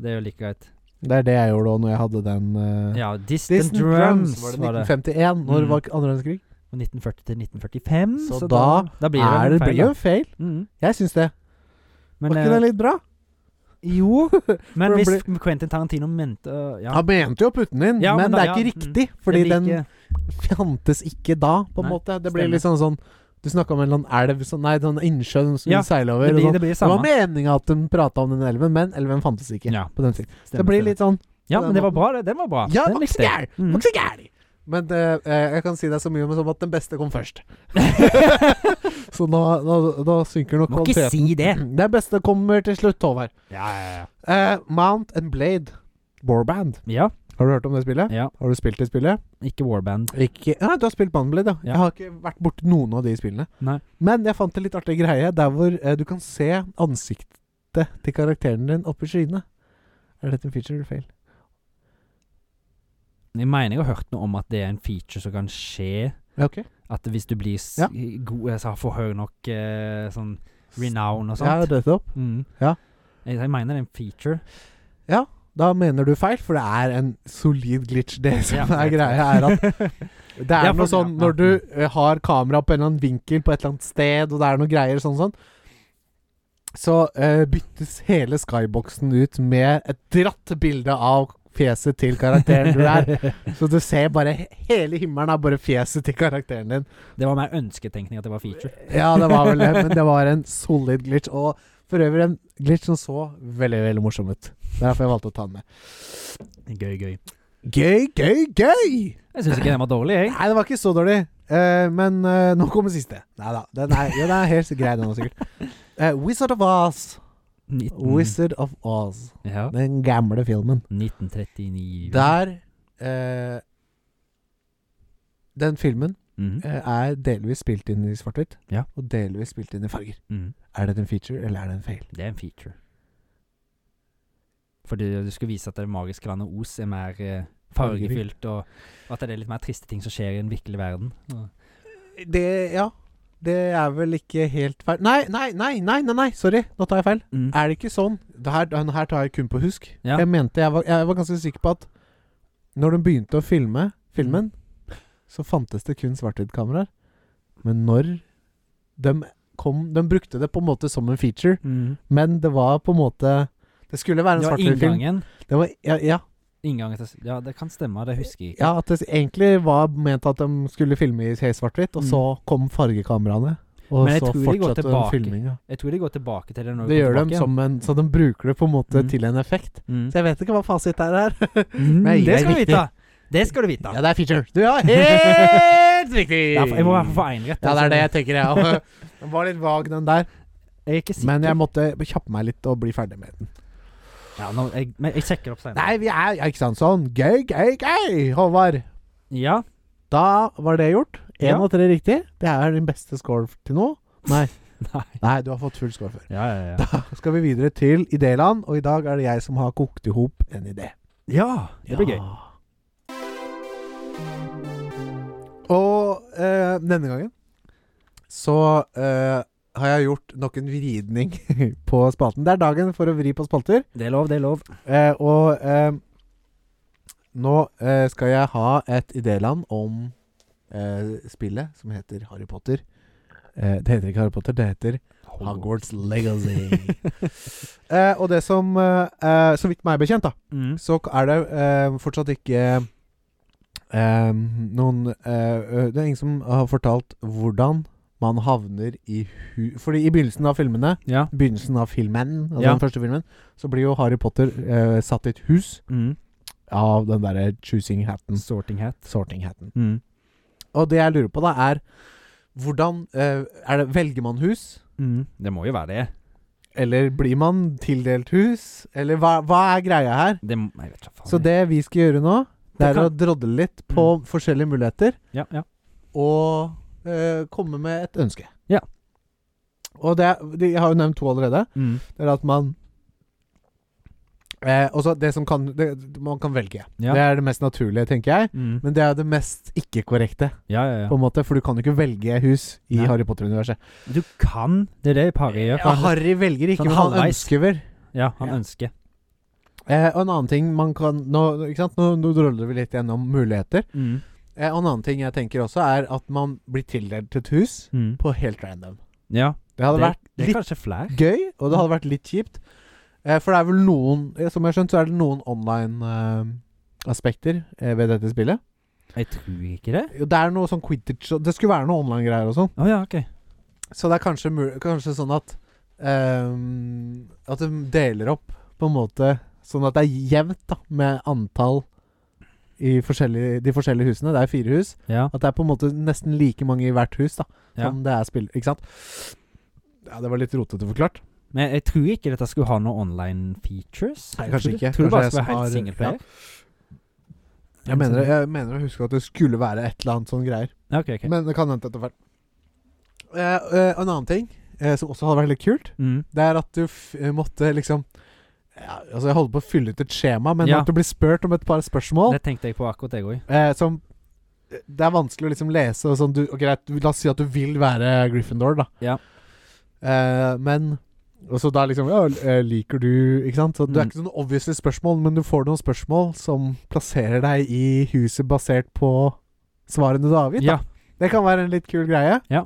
Det er jo like greit. Det er det jeg gjorde òg, når jeg hadde den. Eh, Ja, Distant, Distant Drums, var det var det. 1951. Når Mm. var andre verdenskrig? Fra 1940 til 1945. Så Så, da blir det, er vel det en feil, blir jo en feil. da. Mm. Jeg syns det. Men, var ikke eh, det litt bra? Jo, men For det hvis Quentin Tarantino mente øh, Ja, Han mente jo å putte den inn, Ja, men, men da- det er ikke ja, mm. riktig. Fordi det den blir ikke- fantes ikke da, på en Nei, måte. Det blir stemmer. litt sånn sånn Du snakka om en eller annen elv sånn, Nei, sånn innsjø som skulle Ja, seile over. Det og blir sånn. det blir det var samme. meninga at de prata om den elven, men elven fantes ikke. Ja, På den tiden. Det stemmer, blir stemmer. litt sånn Ja, på men den det var måten. bra, det. Den var bra. Ja, den vokse likte jeg. gæren! Mm. Vokse gæren! Men eh, eh, jeg kan si deg så mye om som at den beste kom [laughs] først. så nå, nå, nå synker nok Må ikke kvaliteten. Mm, si det. Den beste kommer til slutt, Håvard. Ja, ja, Eh, Mount and Blade. Borband. ja. Har du hørt om det spillet? Ja, Har du spilt det spillet? ikke Warband. Ikke Ja, du har spilt Bandblade, ja. Ja. Jeg har ikke vært borti noen av de spillene. Nei. Men jeg fant en litt artig greie der hvor eh, du kan se ansiktet til karakteren din oppi skyene. Er dette en feature eller fail? Jeg mener jeg har hørt noe om at det er en feature som kan skje. Ja, ok. At hvis du blir s Ja. god, altså, får høy nok eh, sånn renown og Ja, sånt. dette opp. mm. Ja. Jeg, jeg mener det er en feature. Da mener du feil, for det er en solid glitch. Det [laughs] som [laughs] Ja, er jeg tror greia, er at det er Ja, for- noe sånn ja, når du ja. eh, har kamera på en eller annen vinkel på et eller annet sted, og det er noe greier sånn sånn, så eh, byttes hele skyboxen ut med et dratt bilde av fjeset til karakteren du er. [laughs] Så du ser bare Hele himmelen er bare fjeset til karakteren din. [laughs] Det var mer ønsketenkning at det var feature. Ja, det var vel det, men det var en solid glitch. Og for øvrig en glitch som så veldig, veldig morsom ut. Det er derfor jeg valgte å ta den med. [laughs] Gøy, gøy. Gøy, gøy, gøy! Jeg syns ikke den var dårlig, jeg. Nei, det var ikke så dårlig. Eh, men eh, nå kommer siste. Nei da. Den er, ja, den er helt grei, den også, sikkert. Eh, Wizard of Oz. 19, Wizard of Oz. ja, Den gamle filmen. 1939. Der eh, Den filmen Mhm, eh, er delvis spilt inn i svart-hvitt, Ja. og delvis spilt inn i farger. mhm. Er det en feature, eller er det en feil? Det er en feature. Fordi du skulle vise at det magiske landet Os er mer eh, fargefylt, og at det er litt mer triste ting som skjer i den virkelige verden. Og- Det Ja. Det er vel ikke helt feil Nei, nei, nei, nei, nei, nei. sorry. Nå tar jeg feil. Er det ikke sånn det her, Den her tar jeg kun på husk. Ja. Jeg mente jeg var, jeg var ganske sikker på at når de begynte å filme filmen, Mm. så fantes det kun svart-hvitt-kameraer. Men når de kom De brukte det på en måte som en feature, Mhm. men det var på en måte Det skulle være en Det var svart-hvitt-film. inngangen. Det var ja, ja, inngangen til, ja, det kan stemme, det husker jeg ikke. ja, at det egentlig var ment at de skulle filme i helt svart-hvitt, og Mm. så kom fargekameraene. Og Men jeg så tror de går fortsatte de tilbake. filminga. Jeg tror de går tilbake til det Det når går gjør de tilbake igjen. som en Så de bruker det på en måte Mm. til en effekt. Mhm. Så jeg vet ikke hva fasit er her. Mm, Nei, det det er skal du riktig. vite! Det skal du vite. det er feature. Du [laughs] har helt riktig! Ja, for- jeg må i hvert fall få én rett. Ja, det er det jeg altså. tenker, jeg òg. [laughs] Den var litt vag, den der. Jeg er ikke sikker. Men jeg måtte kjappe meg litt og bli ferdig med den. ja, nå, jeg, men jeg sjekker opp senere. Nei, vi er ja, ikke sant sånn. Gøy, gøy, gøy! Håvard. Ja, Da var det gjort. Én Ja. av tre riktig. Det er din beste score til nå. Nei. Nei. [laughs] Nei, du har fått full score før. Ja, ja, ja. Da skal vi videre til idéland, og i dag er det jeg som har kokt i hop en idé. ja det blir gøy. Og eh, denne gangen så eh, har jeg gjort nok en vridning [laughs] på spalten. Det er dagen for å vri på spalter, Det er lov, det er lov. eh, og eh, nå eh, skal jeg ha et idéland om eh, spillet som heter Harry Potter. Eh, det heter ikke Harry Potter, det heter Hogwarts Legacy. [laughs] eh, og det som, eh, eh, så vidt meg er bekjent, da, Mm. så k- er det eh, fortsatt ikke eh, noen eh, ø- Det er ingen som har fortalt hvordan man havner i hu... Fordi i begynnelsen av filmene Ja. Begynnelsen av filmen, altså Ja. den første filmen, så blir jo Harry Potter eh, satt i et hus Mm. av den derre choosing hatten, Sorting hat. sorting hatten. Mm. Og det jeg lurer på, da, er hvordan eh, er det, Velger man hus? Mm. Det må jo være det. Eller blir man tildelt hus? Eller hva, hva er greia her? det må, jeg vet ikke, faen. Så det vi skal gjøre nå, det Det er å drodle litt på forskjellige muligheter Ja, ja. og eh, komme med et ønske. Ja. Og det de, Jeg har jo nevnt to allerede. Mm. Det er at man eh, Også det som kan det, Man kan velge. Ja. Det er det mest naturlige, tenker jeg. Mm. Men det er det mest ikke-korrekte, ja, ja, ja. på en måte, for du kan jo ikke velge hus i Nei. Harry Potter-universet. Du kan Det er det Parry gjør. Ja, Harry velger ikke, sånn men han halvveis. ønsker vel. Ja, han Ja. ønsker. Eh, og en annen ting man kan Nå, ikke sant? nå, nå drodler vi litt gjennom muligheter. Mm. Eh, og en annen ting jeg tenker også, er at man blir tildelt et hus Mm. på helt random. Ja. Det hadde det, det vært er litt kanskje flere. gøy, og det hadde vært litt kjipt. Eh, for det er vel noen eh, Som jeg har skjønt, så er det noen online-aspekter eh, ved dette spillet. Jeg tror ikke det. Jo, Det er noe sånn quidditch og- Det skulle være noe online-greier og sånn. Å ja, OK. Så det er kanskje, mul- kanskje sånn at ehm, At de deler opp på en måte sånn at det er jevnt da med antall i forskjellige, de forskjellige husene. Det er fire hus. Ja. At det er på en måte nesten like mange i hvert hus da Ja. som det er spill... Ikke sant? Ja, det var litt rotete forklart. Men jeg tror ikke dette skulle ha noen online features. Nei, Jeg kanskje tror- ikke. Kanskje Tror det bare jeg som skulle være helt har- singleplayer. Jeg mener, jeg mener å huske at det skulle være et eller annet sånn greier. Ja, ok, ok. Men det kan hende at det er feil. Eh, eh, en annen ting eh, som også hadde vært litt kult, Mm. det er at du f eh, måtte liksom ja, Altså, jeg holder på å fylle ut et skjema, men Ja. at du blir spurt om et par spørsmål Det tenkte jeg på akkurat, jeg òg. eh, som eh, det er vanskelig å liksom lese og sånn du, og Greit, du- la oss si at du vil være Gryffindor, da. Ja. Eh, men Og så da liksom Ja, eh, liker du Ikke sant? Så det er Mm. ikke sånn obviously spørsmål, men du får noen spørsmål som plasserer deg i huset basert på svarene du har avgitt. Ja. Det kan være en litt kul greie. Ja.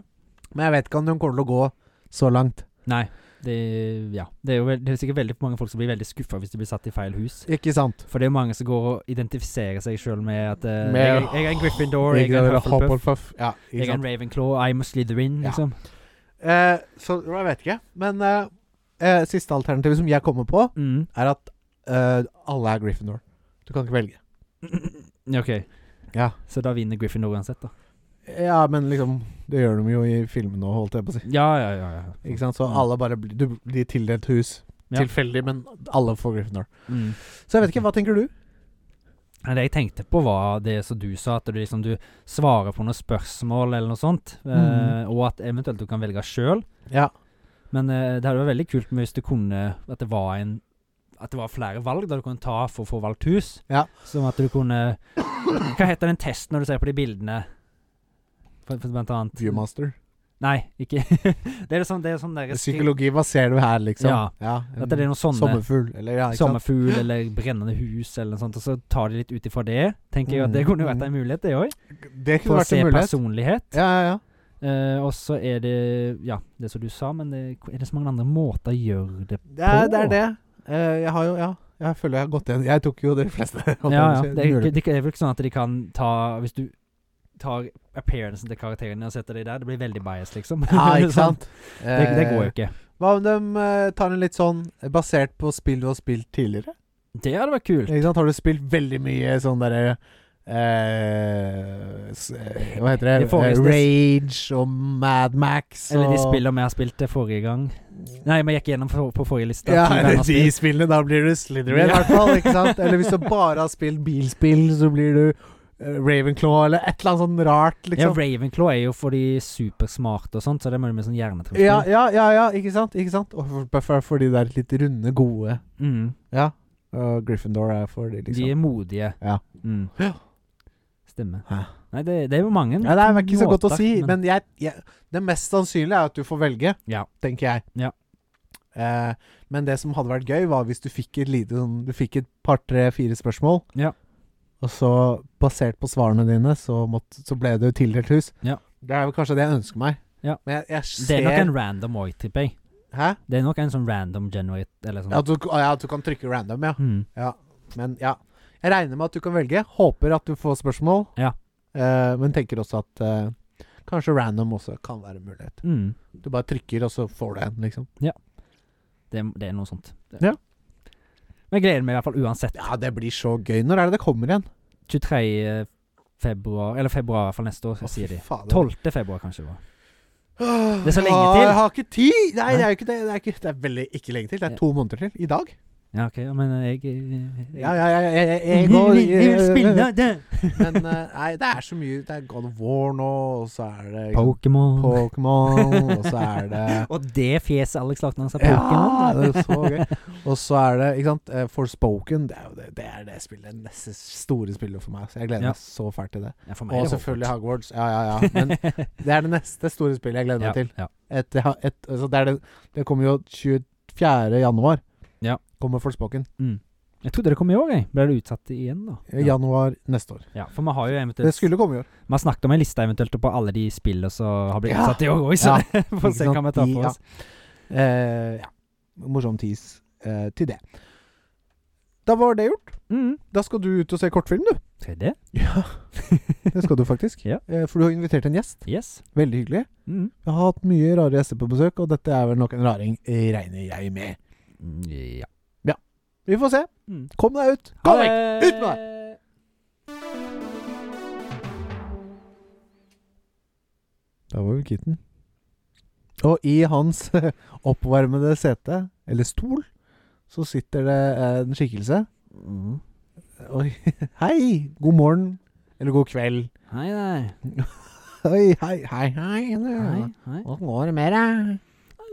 Men jeg vet ikke om de kommer til å gå så langt. Nei. Det, ja. det, er jo vel- det er sikkert veldig mange folk som blir veldig skuffa hvis de blir satt i feil hus. Ikke sant? For det er jo mange som går og identifiserer seg sjøl med at eh, Med jeg, jeg er en Gryffindor, jeg er en Hufflepuff, Hufflepuff. Ja, ikke jeg er sant. en Ravenclaw, I'm a Slytherin, Ja. liksom. Eh, så jeg vet ikke. Men eh, eh, siste alternativet som jeg kommer på, Mm. [clears throat] er at eh, alle er Gryffindor. Du kan ikke velge. OK, Ja. så da vinner Gryffindor uansett, da. ja, men liksom Det gjør de jo i filmene òg, holdt jeg på å si. Ja, ja, ja. ja. Ikke sant? Så alle bare blir, du blir tildelt hus. Mm. Ja. Tilfeldig, men alle får Gryffindor. Mm. Så jeg vet ikke, hva tenker du? Nei, Det jeg tenkte på, var det som du sa, at du liksom du svarer på noen spørsmål eller noe sånt, eh, Mm. og at eventuelt du kan velge sjøl. Ja. Men eh, det hadde vært veldig kult med hvis du kunne At det var en At det var flere valg da du kunne ta for å få valgt hus. Ja. Som at du kunne Hva heter den testen når du ser på de bildene? For, for blant annet Viewmaster. Nei, ikke [laughs] Det er sånn, det er sånn der Psykologi, hva ser du her, liksom? Ja. At det er noen eh, sånne Sommerfugl, eller ja, ikke sant? Sommerfugl eller brennende hus eller noe sånt, og så tar de litt ut ifra det. Tenker jeg at det Mm, kunne jo vært mm. en mulighet, det òg. Det For kunne å vært se en mulighet. personlighet. Ja, ja, ja. Eh, og så er det Ja, det som du sa, men det, er det så mange andre måter å gjøre det Det er det. På. Er det. Eh, jeg har jo Ja, jeg føler jeg har gått igjen. Jeg tok jo de fleste. [laughs] holdt jeg på å Ja, ja. si. Det er, Mulig. ikke- det er vel ikke sånn at de kan ta Hvis du tar appearancen til karakterene og setter dem der, det blir veldig bias, liksom. ja, ikke [laughs] Sånn. sant? Det, det går jo ikke. Hva om de eh, tar en litt sånn basert på spill du har spilt tidligere? Det hadde vært kult. Ikke sant? Har du spilt veldig mye sånn derre eh, s- eh, Hva heter det? Det får Eh, visst- Rage og Mad Max og Eller de spillene vi har spilt det forrige gang. Nei, vi gikk gjennom for, på forrige liste. Ja, ti ganger eller [laughs] de spilt. spillene. Da blir du Slytherin, i Ja. hvert fall. Ikke sant? Eller hvis du bare har spilt bilspill, så blir du eh, Ravenclaw eller et eller annet sånn rart, Ja, liksom. Ravenclaw er jo for de supersmarte og sånt, så det er mye med sånn hjernetrøbbel. Ja, ja, ja, ja, ikke sant? Ikke sant? Og for, bare for, for de der litt runde, gode Mm. Ja. Og Gryffindor er for de, liksom. De er modige. Ja. Mm. Ja. Stemmer. Ja. Nei, det, det er jo mange. Ja, det er ikke så godt å måter, si, men jeg, jeg, det mest sannsynlige er at du får velge, Ja. tenker jeg. Ja. Eh, men det som hadde vært gøy, var hvis du fikk et lite sånn Du fikk et par, tre, fire spørsmål, Ja. og så, basert på svarene dine, så, måtte, så ble det jo tildelt hus. Ja. Det er vel kanskje det jeg ønsker meg. Ja. Men jeg, jeg ser Det er nok en random oi, tipper jeg. Hæ? Det er nok en sånn random generate, eller sånn. Ja, du, ja, du kan trykke random, ja. Mm. Men ja. Jeg regner med at du kan velge. Håper at du får spørsmål. Ja. Eh, men tenker også at eh, kanskje random også kan være en mulighet. Mm. Du bare trykker, og så får du en, liksom. Det, det er noe sånt. Det. Ja. Men jeg gleder meg i hvert fall uansett. Ja, det blir så gøy. Når er det det kommer igjen? 23. februar, eller februar i hvert fall neste år, Å, fy sier de. fader. [gasps] 12. februar kanskje det var. Åh, Det er så lenge åh, til. Jeg har ikke tid! Nei, Nei. det er jo ikke det. Det er, ikke, det er veldig ikke lenge til. Det Ja. er to måneder til. I dag. Ja, ok, ja, men jeg, jeg, Ja, ja, ja. Jeg, jeg, jeg går eh, Vi- vi- vi vil [laughs] spille det! Men eh, nei, det er så mye. Det er God of War nå, og så er det ikke sant, [laughs] Pokémon. eh, Pokémon, og så er [laughs] det Og det fjeset Alex lagde når han sa Ja, Pokémon. det er så gøy. Og så er det ikke sant, eh, Forspoken. Det er jo det, det, er det spillet, det neste store spillet for meg. Så jeg gleder Ja. meg så fælt til det. Ja, for meg er Og det selvfølgelig Hogwarts. Hogwarts. Ja, ja, ja. Men det er det neste store spillet jeg gleder meg [laughs] ja, til. ja. Et, et, altså det, er det, det kommer jo 24. januar. Ja. Kommer Forspoken. Mm. Jeg trodde det kom i år, jeg. Ble det utsatt igjen, da? Eh, Januar neste år. Ja, for vi har jo Det eventuelt skulle komme i [laughs] år. Vi har snakket om en liste eventuelt på alle de spillene som har blitt Ja. utsatt i år òg, [laughs] så [laughs] vi får ikke se sant, hva vi tar de- på ja. oss. Eh, ja. Morsom tis eh, til det. Da var det gjort. Mm. Da skal du ut og se kortfilm, [laughs] du. Skal vi det? Ja, [laughs] det skal du faktisk. Ja. Eh, For du har invitert en gjest. Yes. Veldig hyggelig. Mm. Jeg har hatt mye rare gjester på besøk, og dette er vel nok en raring, eh, regner jeg med. Ja. Vi får se. Mm. Kom deg ut. Ha Kom vekk! det! Ut med Da var vi kitten. Og i hans [laughs] oppvarmede sete, eller stol, så sitter det eh, en skikkelse. Mm. Oi. [laughs] Hei! God morgen. Eller god kveld. Hei der. Oi, hei, hei, hei. Hei. Hei. Hva går det med deg?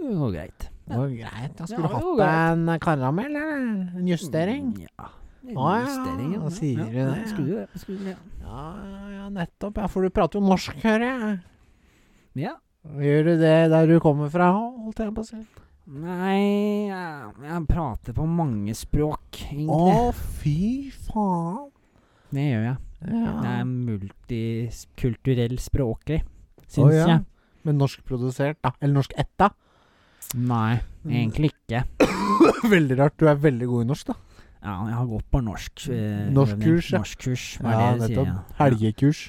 Det går greit. Det var greit. Jeg Ja, skulle det hatt var deg en karamell, eller? En justering? Mm, Ja. ja, Justering, da sier du det, ja. Skru det. Skru det. Ja, ja, ja, nettopp. Ja, for du prater jo norsk, hører jeg. Ja. Gjør du det der du kommer fra, holdt jeg på å si? Nei, jeg, jeg prater på mange språk, Å, egentlig. fy faen. Det gjør jeg. Det Ja. er multikulturell språklig, syns Å, ja. jeg. Men norskprodusert, da. Eller norsk ett, da. Nei, Mm. egentlig ikke. [laughs] Veldig rart. Du er veldig god i norsk, da. Ja, jeg har gått på norsk. eh, Norskkurs, ja. øving. Norskkurs, hva Ja, er det du sier? nettopp. Ja. Helgekurs.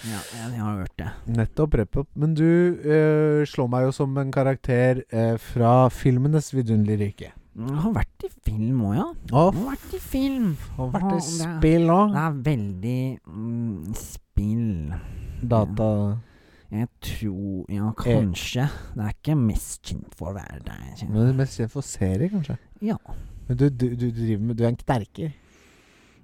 Ja, jeg, jeg har hørt det. Nettopp. Rep opp. Men du eh, slår meg jo som en karakter eh, fra filmenes vidunderlige rike. Jeg har vært i film òg, ja. Å, Jeg har vært i film. har vært i Ja, det spill Det òg. er veldig mm, spill. Data Jeg tror Eh. Ja, kanskje. Det er ikke mest kjent for å være der. jeg Men kjenner. du er mest kjent for serier, kanskje? Ja. Men du, du, du driver med Du er en knerker.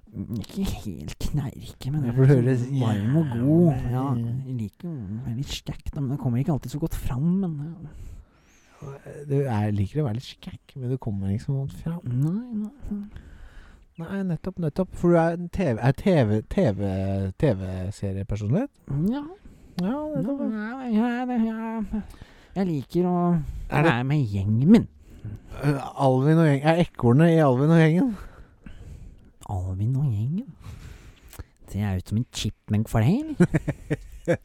Mm, Ikke helt knerke, men Ja, jeg for er det sånn høres varm og jævlig- god. Ja, jeg liker jo veldig sterkt, men det kommer ikke alltid så godt fram. Men ja. Du er, liker å være litt skækk, men du kommer liksom sånn fram. nei, nei. Nei, nettopp, nettopp. For du er en TV, er TV, TV, TV-seriepersonlighet? Ja, Ja, ja, ja, ja, det- ja. Jeg liker å Er det være med gjengen min. Eh, Alvin og gjengen? Er ekornet i Alvin og gjengen? Alvin og gjengen. Ser jeg ut som en chipmunk for deg, eller? [laughs]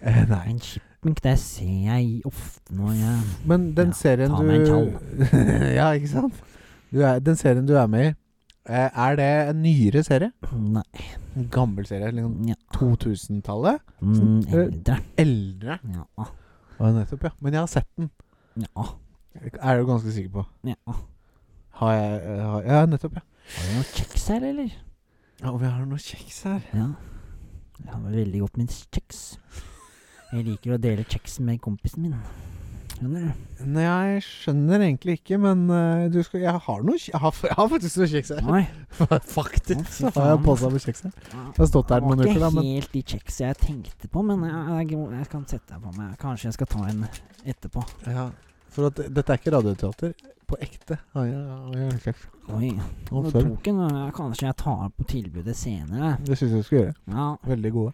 Eh, nei. En chipmunk, det ser jeg ofte når jeg Men den Ja, serien ta du meg en [laughs] Ja, ikke sant? Du er, den serien du er med i, eh, er det en nyere serie? Nei. En gammel serie? Liksom Ja. 2000-tallet? Mm, eh, eldre. Eldre? Ja. Ja, nettopp, ja. Men jeg har sett den. Ja. Er du ganske sikker på? ja. Har jeg eh, har, Ja, nettopp, ja. Har du noe kjeks her, eller? Ja, og vi har noe kjeks her. Ja. Jeg har veldig godt med kjeks. Jeg liker å dele kjeks med kompisen min. Skjønner du? Nei, jeg skjønner egentlig ikke, men eh, du skal, jeg har noe kje- jeg har, jeg har faktisk noe kjeks her. Nei. [laughs] Faktisk Å, fy så har jeg faen. posa med kjeks her. Jeg har stått her noen uker, da, men- Ikke helt de kjeks jeg tenkte på, men jeg, jeg, jeg kan sette deg på meg. Kanskje jeg skal ta en etterpå. Ja, for at, dette er ikke radioteater. På ekte har jeg, har jeg en kjeks. Oi. Og Nå sølv. tok en, eh, Kanskje jeg tar på tilbudet senere. Det syns jeg du skal gjøre. Ja. Veldig gode.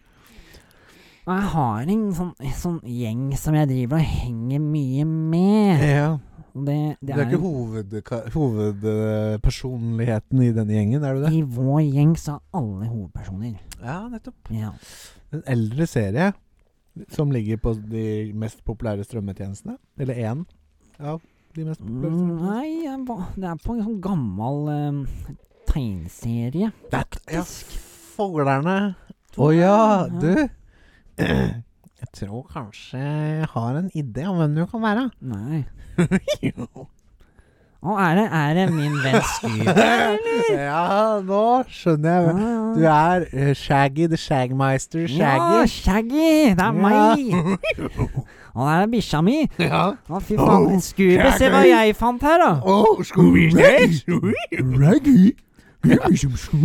Og jeg har en sånn, en sånn gjeng som jeg driver og henger mye med. Og det, Du det Eh, er er ikke hovedka- hovedpersonligheten i denne gjengen, er du det? I vår gjeng så er alle hovedpersoner. Ja, nettopp. Ja. En eldre serie som ligger på de mest populære strømmetjenestene. Eller én av de mest populære. Mm, strømmetjenestene. nei, jeg ba- det er på en sånn gammel eh, tegneserie. Det- ja, faktisk. Fuglerne. Å ja, du. [clears throat] Jeg tror kanskje jeg har en idé om hvem du kan [clears throat] være. Nei. jo. Å, er det, er det min venn [laughs] Scooby? ja, nå skjønner jeg. hvem- Du er eh, Shaggy the Shagmeister Ja, Shaggy. Shaggy! Det er meg! Og der er bikkja mi. Ja. Å, fy faen. Oh, Scooby, se hva Shaggy. jeg fant her, da. Oh, Scooby Shaggy. liksom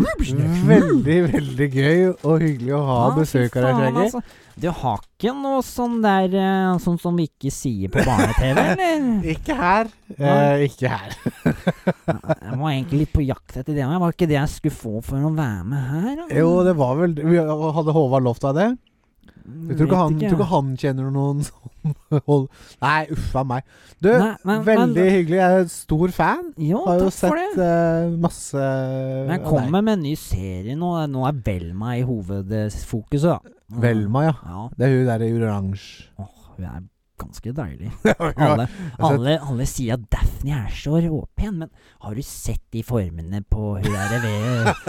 Veldig, veldig gøy og hyggelig å ha Ja, fy besøk av deg, faen, Shaggy. altså. Du har ikke noe sånn der eh, Sånn som vi ikke sier på [laughs] barne-TV, eller? Ikke her. Nei. Eh, ikke her. Jeg var egentlig litt på jakt etter det, men var ikke det jeg skulle få for å være med her? da? Jo, det var vel vi Hadde Håvard lovt deg det? Jeg tror Vet ikke han, ikke. tror ikke han kjenner noen som hold- Nei, uff a meg. Du, Nei, men- veldig men- hyggelig. Jeg er stor fan. Jo, Har jo takk for sett det. eh, masse Men jeg kommer med en ny serie nå. eh, Nå er Velma i hovedfokuset, da. Velma, ja. Ja. Det er hun der i oransje. Åh, hun er ganske deilig. [laughs] Ja, Alle, alle, alle sier at Daphne er så råpen, men har du sett de formene på hun [laughs] der ved det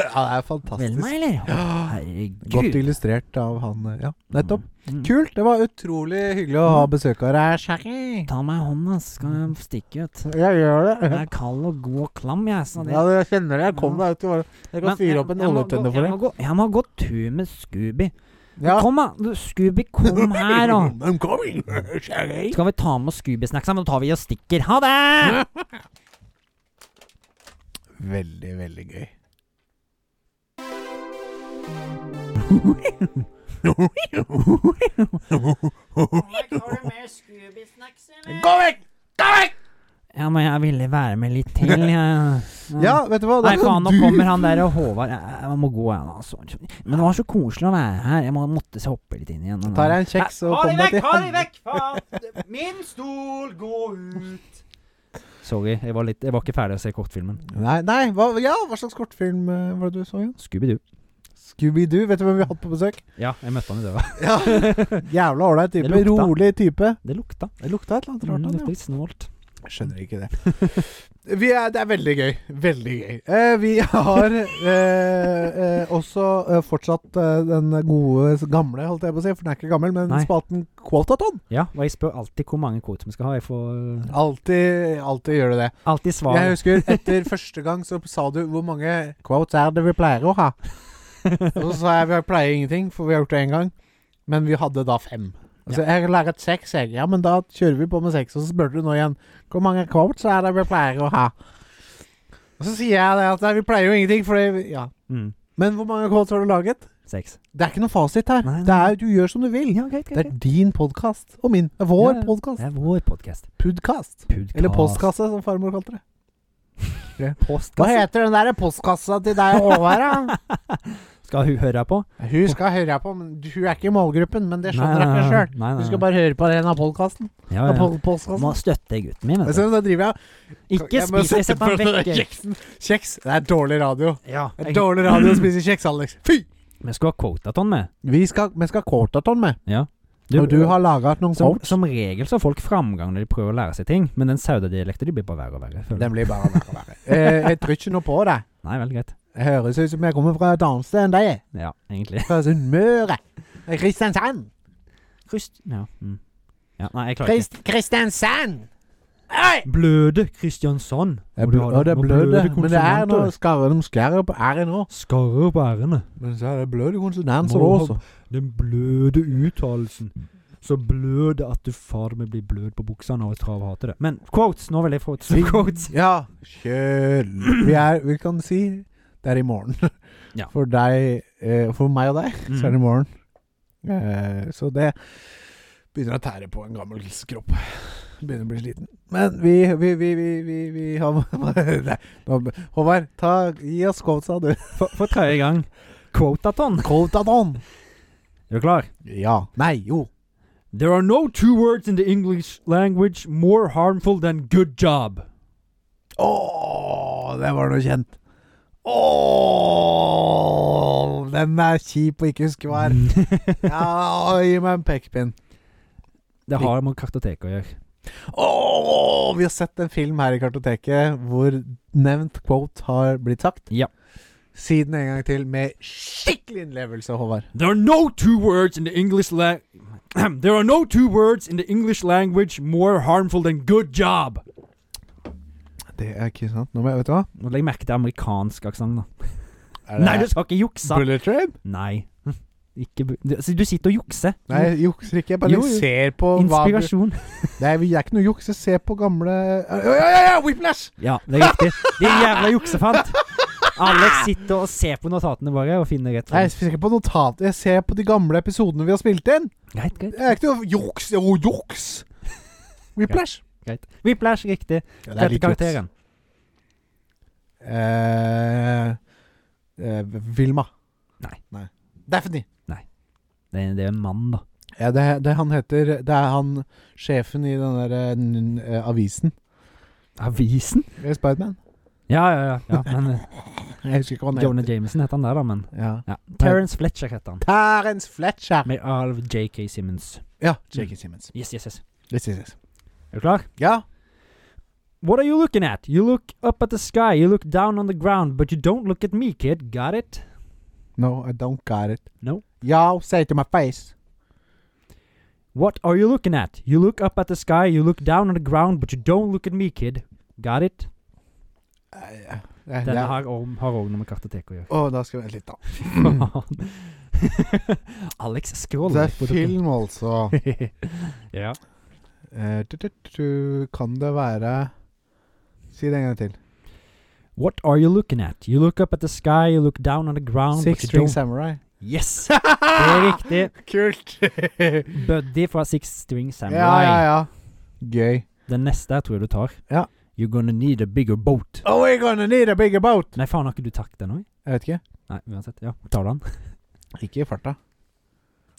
er fantastisk. Velma, eller? Å, Ja. Godt Herregud. illustrert av han eh, Ja, nettopp. Mm. Kult. Det var utrolig hyggelig å ha besøk av deg. Shaggy. Ta meg i hånda, så skal jeg stikke ut. Jeg gjør Jeg det. [laughs] er kald og god og klam, jeg. Så det sånn, Ja, jeg kjenner det. Jeg kom deg ut i morgen. Jeg kan Men fyre opp en jeg må oljetønne gå- for jeg deg. må gå- Jeg må gå tur med Scooby. Ja. Kom, da! Du, Scooby, kom [laughs] her, da! I'm coming, [laughs] Shaggy. Skal vi ta med oss Scooby-snacksa, men da tar vi og stikker. Ha [laughs] det! Veldig, veldig gøy. Gå vekk! Gå vekk! Ja, men jeg ville være med litt til, jeg. [laughs] Ja, vet du hva? Mm. sånn Nei, faen, nå kommer han der og Håvard Jeg, jeg må gå, jeg. da, sorry. Men det var så koselig å være her. Jeg må, måtte så hoppe litt inn igjen. Da tar jeg en kjeks og kommer deg til vekk, faen! Min stol, gå ut! Sorry, jeg var, litt, jeg var ikke ferdig å se kortfilmen. Nei, nei hva, ja, hva slags kortfilm eh, var det du så igjen? Scooby-Doo. Scooby-Doo. Vet du hvem vi har hatt på besøk? Ja, jeg møtte han i døra. [laughs] Ja. Jævla ålreit type. Det lukta. Rolig type. Det lukta. Det lukta et eller annet Mm, rart. det av lukta det, litt snålt. Skjønner ikke det. Vi er, det er veldig gøy. Veldig gøy. Eh, vi har eh, eh, også eh, fortsatt eh, den gode gamle, holdt jeg på å si, for den er ikke gammel, men Nei. spalten Quotaton. Ja, og jeg spør alltid hvor mange quotes vi skal ha. Jeg får eh, Alltid, alltid gjør du det. alltid svar. Jeg husker etter første gang så sa du hvor mange quotes er det vi pleier [laughs] å ha. Og så sa jeg vi pleier ingenting, for vi har gjort det én gang. Men vi hadde da fem. Og så jeg lærer et seks, jeg. Ja, men da kjører vi på med seks. Og så spør du nå igjen hvor mange quotes er det vi pleier å ha. Og så sier jeg det at nei, vi pleier jo ingenting, fordi vi, Ja. Mm, Men hvor mange quotes har du laget? seks. Det er ikke noe fasit her. Nei, nei. Det er Du gjør som du vil. Ja, greit, Det er din podkast. Og min. Vår Ja, ja. podkast. Det er vår podkast. Pudkast. Podcast. Eller postkasse, som farmor kalte det. Hva Postkasse. heter den der postkassa til deg og Håvard, da? Skal hun høre på? [laughs] Hun skal høre på, men hun er ikke i målgruppen, men det skjønner jeg ikke sjøl. Nei, nei, Hun nei. skal bare høre på den av podkasten. ja, Av ja. pod- Må postkassen. støtte gutten min. Men så da driver jeg Ikke Jeg må spis sette Jeg setter på den den vekk. Kjeksen. Kjeks. Det er dårlig radio. Ja, Det jeg- er dårlig radio å spise kjeks, Alex. Fy! Vi skal ha quotaton med. Vi skal, vi skal ha quartaton med. Ja. og du har laga noen som, quotes. som regel så har folk framgang når de prøver å lære seg ting, men den saudidialekten de blir bare verre og verre. føler jeg. Den blir bare verre og verre. Eh, jeg tror ikke noe på det. Nei, veldig greit. Det høres ut som jeg kommer fra et annet sted enn deg. Ja, egentlig. Fra Sunnmøre. Kristiansand. Krist... Ja. Mm. ja. Nei, jeg klarer ikke. Krist Kristiansand! Oi! Bløde Kristiansand. Jeg blø, ja, det er bløde, men det er noe skarre de skærer på r-en òg. Skarre på ærene. Men så er det bløde konsonanser Må også. ha Den bløde uttalelsen. Så blød at du fader meg blir blød på buksene av å trave hater det. Men quotes! Nå vil jeg få til quotes. Ja, kjøl. Vi, er, vi kan si det er i morgen. Ja. Mm. For deg, eh, for meg og deg, så er det i morgen. Eh, så det begynner å tære på en gammel kropp. Begynner å bli sliten. Men vi, vi, vi, vi, vi, vi har [laughs] Nei, nå- Håvard, ta, gi oss quota, du. For, for tredje gang. Quotaton. Quotaton! Er du klar? Ja. Nei, jo. There are no two words in the English language more harmful than good job. Åh, det var noe kjent. Åh, den er kjip å ikke huske [laughs] hva er. Ja, gi meg en pekepinn. Det har med kartoteket å gjøre. Åh, vi har sett en film her i kartoteket hvor nevnt quote har blitt sagt. Ja. Si den en gang til med skikkelig innlevelse, Håvard. There are no two words in the English la [clears throat] There are no two words in the English language more harmful than good job. Det er ikke sant. Nå må jeg, vet du hva? Nå legger jeg merke til amerikansk aksent, da. Er Nei, du skal ikke jukse! Bullet Train? Nei. Hm. Ikke bu du, altså, du sitter og jukser. Nei, jeg jukser ikke. Jeg bare Mm. Jo, jo. ser på hva du Inspirasjon. Nei, vi er ikke noe juks. Jeg ser på gamle Ja, ja, ja! ja, Whiplash! Ja, det er riktig. Din jævla juksefant. Alex sitter og ser på notatene våre og finner rett. Nei, jeg ser ikke på notat. Jeg ser på de gamle episodene vi har spilt inn. Greit, greit. Det er ikke noe juks. Jo, juks! Whiplash. greit. Whiplash, riktig. Ja, Dette karakteren. Eh, eh, Vilma. Nei. Daphne. Det er, det er en mann, da. Ja, det, det han heter Det er han sjefen i den der eh, n- eh, avisen. Avisen? Eh, Spiderman. Ja, ja, ja. ja [laughs] men, eh, Jeg husker ikke hva han Jonah heter. Jameson heter han der, da, men Ja. ja. Terence Fletcher heter han. Terence Fletcher. Med av JK Simmons. Ja. J.K. Simmons. Yes, yes, yes. Yes, yes, yes. Er du klar? Ja. What are you looking at? You look up at the sky, you look down on the ground, but you don't look at me, kid. Got it? No, I don't got it. No. Yo, say it to my face. What are you looking at? You look up at the sky, you look down on the ground, but you don't look at me, kid. Got it? Eh, eh, Denne ja. har om- har òg noe med kartotek [clears throat] å gjøre. Å, da skal vi vente litt, da. [laughs] Alex skråler. Det er litt på dere. film, altså. [laughs] ja. Eh, tu, tu, tu, Kan det være Si det en gang til. What are you looking at? You look up at the sky, you look down on the ground, Six but you String don't... Samurai. Yes! Det er riktig. Kult! [laughs] Buddy fra Six String Samurai. ja, ja, ja. Gøy. Den neste tror jeg du tar. Ja. You're gonna need a bigger boat. Oh, we're gonna need a bigger boat! Nei, faen, har ikke du takt den òg? Jeg vet ikke. Nei, uansett. Ja, tar den. Ikke i farta.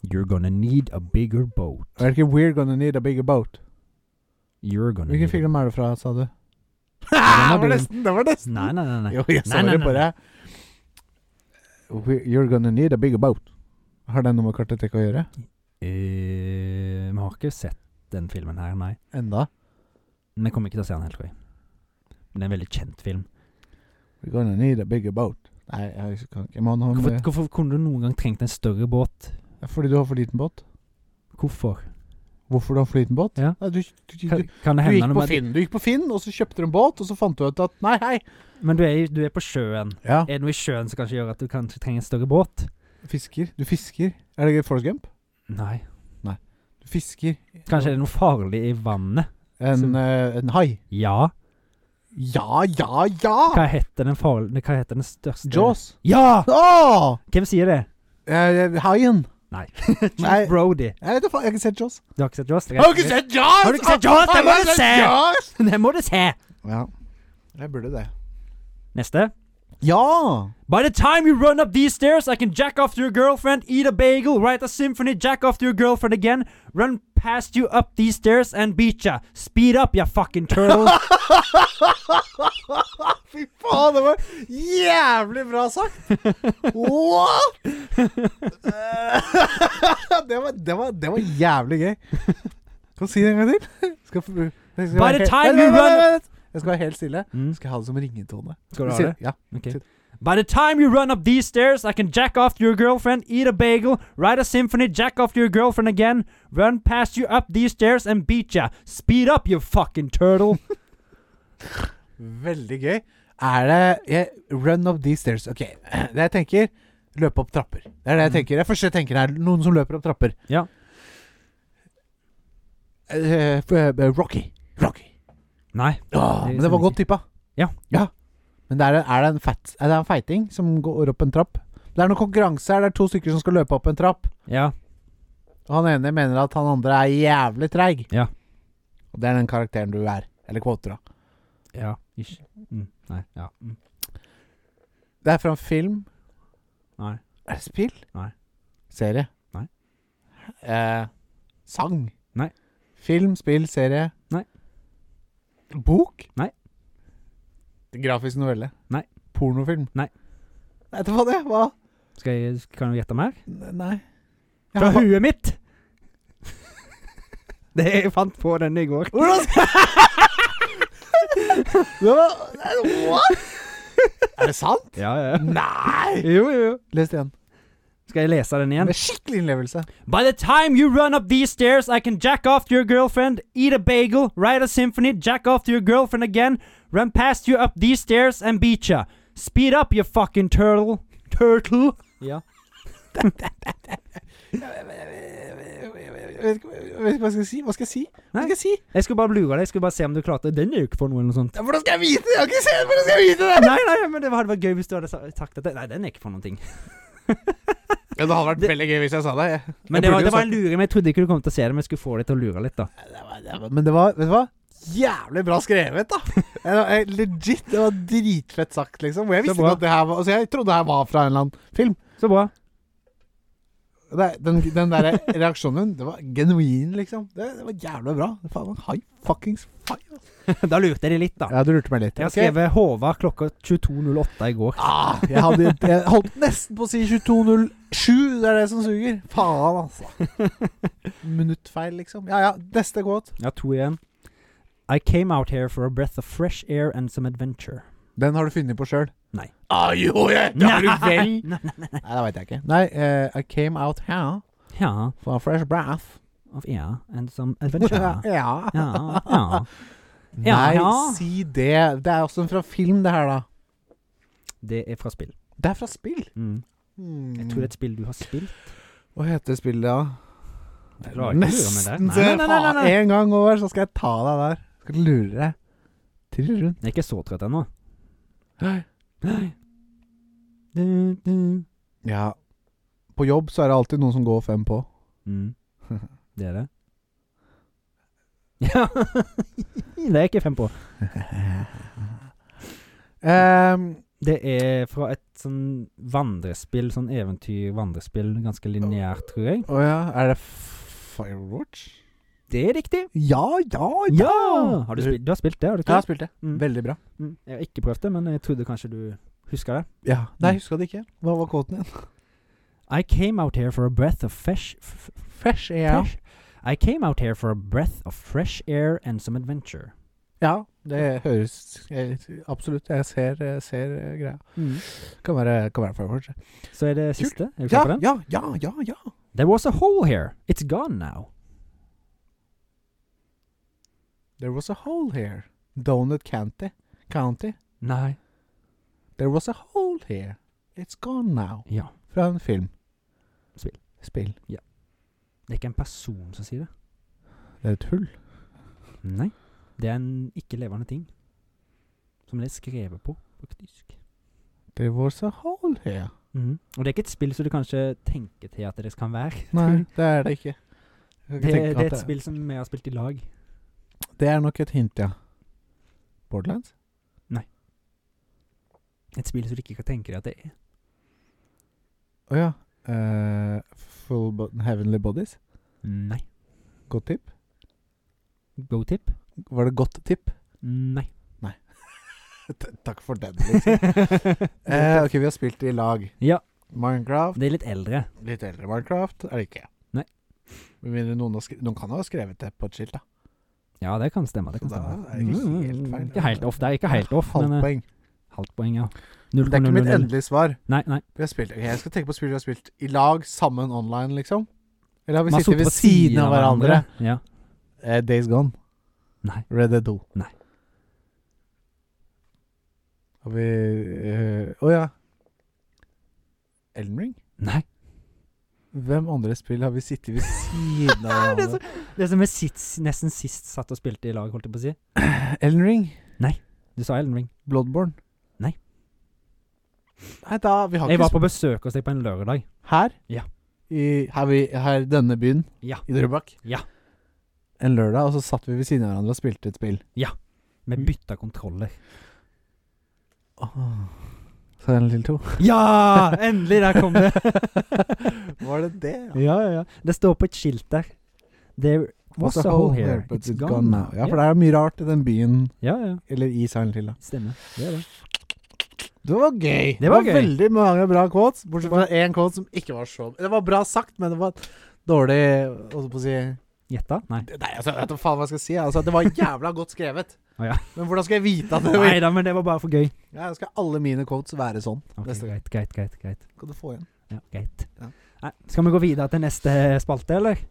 You're gonna need a bigger boat. Er det ikke We're gonna need a bigger boat? You're gonna Hvilken need a- film er det fra, [laughs] sa du? Mm. var det var dum. nesten! Det var nesten! Nei, nei, nei. nei. Jo, jeg Nei, sa nei, det nei, bare. We- You're gonna need a bigger boat. Har den noe med kartotek å gjøre? Eh, Vi har ikke sett den filmen her, nei. Enda? Vi kommer ikke til å se den helt, tror jeg. Men det er en veldig kjent film. We're gonna need a bigger boat. Nei, jeg kan ikke mann han Hvorfor, hvorfor kunne du noen gang trengt en større båt? eh, Fordi du har for liten båt? Hvorfor? Hvorfor du har for liten båt? Ja. Nei, du, du, du, Kan, du, kan det du hende gikk noe på med Finn, du gikk på Finn, og så kjøpte du en båt, og så fant du ut at nei, hei. Men du er, i- du er på sjøen. Ja, Er det noe i sjøen som kanskje gjør at du kanskje trenger en større båt? fisker. Du fisker. Er det gøy, Forrest Gump? Nei. Du fisker Kanskje det er noe farlig i vannet? en, Så- eh, en hai. Ja. Ja, ja, ja! Hva heter den farlige Hva heter den største Ah. Jaws. Ja! Åh! Hvem [laughs] sier det? Eh, haien. Nei. Nei. Brody. Jeg vet da faen, jeg har ikke sett Jaws. Du har ikke sett Jaws? sett Jaws?! Har du ikke sett Jaws? Det må Har du sett se! Jaws? Det må du se! Ja. Jeg burde det. Neste. Ja! By the time you run up these stairs, I can jack off to your girlfriend, eat a bagel, write a symphony, jack off to your girlfriend again, run past you up these stairs and beat ya. Speed up, ya [laughs] fucking turtle. Fy faen, det var jævlig bra sagt! What?! [laughs] Eh, det, var, det, var, det var jævlig gøy. Kan du si det en gang til? Skal, f- jeg skal By være the helt- time Vent, you vent, run- vent, vent. Jeg skal være helt stille. Mm. Skal jeg ha det som ringetone? Skal du ha Sier- det? Ja. Okay. Shit. By the time you run up these stairs, I can jack off to your girlfriend, eat a bagel, write a symphony, jack off to your girlfriend again, run past you up these stairs and beat ya. Speed up, you fucking turtle. Veldig gøy. Er det jeg, Run up these stairs. Ok, [clears throat] det jeg tenker Løpe opp trapper. Det er det jeg Mm. tenker. Det første jeg tenker, er noen som løper opp trapper. Ja. Eh, f- eh, Rocky. Rocky. Nei. Åh, men det Det var stemmer godt tippa. Ja. Men det er, er, det en fat, er det en feiting som går opp en trapp? Det er noen konkurranse her. Det er to stykker som skal løpe opp en trapp. Ja. Og han ene mener at han andre er jævlig treig. Ja. Og det er den karakteren du er. Eller kvoter, da. Ja. Ish. Mm. Nei. Ja. Mm. Det er fra en film Nei. Er det spill? Nei. Serie? Nei. Eh, sang? Nei. Film, spill, serie? Nei. Bok? Nei. Grafisk novelle? Nei. Pornofilm? Nei. Nei, det var det. Hva? Skal jeg, kan du gjette mer? N- Nei. Jeg Fra har- huet mitt! [laughs] Det jeg fant på den i går. Hvordan skal [laughs] Det var nei, [laughs] What? Er det sant? Ja, ja. [laughs] Nei! Jo, jo, jo. Les det igjen. Skal jeg lese den igjen? Med skikkelig innlevelse. By the time you run up these stairs, I can jack off to your girlfriend, eat a bagel, write a symphony, jack off to your girlfriend again, run past you up these stairs and beat ya. Speed up, you fucking turtle. Turtle. Ja. Jeg vet ikke jeg vet ikke hva jeg skal si. Hva skal jeg si? Hva Nei. skal jeg si? Jeg skulle bare lure deg. Jeg skulle bare se om du klarte Den er jo ikke for noe eller noe sånt. Ja, Hvordan skal jeg vite det? Jeg har ikke sett hvordan skal jeg vite det! Nei, nei, men det hadde vært gøy hvis du hadde sa- sagt at det. Nei, den er ikke for noen ting. Ja, det hadde vært veldig gøy hvis jeg sa det. Jeg- Men jeg det burde var, jo det var sagt- en luring. Men jeg trodde ikke du kom til å se det, men jeg skulle få deg til å lure litt, da. Det var- det var- Men det var, vet du hva? Jævlig bra skrevet, [laughs] da. Det var, eh, legit. Det var dritfett sagt, liksom. Og Jeg Så visste bra. ikke at det her var Altså, jeg trodde det her var fra en eller annen film. Så bra. Det, den den der reaksjonen din, det var genuin, liksom. Det, det var jævlig bra. Faen, high fuckings five. altså. [laughs] Da lurte jeg deg litt, da. Ja, du lurte meg litt. Jeg har Ok. skrevet Håvard klokka 22.08 i går. Ah, jeg, hadde, jeg holdt nesten på å si 22.07. Det er det som suger. Faen, altså. Minuttfeil, liksom. Ja ja, neste gåt. Jeg har to igjen. I came out here for a breath of fresh air and some adventure. Den har du funnet på sjøl? Nei. Ah, jo, [laughs] jeg, det har du vel! [laughs] Nei, nei, nei. Nei, det veit jeg ikke. Nei, eh, I came out here Ja, for a fresh breath. of air and some adventure. ja. Ja, ja. Ja, Nei, ja. si det. Det er også fra film, det her, da. Det er fra spill. Det er fra spill. Mm. Hmm. Jeg tror det er et spill du har spilt. Hva heter spillet, da? Jeg klarer ikke å lure meg der. Nesten Nei, se nei, nei, nei, faen. nei. En gang over, så skal jeg ta deg der. Skal lure deg. Trill rundt. Jeg er ikke så trøtt ennå. Hei. Du, du. Ja. På jobb så er det alltid noen som går fem på. Mm. Det er det. Ja. [laughs] Det er ikke fem på. Ehm, Det er fra et sånn vandrespill, sånn eventyr-vandrespill. Ganske lineært, tror jeg. Å ja, er det F- Firewatch? Det er riktig. Ja, ja, ja! Ja! Har du, spilt, du har spilt det, har du Jeg ikke? har spilt det. Mm. Veldig bra. Mm. Jeg har ikke prøvd det, men jeg trodde kanskje du husker det. Ja. Nei, Mm. jeg huska det ikke. Hva var kåten igjen? I came out here for a breath of fresh f- f- Fresh fresh. I came out here for a breath of fresh air and some adventure. Ja, det høres eh, Absolutt. Jeg ser, eh, ser eh, greia. Mm. Kan være, kan være for kanskje. Så er det siste. Er du Ja, klar for den? ja, ja, ja, ja. There was a hole here. It's gone now. There was a hole here. Donut County. County. Nei. There was a hole here. It's gone now. Ja. Fra en film. Spill. Spill. Det er ikke en person som sier det. Det er et hull. Nei. Det er en ikke-levende ting. Som det er skrevet på, faktisk. There was a hole here. Mhm. Og det er ikke et spill som du kanskje tenker til at det kan være. Nei, [laughs] det er det ikke. Jeg kan [laughs] ikke Det, det tenke er at et spill som vi har spilt i lag. Det er nok et hint, ja. Borderlands? Et spill som du ikke kan tenke deg at det er. Å ja. Eh, full bo Heavenly Bodies? Nei. Godt tipp? Go-tip? Var det godt [laughs] tipp? Nei. Takk for den, liksom. [laughs] eh, ok, vi har spilt i lag. Ja. Minecraft. Det er litt eldre. Litt eldre Minecraft er det ikke. Nei. Med mindre noen, har skre- noen kan ha skrevet det på et skilt, da. Ja, det kan stemme. Det kan Så da stemme. er det ikke Mm, helt feil. Ikke helt off. Det er ikke helt off, Halvt men eh, poeng. halvt poeng, ja. Det er ikke mitt 0,00. endelige svar. Nei, nei. Vi har spilt, ok, jeg skal tenke på spill vi har spilt i lag, sammen online, liksom. Eller har vi Man sittet sitter ved på siden av hverandre? Ja. Eh, Days Gone. Nei. Red Dead 2. Nei. Har vi eh, Å ja. Elden Ring? Nei. Hvem andre spill har vi sittet ved [laughs] siden av? det, som, hverandre? det som vi sist, nesten sist satt og spilte i lag, holdt jeg på å si. Elden Ring? Du sa Elden Ring. Bloodborne? Nei. Nei, da Vi har Jeg ikke var på besøk hos deg på en lørdag. sp- Her? Ja. I, her, vi, her i denne byen? Ja. I Drøbak? Ja. En lørdag, og så satt vi ved siden av hverandre og spilte et spill. Vi bytta kontroller. Silent Hill 2. [laughs] Ja! Endelig! Der kom det. [laughs] Var det det? [laughs] ja, ja, ja. Det står på et skilt der. There was a hole here. It's gone now. Ja, for det er mye rart i den byen, ja, ja. eller i Silent Hill, da. Stemmer. Det er det. Det var gøy. Det var gøy. veldig mange bra quotes, bortsett fra én quote som ikke var så Det var bra sagt, men det var dårlig holdt på å si Gjetta? Nei. Nei, altså, jeg vet da faen hva jeg skal si. Altså, det var jævla godt [laughs] skrevet. Å, ja. Men hvordan skal jeg vite at det Nei da, men det var bare for gøy. Ja, skal alle mine quotes være sånn? Ok, Neste gang. greit, greit, greit. greit. Kan du få igjen? Ja, greit. Ja. Nei, skal vi gå videre til neste spalte, eller?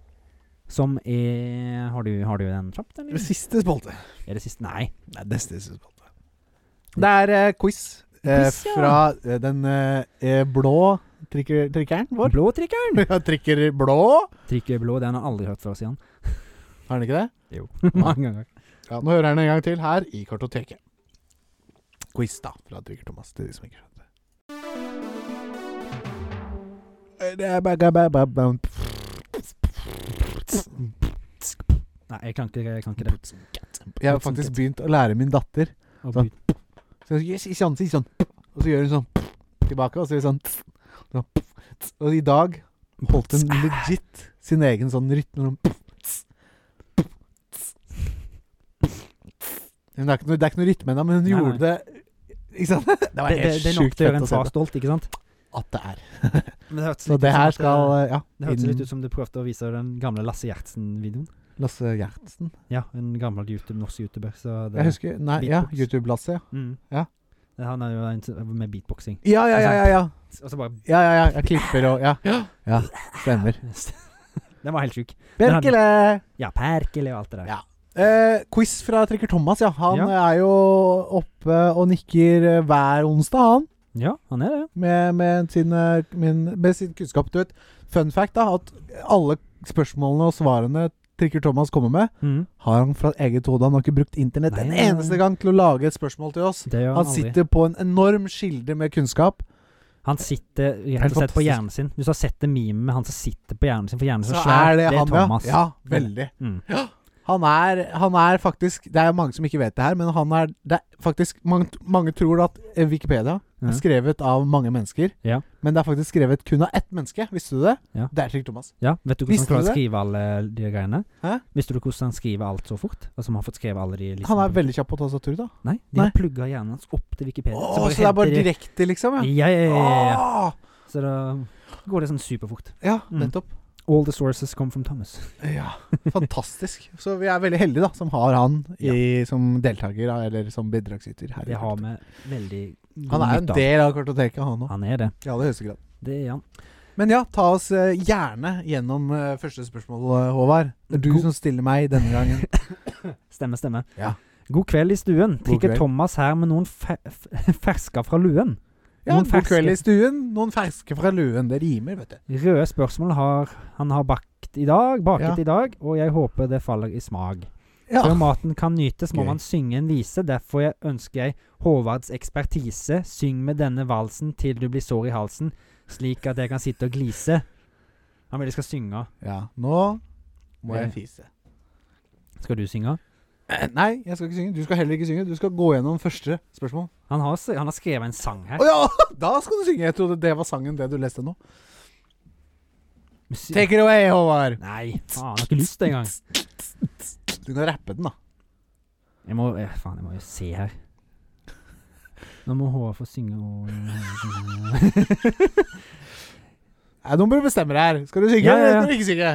Som er Har du, har du den kjapt, eller? Siste spalte. Er det siste? Nei. Nei, neste siste spalte. Det er eh, quiz, eh, Quiz, ja. fra eh, den eh, blå trikker, trikkeren vår. [laughs] Blå trikkeren. Ja, trikker blå. Trikket blå, den har jeg aldri hørt fra oss [laughs] igjen. Har den ikke det? Jo, mange ganger. Ja, Nå hører jeg den en gang til her i kartoteket. Quiz, da, fra Trygger Thomas til de som ikke skjønte det. Nei, jeg kan ikke, jeg kan ikke det. Jeg har faktisk begynt å lære min datter Å, Sånn. Gud. Så jeg sier sånn, sier sånn Og så gjør hun sånn tilbake, og så gjør hun sånn sånn, Og i dag holdt hun legit sin egen sånn rytme sånn sånn, Men Det er ikke noe, det er ikke noe rytme ennå, men hun Nei, gjorde det Ikke sant? Det Det, var det, helt det er nok sjukt til å gjøre fett en å se far stolt, ikke sant? at det er. Men det hørtes Så litt det ut som her at skal det, Ja. det hørtes litt inn- ut som du prøvde å vise den gamle Lasse Gjertsen-videoen. Lasse Gjertsen. Ja, en gammel YouTube, norsk YouTuber. Så det, Jeg husker Nei, ja. Beatbox. YouTube-Lasse, ja. Mm. Ja. Det- Han er jo en som- med beatboxing. Ja, ja, ja. ja, ja. Og så bare Ja, ja, ja. Jeg klipper og Ja. ja stemmer. [laughs] Den var helt sjuk. Berkele! Ja, Perkele og alt det der. Ja. Eh, quiz fra Trekker Thomas, ja. Han Ja. er jo oppe og nikker eh, hver onsdag, han. Ja, han er det. Med, med, sin, eh, min, med sin kunnskap. Du vet, fun fact, da, at alle spørsmålene og svarene Trikker Thomas kommer med, Mm. har han fra eget hode. Han har ikke brukt internett Nei, en nei, nei. eneste gang til å lage et spørsmål til oss. Det gjør han Han aldri. sitter på en enorm kilde med kunnskap. Han sitter rett Helt og slett på fantastisk. hjernen sin. Hvis du har sett det memet med han som sitter på hjernen sin for hjernen sin Så svær, er det, han, ja. Thomas. Ja, veldig. Mm. Han er, han er faktisk Det er jo mange som ikke vet det her, men han er, det er faktisk mange, mange tror at eh, Wikipedia Ja. er skrevet av mange mennesker, Ja. men det er faktisk skrevet kun av ett menneske. Visste du det? Ja. Det er Trygg Thomas. Ja, Vet du hvordan Visste han klarer du å skrive alle de greiene? Hæ? Visste du hvordan han skriver alt så fort? Altså han har fått skrevet alle de listene Han på- er veldig kjapp på tastatur, da. Nei, de Nei. har plugga hjernen hans opp til Wikipedia. Å, så det er bare henter de- direkte, liksom? Ja, Ja, ja, ja, ja, ja. Åh! Så da går det sånn superfort. ja Mm. nettopp. All the sources come from Thomas. Ja, [laughs] fantastisk. Så vi er veldig heldige da, som har han i, som deltaker da, eller som bidragsyter. her i Det har Kartoteket. vi veldig han god er en nytte av. del av kartoteket, han òg. Han er det. Ja, det er høyeste grad. Det er han. Men ja, ta oss eh, gjerne gjennom eh, første spørsmål, eh, Håvard. Det er du God- som stiller meg denne [laughs] gangen. Stemme, stemme. Ja. God kveld i stuen. Trikker kveld. Thomas her med noen fe f- [laughs] fersker fra luen. Ja, Noen God kveld ferske. i stuen, noen ferske fra luen. Det rimer, vet du. Røde spørsmål har, han har bakt i dag, baket Ja. i dag, og jeg håper det faller i smak. Ja. Før maten kan nytes, må Gøy. man synge en vise. Derfor jeg ønsker jeg Håvards ekspertise. Syng med denne valsen til du blir sår i halsen, slik at jeg kan sitte og glise. Han vil jeg skal synge. ja. Nå må jeg Eh. fise. [clears throat] Skal du synge? Eh, Nei, jeg skal ikke synge. Du skal heller ikke synge. Du skal gå gjennom første spørsmål. Han har, s- han har skrevet en sang her. Å ja! [laughs] Da skal du synge! Jeg trodde det var sangen, det du leste nå. Musi- Take it away, Håvard. Nei, faen, jeg har ikke lyst engang. [laughs] Du kan rappe den, da. Jeg må eh, Faen, jeg må jo se her. Nå må Håvard få synge og Nei, nå må du bestemme deg her. Skal du synge Ja, ja, ja. eller skal du ikke synge?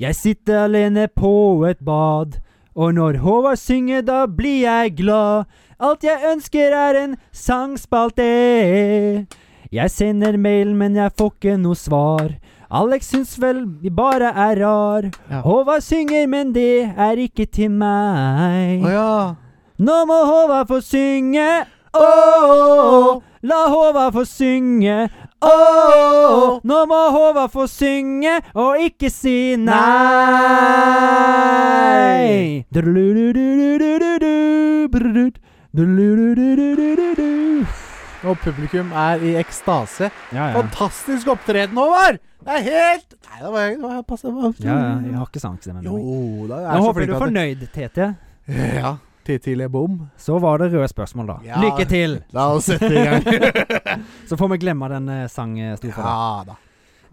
Jeg sitter alene på et bad, og når Håvard synger, da blir jeg glad. Alt jeg ønsker, er en sangspalte. Jeg sender mail, men jeg får ikke noe svar. Alex syns vel vi bare er rar. Ja. Håvard synger, men det er ikke til meg. Å ja. Nå må Håvard få synge. Åh, La Håvard få synge. Åh, Nå må Håvard få synge og ikke si nei. Du-du-du-du-du-du-du. Brudud. Du-du-du-du-du-du-du. Og publikum er i ekstase. Ja, ja. Fantastisk opptreden, Håvard! Det er helt Nei, det var, det var passe. ja, ja. Jeg har ikke sangstemme. Jo, nå. da er Jeg håper du flink at er det- fornøyd, Tete. Ja. Tidlig bom. Så var det røde spørsmål, da. Ja. Lykke til! La oss sette i [laughs] gang. Så får vi glemme den eh, sangstofa. da. ja da.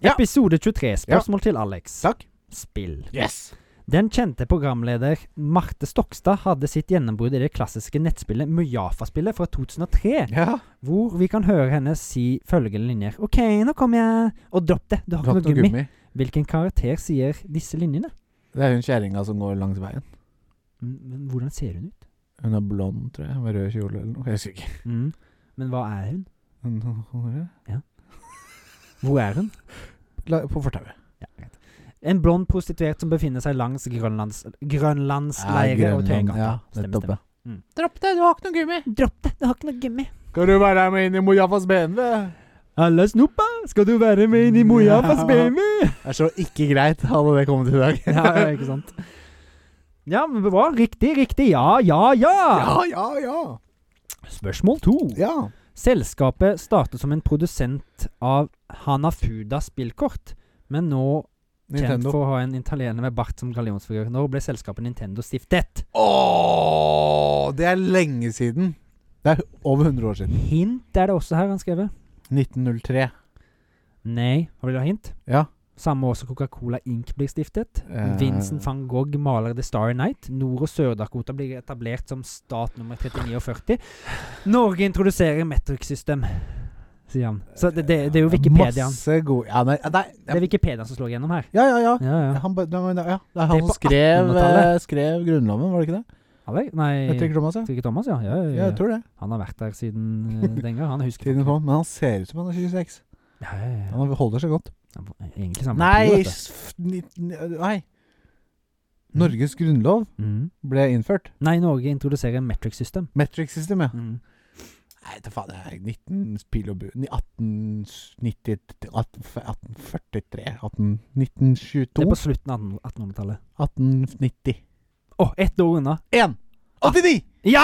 Ja. Episode 23. Spørsmål til Alex. Takk. Spill. Yes. Den kjente programleder Marte Stokstad hadde sitt gjennombrudd i det klassiske nettspillet Mujafa-spillet fra 2003, Ja. hvor vi kan høre henne si følgende linjer. OK, nå kommer jeg. Og dropp det, du har ikke Dropp noe noe gummi. gummi. Hvilken karakter sier disse linjene? Det er hun kjerringa som går langs veien. Mm, Men hvordan ser hun ut? Hun er blond, tror jeg, med rød kjole eller noe. Jeg husker ikke. Mm. Men hva er hun? Hun- Hvor er hun? [laughs] La- På fortauet. Ja, greit. En blond prostituert som befinner seg langs Grønlands, Grønlandsleire Ja, og Grønland, Tøyengata. ja, nettopp, ja. Mm. Dropp det, du har ikke noe gummi. Dropp det, du har ikke noe gummi. Skal du være med inn i Mojafas BMW? Alle snoppa, skal du være med inn i Mojafas baby? Det er så ikke greit, hadde det kommet i dag. [laughs] Ja, ja, ikke sant. Ja, men bra. Riktig, riktig. Ja, ja, ja. Ja, ja, ja. Spørsmål to. Ja. Selskapet startet som en produsent av Hanafuda spillkort, men nå kjent Nintendo. for å ha en italiener med bart som gallionsfigur. Når ble selskapet Nintendo stiftet? Ååå, det er lenge siden. Det er over 100 år siden. Hint er det også her, han skrevet. 1903. Nei. Har du ha hint? Ja. Samme år som Coca-Cola Inc. blir stiftet. Eh. Vincent van Gogh maler The Starry Night. Nord- og Sør-Dakota blir etablert som stat nummer 39 og 40. Norge introduserer metric-system, sier han. Så det, det, det er jo Wikipedia Masse gode Ja, nei, nei Det er Wikipedia som slår gjennom her. Ja, ja, ja. Ja, ja. Han, ba- det var- ja, det er han Det er som på skrev, 1800-tallet. eh, skrev Grunnloven, var det ikke det? Alec? Nei, Etter Thomas, ja. Trikke Thomas, ja. Ja, ja. ja, Jeg ja. tror det. Han har vært der siden eh, den gang. Han husker Tiden på, men han ser ut som han er 26. Ja, ja, ja. Han holder seg godt. Han var Egentlig samme Nei, parti, vet s- nitten- nei. Norges grunnlov du. Mm. ble innført. Nei, Norge introduserer metric-system. Metric system, ja. Mm. Nei, det faen, det er 19 pil og bu... 1890 1843 18, Det er 1922 på slutten av 1800-tallet. 1890 Å, ett år unna. 1 Ah. 89! Ja!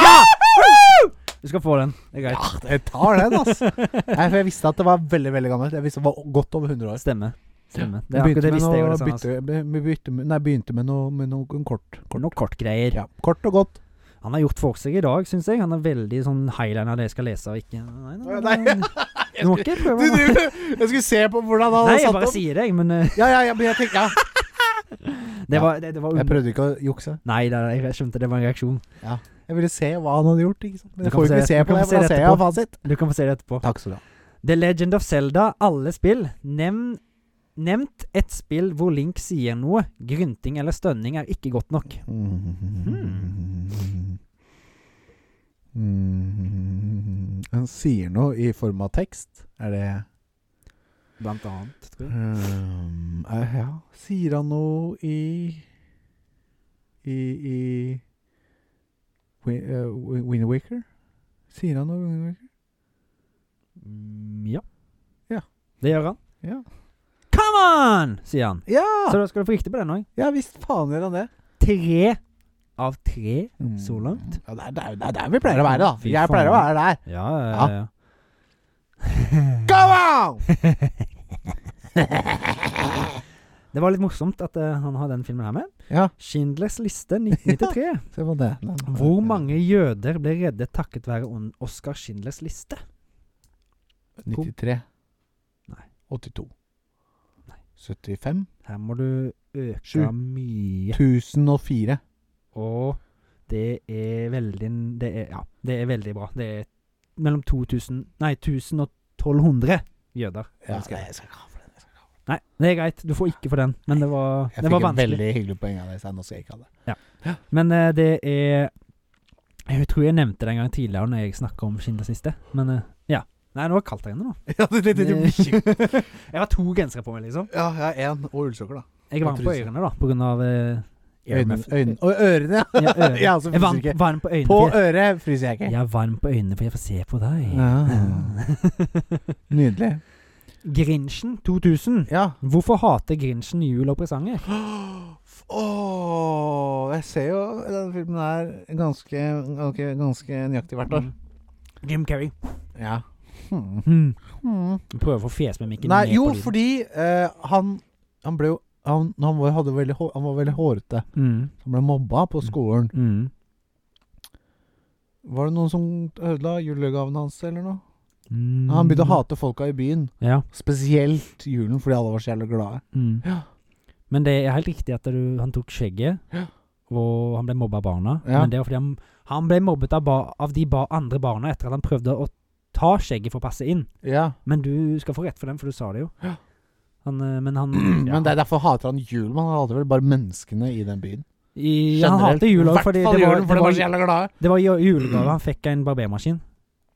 Du skal få den. Det er greit. Ja, jeg tar den, [laughs] ass. Nei, for jeg visste at det var veldig veldig gammelt. Jeg visste det var godt over 100 år. Stemme. Stemme. Det, Vi er akkurat begynte med det visste jeg jo. noe, det samme, altså. bytte, be- vi bytte med, nei, begynte med noe, med noe kort. Kort. Noe kortgreier. Ja, kort og [laughs] godt. Han har gjort for seg i dag, syns jeg. Han er veldig sånn highline av det jeg skal lese og ikke Nei, nei, nei. Nei. Du må ikke prøve meg. jeg skulle se på hvordan han Nei, hadde jeg satt bare opp. sier det, jeg, men eh, Ja, ja, ja, men jeg tenkte ja. det var, det, det var Jeg prøvde ikke å jukse. Nei, nei, nei, jeg skjønte det var en reaksjon. Jeg ville se hva han hadde gjort. Ikke sant? Men Du jeg kan får jo få ikke se- se du på kan det. få Jeg bare se det ser jo fasit. Du kan få se det etterpå. Takk skal du ha. The Legend of Zelda, alle spill. Nevn Nevnt ett spill hvor Link sier noe. Grynting eller stønning er ikke godt nok. Mm. Mm. Han sier noe i form av tekst. Er det Blant annet, tror jeg. um, eh, Ja, sier han noe i I, i Wi- eh, Wi- Wind Waker? Sier han noe i Wind Waker? Mm, ja. Ja. Det gjør han. Ja. Come on! sier han. Så Ja! da skal du få riktig på den òg. Ja visst faen gjør han det. Tre av tre så Mm. langt. Ja, det, er, det, er, det er der vi pleier å være, da. Fy Jeg pleier å være faen. der. Ja, Ja. ja, ja. Come on! Det var litt morsomt at eh, han har den filmen her med. Ja, Schindlers [laughs] liste 1993. se på det. Nei, nei, Hvor nei. mange jøder ble reddet takket være on- Oskar Schindlers liste? 93. Nei. 82. Nei. 75. Her må du øke Sju. mye. 1004. Og det er veldig det er, Ja, det er veldig bra. Det er mellom 2000 Nei, 1000 og 1200 jøder. Ja, elsker jeg. jeg skal ikke ha for den. jeg skal ikke ha for den. Nei, det er greit. Du får ikke for den. Men det var, Jeg det fikk var et vanskelig. veldig hyggelig poeng av deg, så nå skal jeg ikke ha det. Men eh, det er Jeg tror jeg nevnte det en gang tidligere når jeg snakka om Schindlers liste, men eh, ja. Nei, nå er det kaldt her inne, nå. [laughs] ja, det er [laughs] Jeg har to gensere på meg, liksom. ja, jeg har én og ullsokker, da. Jeg er varm på Truse. ørene, da, på grunn av eh, Øynene. earmuff. øynene. Og ørene, ja. Ja, ørene. [laughs] Ja, så Jeg er fryser varm, ikke. varm på øynene. På for jeg- øret fryser jeg ikke. Jeg er varm på øynene, for jeg får se på deg. Ja. [laughs] Nydelig. [laughs] Grinchen 2000. Ja. Hvorfor hater Grinchen jul og presanger? Åh, jeg ser jo den filmen her ganske, ganske, ganske nøyaktig hvert Mm. år. Jim Carrey. Ja. Hmm. Hmm. Hmm. Du prøver å få fjesmimikken Nei, ned jo, på lyden. fordi eh, han Han ble jo Han, han, var, hadde veldig, hår- han var veldig hårete. Mm. Han ble mobba på skolen. Mm. Var det noen som ødela julegaven hans, eller noe? Mm. Han begynte å hate folka i byen. Ja. Spesielt julen, fordi alle var så jævlig glade. Mm. Ja. Men det er helt riktig at du, han tok skjegget, Ja. og han ble mobba av barna. Ja. Men det er fordi han, han ble mobbet av, ba, av de ba andre barna etter at han prøvde å ta skjegget for å passe inn. Ja. Men du skal få rett for den, for du sa det jo. Ja. Han, eh, men han [clears throat] [clears throat] ja. Men det er derfor hater han jul. Men han hater vel bare menneskene i den byen. I, han hater jul òg, Hvert fordi fall det var, julen, for det de var var, så jævla glade. det var ju- julegave. Han fikk en barbermaskin.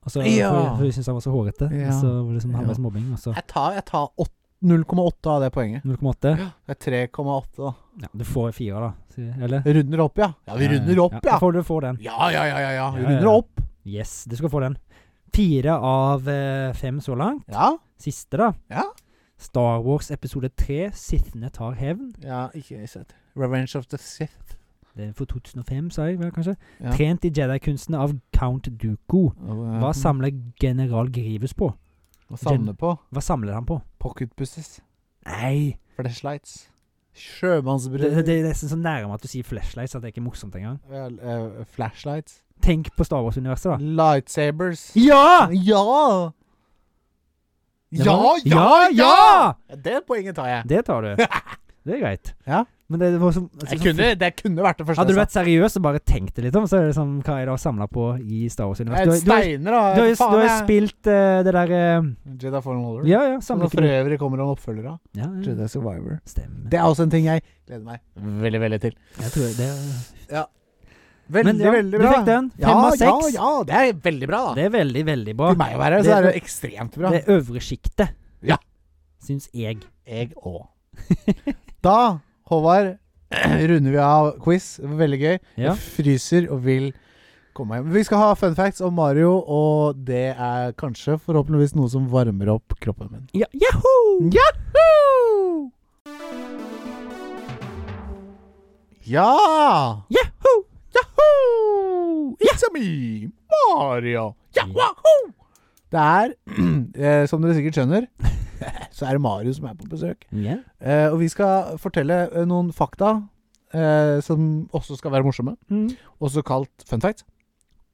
Og så, Ja. For, for vi syntes han var så hårete. Ja. Og Så var det som Ja. halvveis mobbing. altså. Og så Jeg tar, jeg tar åt- 0,8 av det poenget. 0,8. Det er 3,8, da. Ja, du får fire, da. sier- Eller? Runder opp, ja. Ja, vi runder opp, Da ja. får du får den. Ja, ja, ja, ja. ja. Vi Ja, ja, ja. runder opp. Yes, du skal få den. Fire av eh, fem så langt. Ja. Siste, da. Ja. Star Wars episode 3, 'Sithene tar hevn'. Ja, ikke sett. Revenge of the Sith. Det er for 2005, sa jeg vel kanskje. Ja. Trent i Jedi-kunstene av Count Duko. eh, Mhm. Hva samler general Grievous på? Hva savner på? Hva samler han på? Pocketbusses. Nei! Flashlights. Det, det, Sjømannsbrød. det er nesten så nærme at du sier flashlights at det er ikke morsomt engang. Vel, eh, flashlights. Tenk på Star Wars-universet, da. Lightsabers. Ja! Ja! Det Ja, var- ja, Ja, ja! ja! Det poenget tar jeg. Det [laughs] tar du. Det er greit. Ja. Men det, det var som altså, Jeg kunne, det kunne vært det første. Hadde du jeg vært seriøs og bare tenkt det litt om, så er det sånn Hva er det å samle på i Star sa. Jeg er Wars-universet? Du har- steiner, da. Du har jo du Faen, har jo jeg- spilt eh, det der eh, Jedi Fallen Order. Ja, ja. Som Samle for øvrig kommer en oppfølger av. Ja, ja. Jedi Survivor. Stemmer. Det er også en ting jeg gleder meg veldig, veldig til. Jeg tror det er Veldig, Men ja, veldig du bra. fikk den. Ja, Fem av ja, seks. ja. Det er veldig bra, da. Det er veldig, veldig bra. For meg å være, Det- så er det jo ekstremt bra. Det øvre sjiktet. Ja. Syns jeg. Jeg òg. da, Håvard, [clears throat] runder vi av quiz. Veldig gøy. Ja. Jeg fryser og vil komme hjem. Vi skal ha fun facts om Mario, og det er kanskje forhåpentligvis noe som varmer opp kroppen min. ja. Mm. Yahoo! Yahoo! Ja! Yahoo! Yahoo! It's a me, Mario. Yahoo! Mm. Det er, [clears throat] eh, som dere sikkert skjønner, [laughs] så er det Mario som er på besøk. Ja. Eh, og vi skal fortelle eh, noen fakta eh, som også skal være morsomme. Mm. Også kalt fun fact.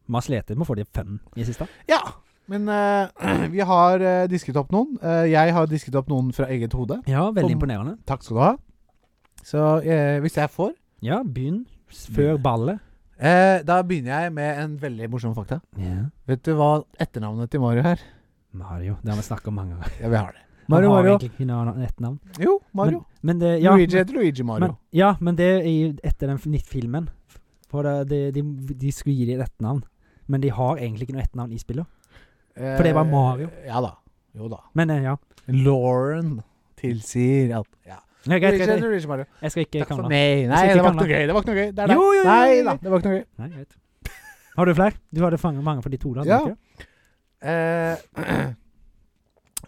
Vi har slitt med å få de fem i siste. Ja. Men eh, [clears throat] vi har eh, disket opp noen. Eh, jeg har disket opp noen fra eget hode. Ja, veldig Som- imponerende. Takk skal du ha. Så eh, hvis jeg får Ja, begynn s- før ballet. eh, Da begynner jeg med en veldig morsom fakta. Ja. Vet du hva etternavnet til Mario er? Mario. Det har vi snakka om mange ganger. Ja, vi har det. Mario, han har Mario. egentlig ikke noe- ett navn. Jo, Mario. Men, men det, ja, Luigi heter Luigi Mario. Men, ja, men det er jo etter den nytt filmen. For det, de, de, de skulle gi dem et etternavn. Men de har egentlig ikke noe etternavn i spillet. for det var Eh, Mario. Ja da. Jo da. Men eh, ja. Lauren tilsier at ja. Nei, greit, Luigi greit, heter Luigi Mario. jeg skal ikke Takk for kalle meg. Nei, skal ikke det var ikke kalle noe gøy. Det var ikke noe gøy. Det er Jo, jo, jo, deg. Nei jo, jo. da, det var ikke noe gøy. Nei, greit. Har du flere? Du hadde fanget mange for de to. Da, Ja. hadde du ikke det? Eh, [clears throat]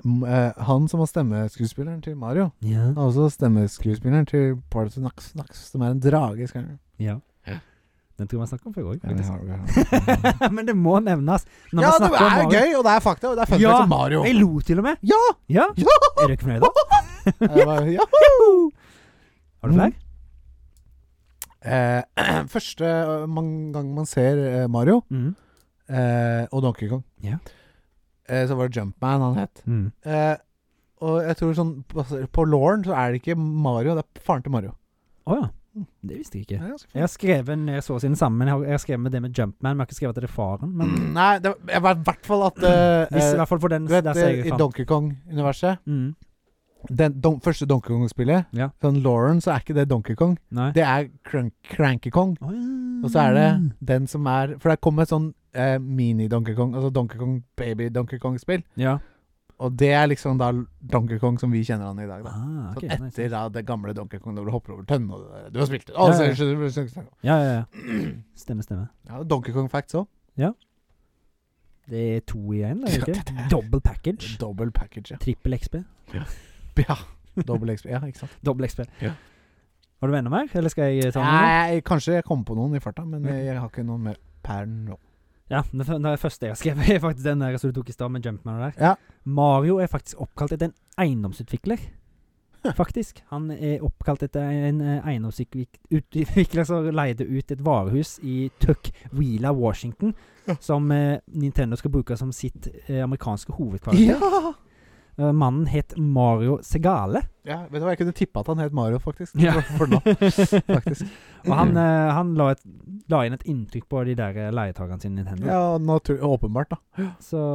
m- eh, han som var stemmeskuespilleren til Mario, ja. han er også stemmeskuespilleren til Party Knox Knox, som er en drage. Skal jeg. Ja. Den tror jeg vi snakket om før òg, Ja, det har faktisk. vi, ja. [laughs] Men det må nevnes. Når ja, det man snakker om er Mario. gøy, og det er fakta. Og det er fun Ja. fact om Mario. Jeg lo til og med. Ja! Ja. [laughs] Ja! Er du ikke fornøyd, da? Jeg var- ja. Har du flere? Eh, [clears throat] første eh, man, gang man ser eh, Mario Mm. eh, og Donkey Kong, Ja. eh, så var det Jumpman han het. Mm. Eh, og jeg tror sånn basert På Lauren så er det ikke Mario, det er faren til Mario. Å ja. Det visste jeg ikke. Det er ganske fun. Jeg har skrevet ned så å si den samme. men Jeg har- jeg har skrevet med det med Jumpman, men jeg har ikke skrevet at det er faren. Men Nei, det var- jeg var i hvert fall at eh, [clears throat] hvis, i eh, hvert fall for den Du vet, der ser eh, jeg i faren. Donkey Kong-universet Mm. Den don første Donkey Kong-spillet, Ja. sånn Lauren, så er ikke det Donkey Kong. Nei. Det er Crank Cranky Kong. Å, ja. Og så er det Mm. den som er For det kom et sånn eh, mini-Donkey Kong, altså Donkey Kong Baby-Donkey Kong-spill. Ja. Og det er liksom da Donkey Kong som vi kjenner han i dag, da. Ah, ok, sånn nice. etter da det gamle Donkey Kong, når du hopper over tønnen og det der. Du har spilt det. Å, Ja, ja. så- så- så- så- så- Ja, ja, [clears throat] ja. Stemmer, stemmer. ja, Donkey Kong facts òg. Det er to igjen, er det Ja, ikke? Double package. [laughs] Double package, ja. Trippel XP. ja. [laughs] Double XP, ja, ikke sant. Dobbel XP. Ja. Har du enda mer, eller skal jeg ta noen? Nei, jeg- kanskje jeg kom på noen i farta, men Ja. jeg jeg har ikke noe mer per nå. Ja, den f- den første [laughs] jeg har skrevet, er faktisk den der som du tok i stad, med Jumpman og der. Ja. Mario er faktisk oppkalt etter en eiendomsutvikler. Faktisk. Han er oppkalt etter en eh, eiendomsutvikler som leide ut et varehus i Tuckwila, Washington, som eh, Nintendo skal bruke som sitt eh, amerikanske hovedkvarter. Ja! Eh, mannen het Mario Segale. ja! Vet du hva, jeg kunne tippa at han het Mario, faktisk. [laughs] Ja. For, for nå, [laughs] faktisk. Og han, eh, han la, et, la inn et inntrykk på de der eh, leietakerne sine i Nintendo. Ja, natur åpenbart, da. Så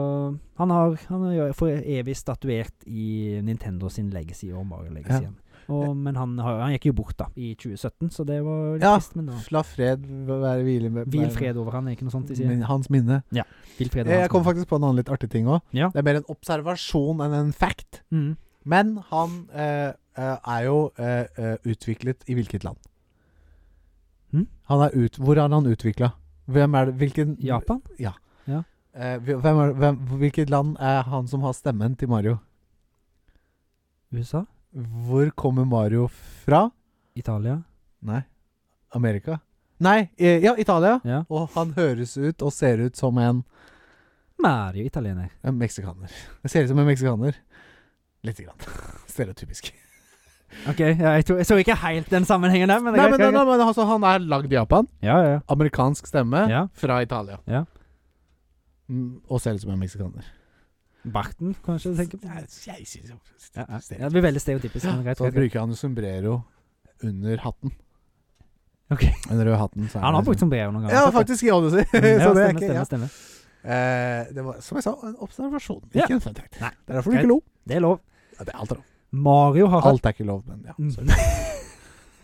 han har, han har jo for evig statuert i Nintendo sin legacy og Mario legacyen. Og, men han, har, han gikk jo bort da i 2017, så det var litt Ja. trist. Men da La fred være hvile med Hvil fred over han, er ikke noe sånt de sier. Min, hans minne. Hvil fred over Eh, Jeg hans kom minne. faktisk på en annen litt artig ting òg. Ja. Det er mer en observasjon enn en fact. Mm. Men han eh, eh, er jo eh, eh, utviklet i hvilket land? Hm? Han er ut, hvor er han utvikla? Hvem er det? Hvilken Japan? Eh, hvem er, hvem, hvilket land er han som har stemmen til Mario? USA? Hvor kommer Mario fra? Italia? Nei. Amerika? Nei, eh, ja, Italia. Ja. Og han høres ut og ser ut som en, Mario italiener. en meksikaner. Det ser ut som en meksikaner. Lite grann. [laughs] Stereotypisk. OK, ja, jeg, tror- jeg så ikke helt den sammenhengen der, men det Nei, er men, greit. nei, men altså, han er lagd i Japan. Ja, ja, ja. Amerikansk stemme Ja. fra Italia. Ja. Mm, og ser ut som en meksikaner. Barten, kanskje du tenker på? Jeg- jeg synes jo- Ja, ja. stereotypisk. ja, det blir veldig stereotypisk. Men greit, Så greit, greit. bruker han jo sombrero under hatten. Ok. Den røde hatten. Så er Han har det brukt sånn- som brev noen ganger. Ja, faktisk i Odyssey. Mm, [laughs] så det er Ja, stemmer, ikke ja. stemmer, stemmer. Eh, Det var, som jeg sa, en observasjon, Ja. ikke en fun fact. Nei, Det er derfor du ikke lo. Det er lov. Ja, det er alt, er lov. Mario har hatt alt er ikke lov, men ja. Mm. [laughs] Sorry.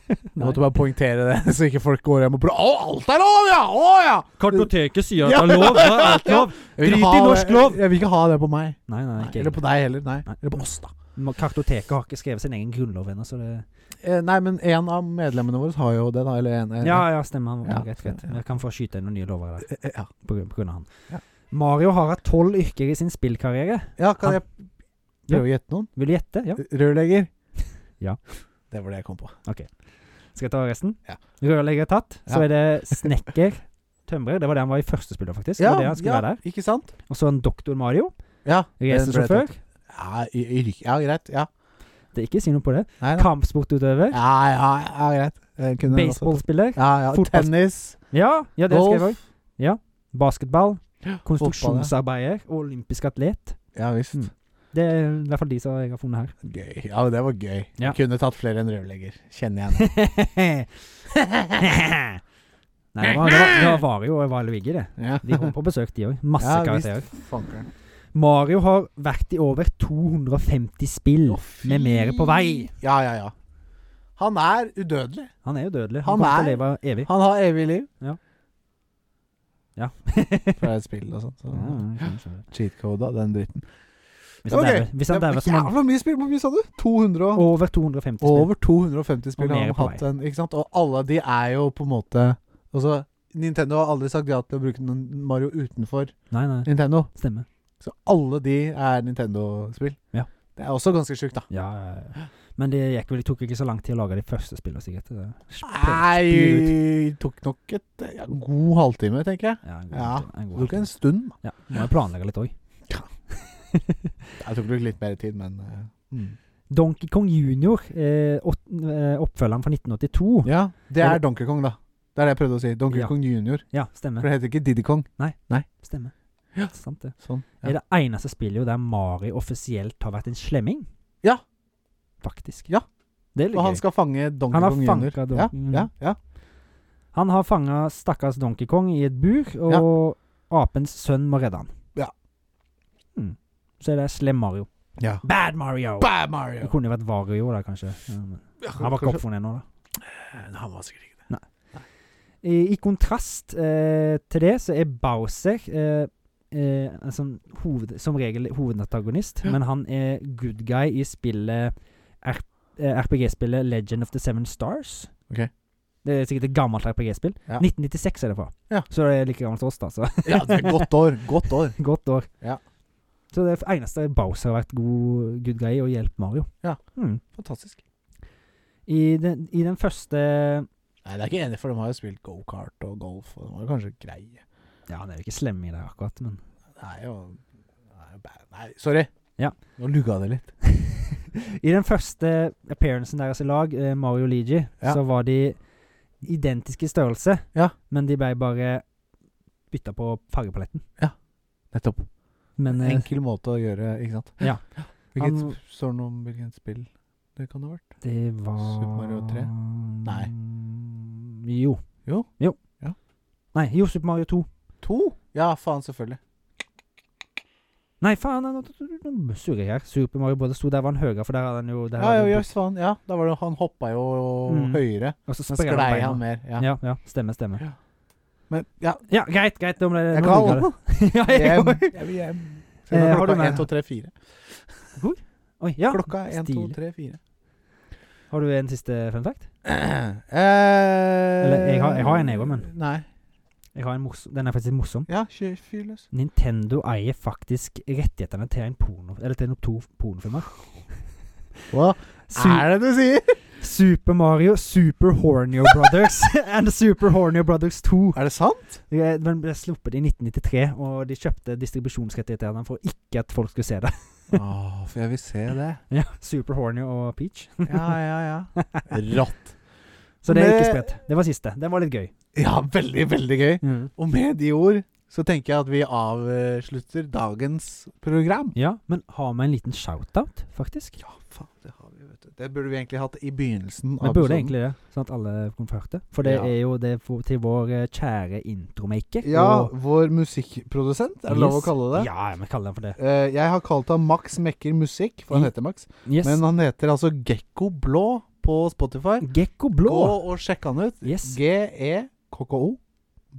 Jeg måtte bare poengtere det, [laughs] så ikke folk går hjem og prøver Å, alt er lov, ja! Å, ja! Kartoteket sier at Ja. [laughs] det er lov. Da er alt lov. Jeg vil ikke Drit i ha det- norsk lov. Jeg vil ikke ha det på meg. Nei, nei, Nei, ikke eller egentlig. på deg heller. Nei. Nei. Eller på oss, da. Ma- Kartoteket har ikke skrevet sin egen grunnlov ennå, så det Eh, Nei, men en av medlemmene våre har jo det, da. Eller en, en Ja, ja, stemmer. Han- Ja, greit, greit. ja, ja. Jeg kan få skyte inn noen nye lover der Eh, eh, ja. på grunn, på grunn av han. Ja. Mario har hatt tolv yrker i sin spillkarriere. ja, kan jeg Han- prøve å gjette noen? Vil du gjette? Ja. Rørlegger? Ja. Det var det jeg kom på. Skal jeg ta resten? Ja. Rørlegger er tatt. Så Ja. er det snekker. Tømrer. Det var det han var i første spillet, faktisk. Det var det han skulle være der. ikke sant? Og så en doktor Mario. Ja. den ble Racersjåfør. tatt. Ja, i- yrke- ja, greit. Ja. Det er ikke si noe på det. Nei, da. Kampsportutøver. Ja, ja, ja, greit. Jeg kunne også- Baseballspiller. Ja, ja. Fotball- Tennis. Ja, ja, det skrev jeg òg. Golf. Basketball. fotball, Konstruksjonsarbeider. Olympisk atlet. Ja visst. Mm. Det er i hvert fall de som jeg [laughs] har funnet her. Gøy. Ja, men det var gøy. Ja. Jeg Kunne tatt flere enn rørlegger. Kjenner jeg nå. Nei, det var, det var, det var Vario og Valuigi, det. Ja. De kom på besøk, de òg. Masse Ja, visst. karakterer. Fankeren. Mario har vært i over 250 spill, Å, fy. med mere på vei. Ja, ja, ja. Han er udødelig. Han er udødelig. Han Han, kommer til å er- leve evig. Han har evig liv. Ja. Ja. [laughs] Fra et spill og sånt. Så. Cheatcoda, den dritten. Hvis han Ok, dauer- hvis han det dauer var som han jævla mye spill! Hvor mye sa du? 200 og Over 250 spill. Over 250 spill Og har mer han på hatt. vei. En, ikke sant? Og alle de er jo på en måte altså, Nintendo har aldri sagt ja til å bruke noen Mario utenfor Nei, nei. Nintendo. Stemmer. Så alle de er Nintendo-spill. Ja. Det er også ganske sjukt, da. Ja, ja, ja. Men det gikk vel, det tok ikke så lang tid å lage de første spillene, sikkert. Det er- Nei Det tok nok et ja, god halvtime, tenker jeg. Ja, en god, Ja, en Det god tok en stund. da. Ja, må jeg planlegge litt òg. Jeg tok nok litt mer tid, men eh, mm. Donkey Kong Junior, eh, åt- eh, oppfølgeren fra 1982. Ja, det Eller- er Donkey Kong, da. Det er det jeg prøvde å si. Donkey Ja. Kong Junior. Ja, For stemmer. det heter ikke Diddy Kong. Stemmer. Sant det. Sånn. Er Ja. det eneste spillet jo der Mari offisielt har vært en slemming? Ja. Faktisk. Ja. Det er litt Og han gøy. skal fange Donkey Han har Kong Junior. fanket Ja, Donkey- ja, ja. Han har fanga stakkars Donkey Kong i et bur, og apens sønn må redde han. Ja. Mm. Så er det Slem Mario. ja. Bad Mario! Bad Det Mario! kunne jo vært Vario da, kanskje. Ja, men han var ikke Kanskje- oppfunnet ennå, da. Eh, Han var sikkert ikke det. I, i kontrast eh, til det, så er Bowser eh, eh, altså, hoved, som regel hovedantagonist, Ja. men han er good guy i spillet R- eh, RPG-spillet Legend of the Seven Stars. Ok. Det er sikkert et gammelt RPG-spill. Ja. 1996 er det fra. Ja. Så det er like gammelt som oss, da. Så [laughs] Ja, det er godt år. Godt år. godt år. Ja. Så det eneste Bowser har vært god good guy i, å hjelpe Mario. Ja. Mm. Fantastisk. I, den, I den første Nei, det er ikke enig, for de har jo spilt gokart og golf, og de var jo kanskje greie. Ja, han er jo ikke slem i det akkurat, men Det er jo det er jo bad- Nei, sorry. Ja. Nå lugga det litt. I den første appearancen deres i lag, eh, Mario og Luigi, Ja. så var de identiske i størrelse, Ja. men de ble bare bytta på fargepaletten. Nettopp. Men eh, Enkel måte å gjøre, ikke sant? Ja. Hvilket, Han- sp- står det noe om hvilket spill det kan ha vært? det var Mm, Super Mario 3? Nei. Jo. Jo. Nei, jo, Super Mario 2. To? Ja, faen, selvfølgelig. Nei, faen, nå- nå- nå nå surrer jeg her. Super Mario Brothers 2, der var han høyere, for der hadde han jo der Ja, hadde jo, han jøss, faen. Ja, da var det Han hoppa jo Mm. høyere. Og så Men sprer han sklei beina. han mer. Ja. Ja, ja, stemmer, stemmer. Men [laughs] ja, Ja, greit, greit. nå ble det- jeg nå kan lugger holde det. [laughs] ja, jeg hjem. går. Jeg vil hjem. Eh, Se, har klokka du med- er 1, 2, 3, 4. Oi, ja. Klokka er 1, 2, Stilig. 3, [clears throat] 4. Har du en siste fun fact? Eller jeg har- jeg har en jeg også, men- Eh, Nei. Jeg har en morsom, den er faktisk litt morsom. Ja, kjør fyr løs. Nintendo eier faktisk rettighetene til en porno Eller til to pornofilmer. Hva Su er det du sier? Super Mario, Super Hornio Brothers and Super Hornio Brothers 2. [laughs] Er det sant? Eh, Den ble sluppet i 1993, og de kjøpte distribusjonsrettighetene for ikke at folk skulle se det. [laughs] Å, for jeg vil se det. Ja, Super Hornio og Peach. Ja, ja, ja. [laughs] Rått. Så det er ikke Men- spredt. Det var siste. Den var litt gøy. Ja, veldig, veldig gøy. Og med de ord så tenker jeg at vi avslutter dagens program. Ja, men har vi en liten shout-out, faktisk? Ja, faen, det har vi, vet du. Det burde vi egentlig hatt i begynnelsen Vi av burde episoden. egentlig det, sånn at alle kunne få hørt det. For det Ja. er jo det for, til vår eh, kjære intromaker. Ja, og- vår musikkprodusent, er det lov å Yes. kalle det? Ja, vi kaller den for det. Eh, jeg har kalt ham Max Mekker Musikk, for han I- heter Max. Yes. Men han heter altså Gekko Blå på Spotify. eh, Gekko blå. Gå og sjekk han ut. E Yes. G-E-K-K-O.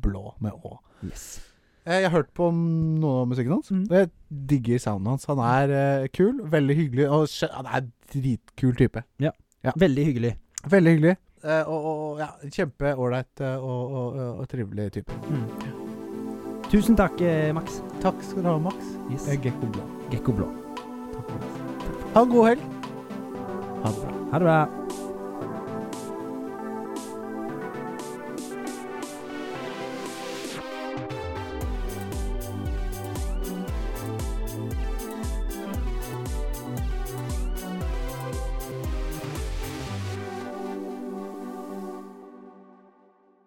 Blå med Å. yes. Eh, Jeg har hørt på noe av musikken hans. Mm. og Jeg digger sounden hans. Han er eh, kul, veldig hyggelig, og skjø- han er en dritkul type. Veldig hyggelig. Veldig hyggelig. eh, og, og- og ja, kjempeålreit eh, og, og, og, og trivelig type. Mm. Tusen takk, eh, Max. Takk skal du ha, Max. Yes. Eh, Gekko Blå. Gekko blå. Takk for oss. Ha en god helg. Ha det bra. Ha det bra.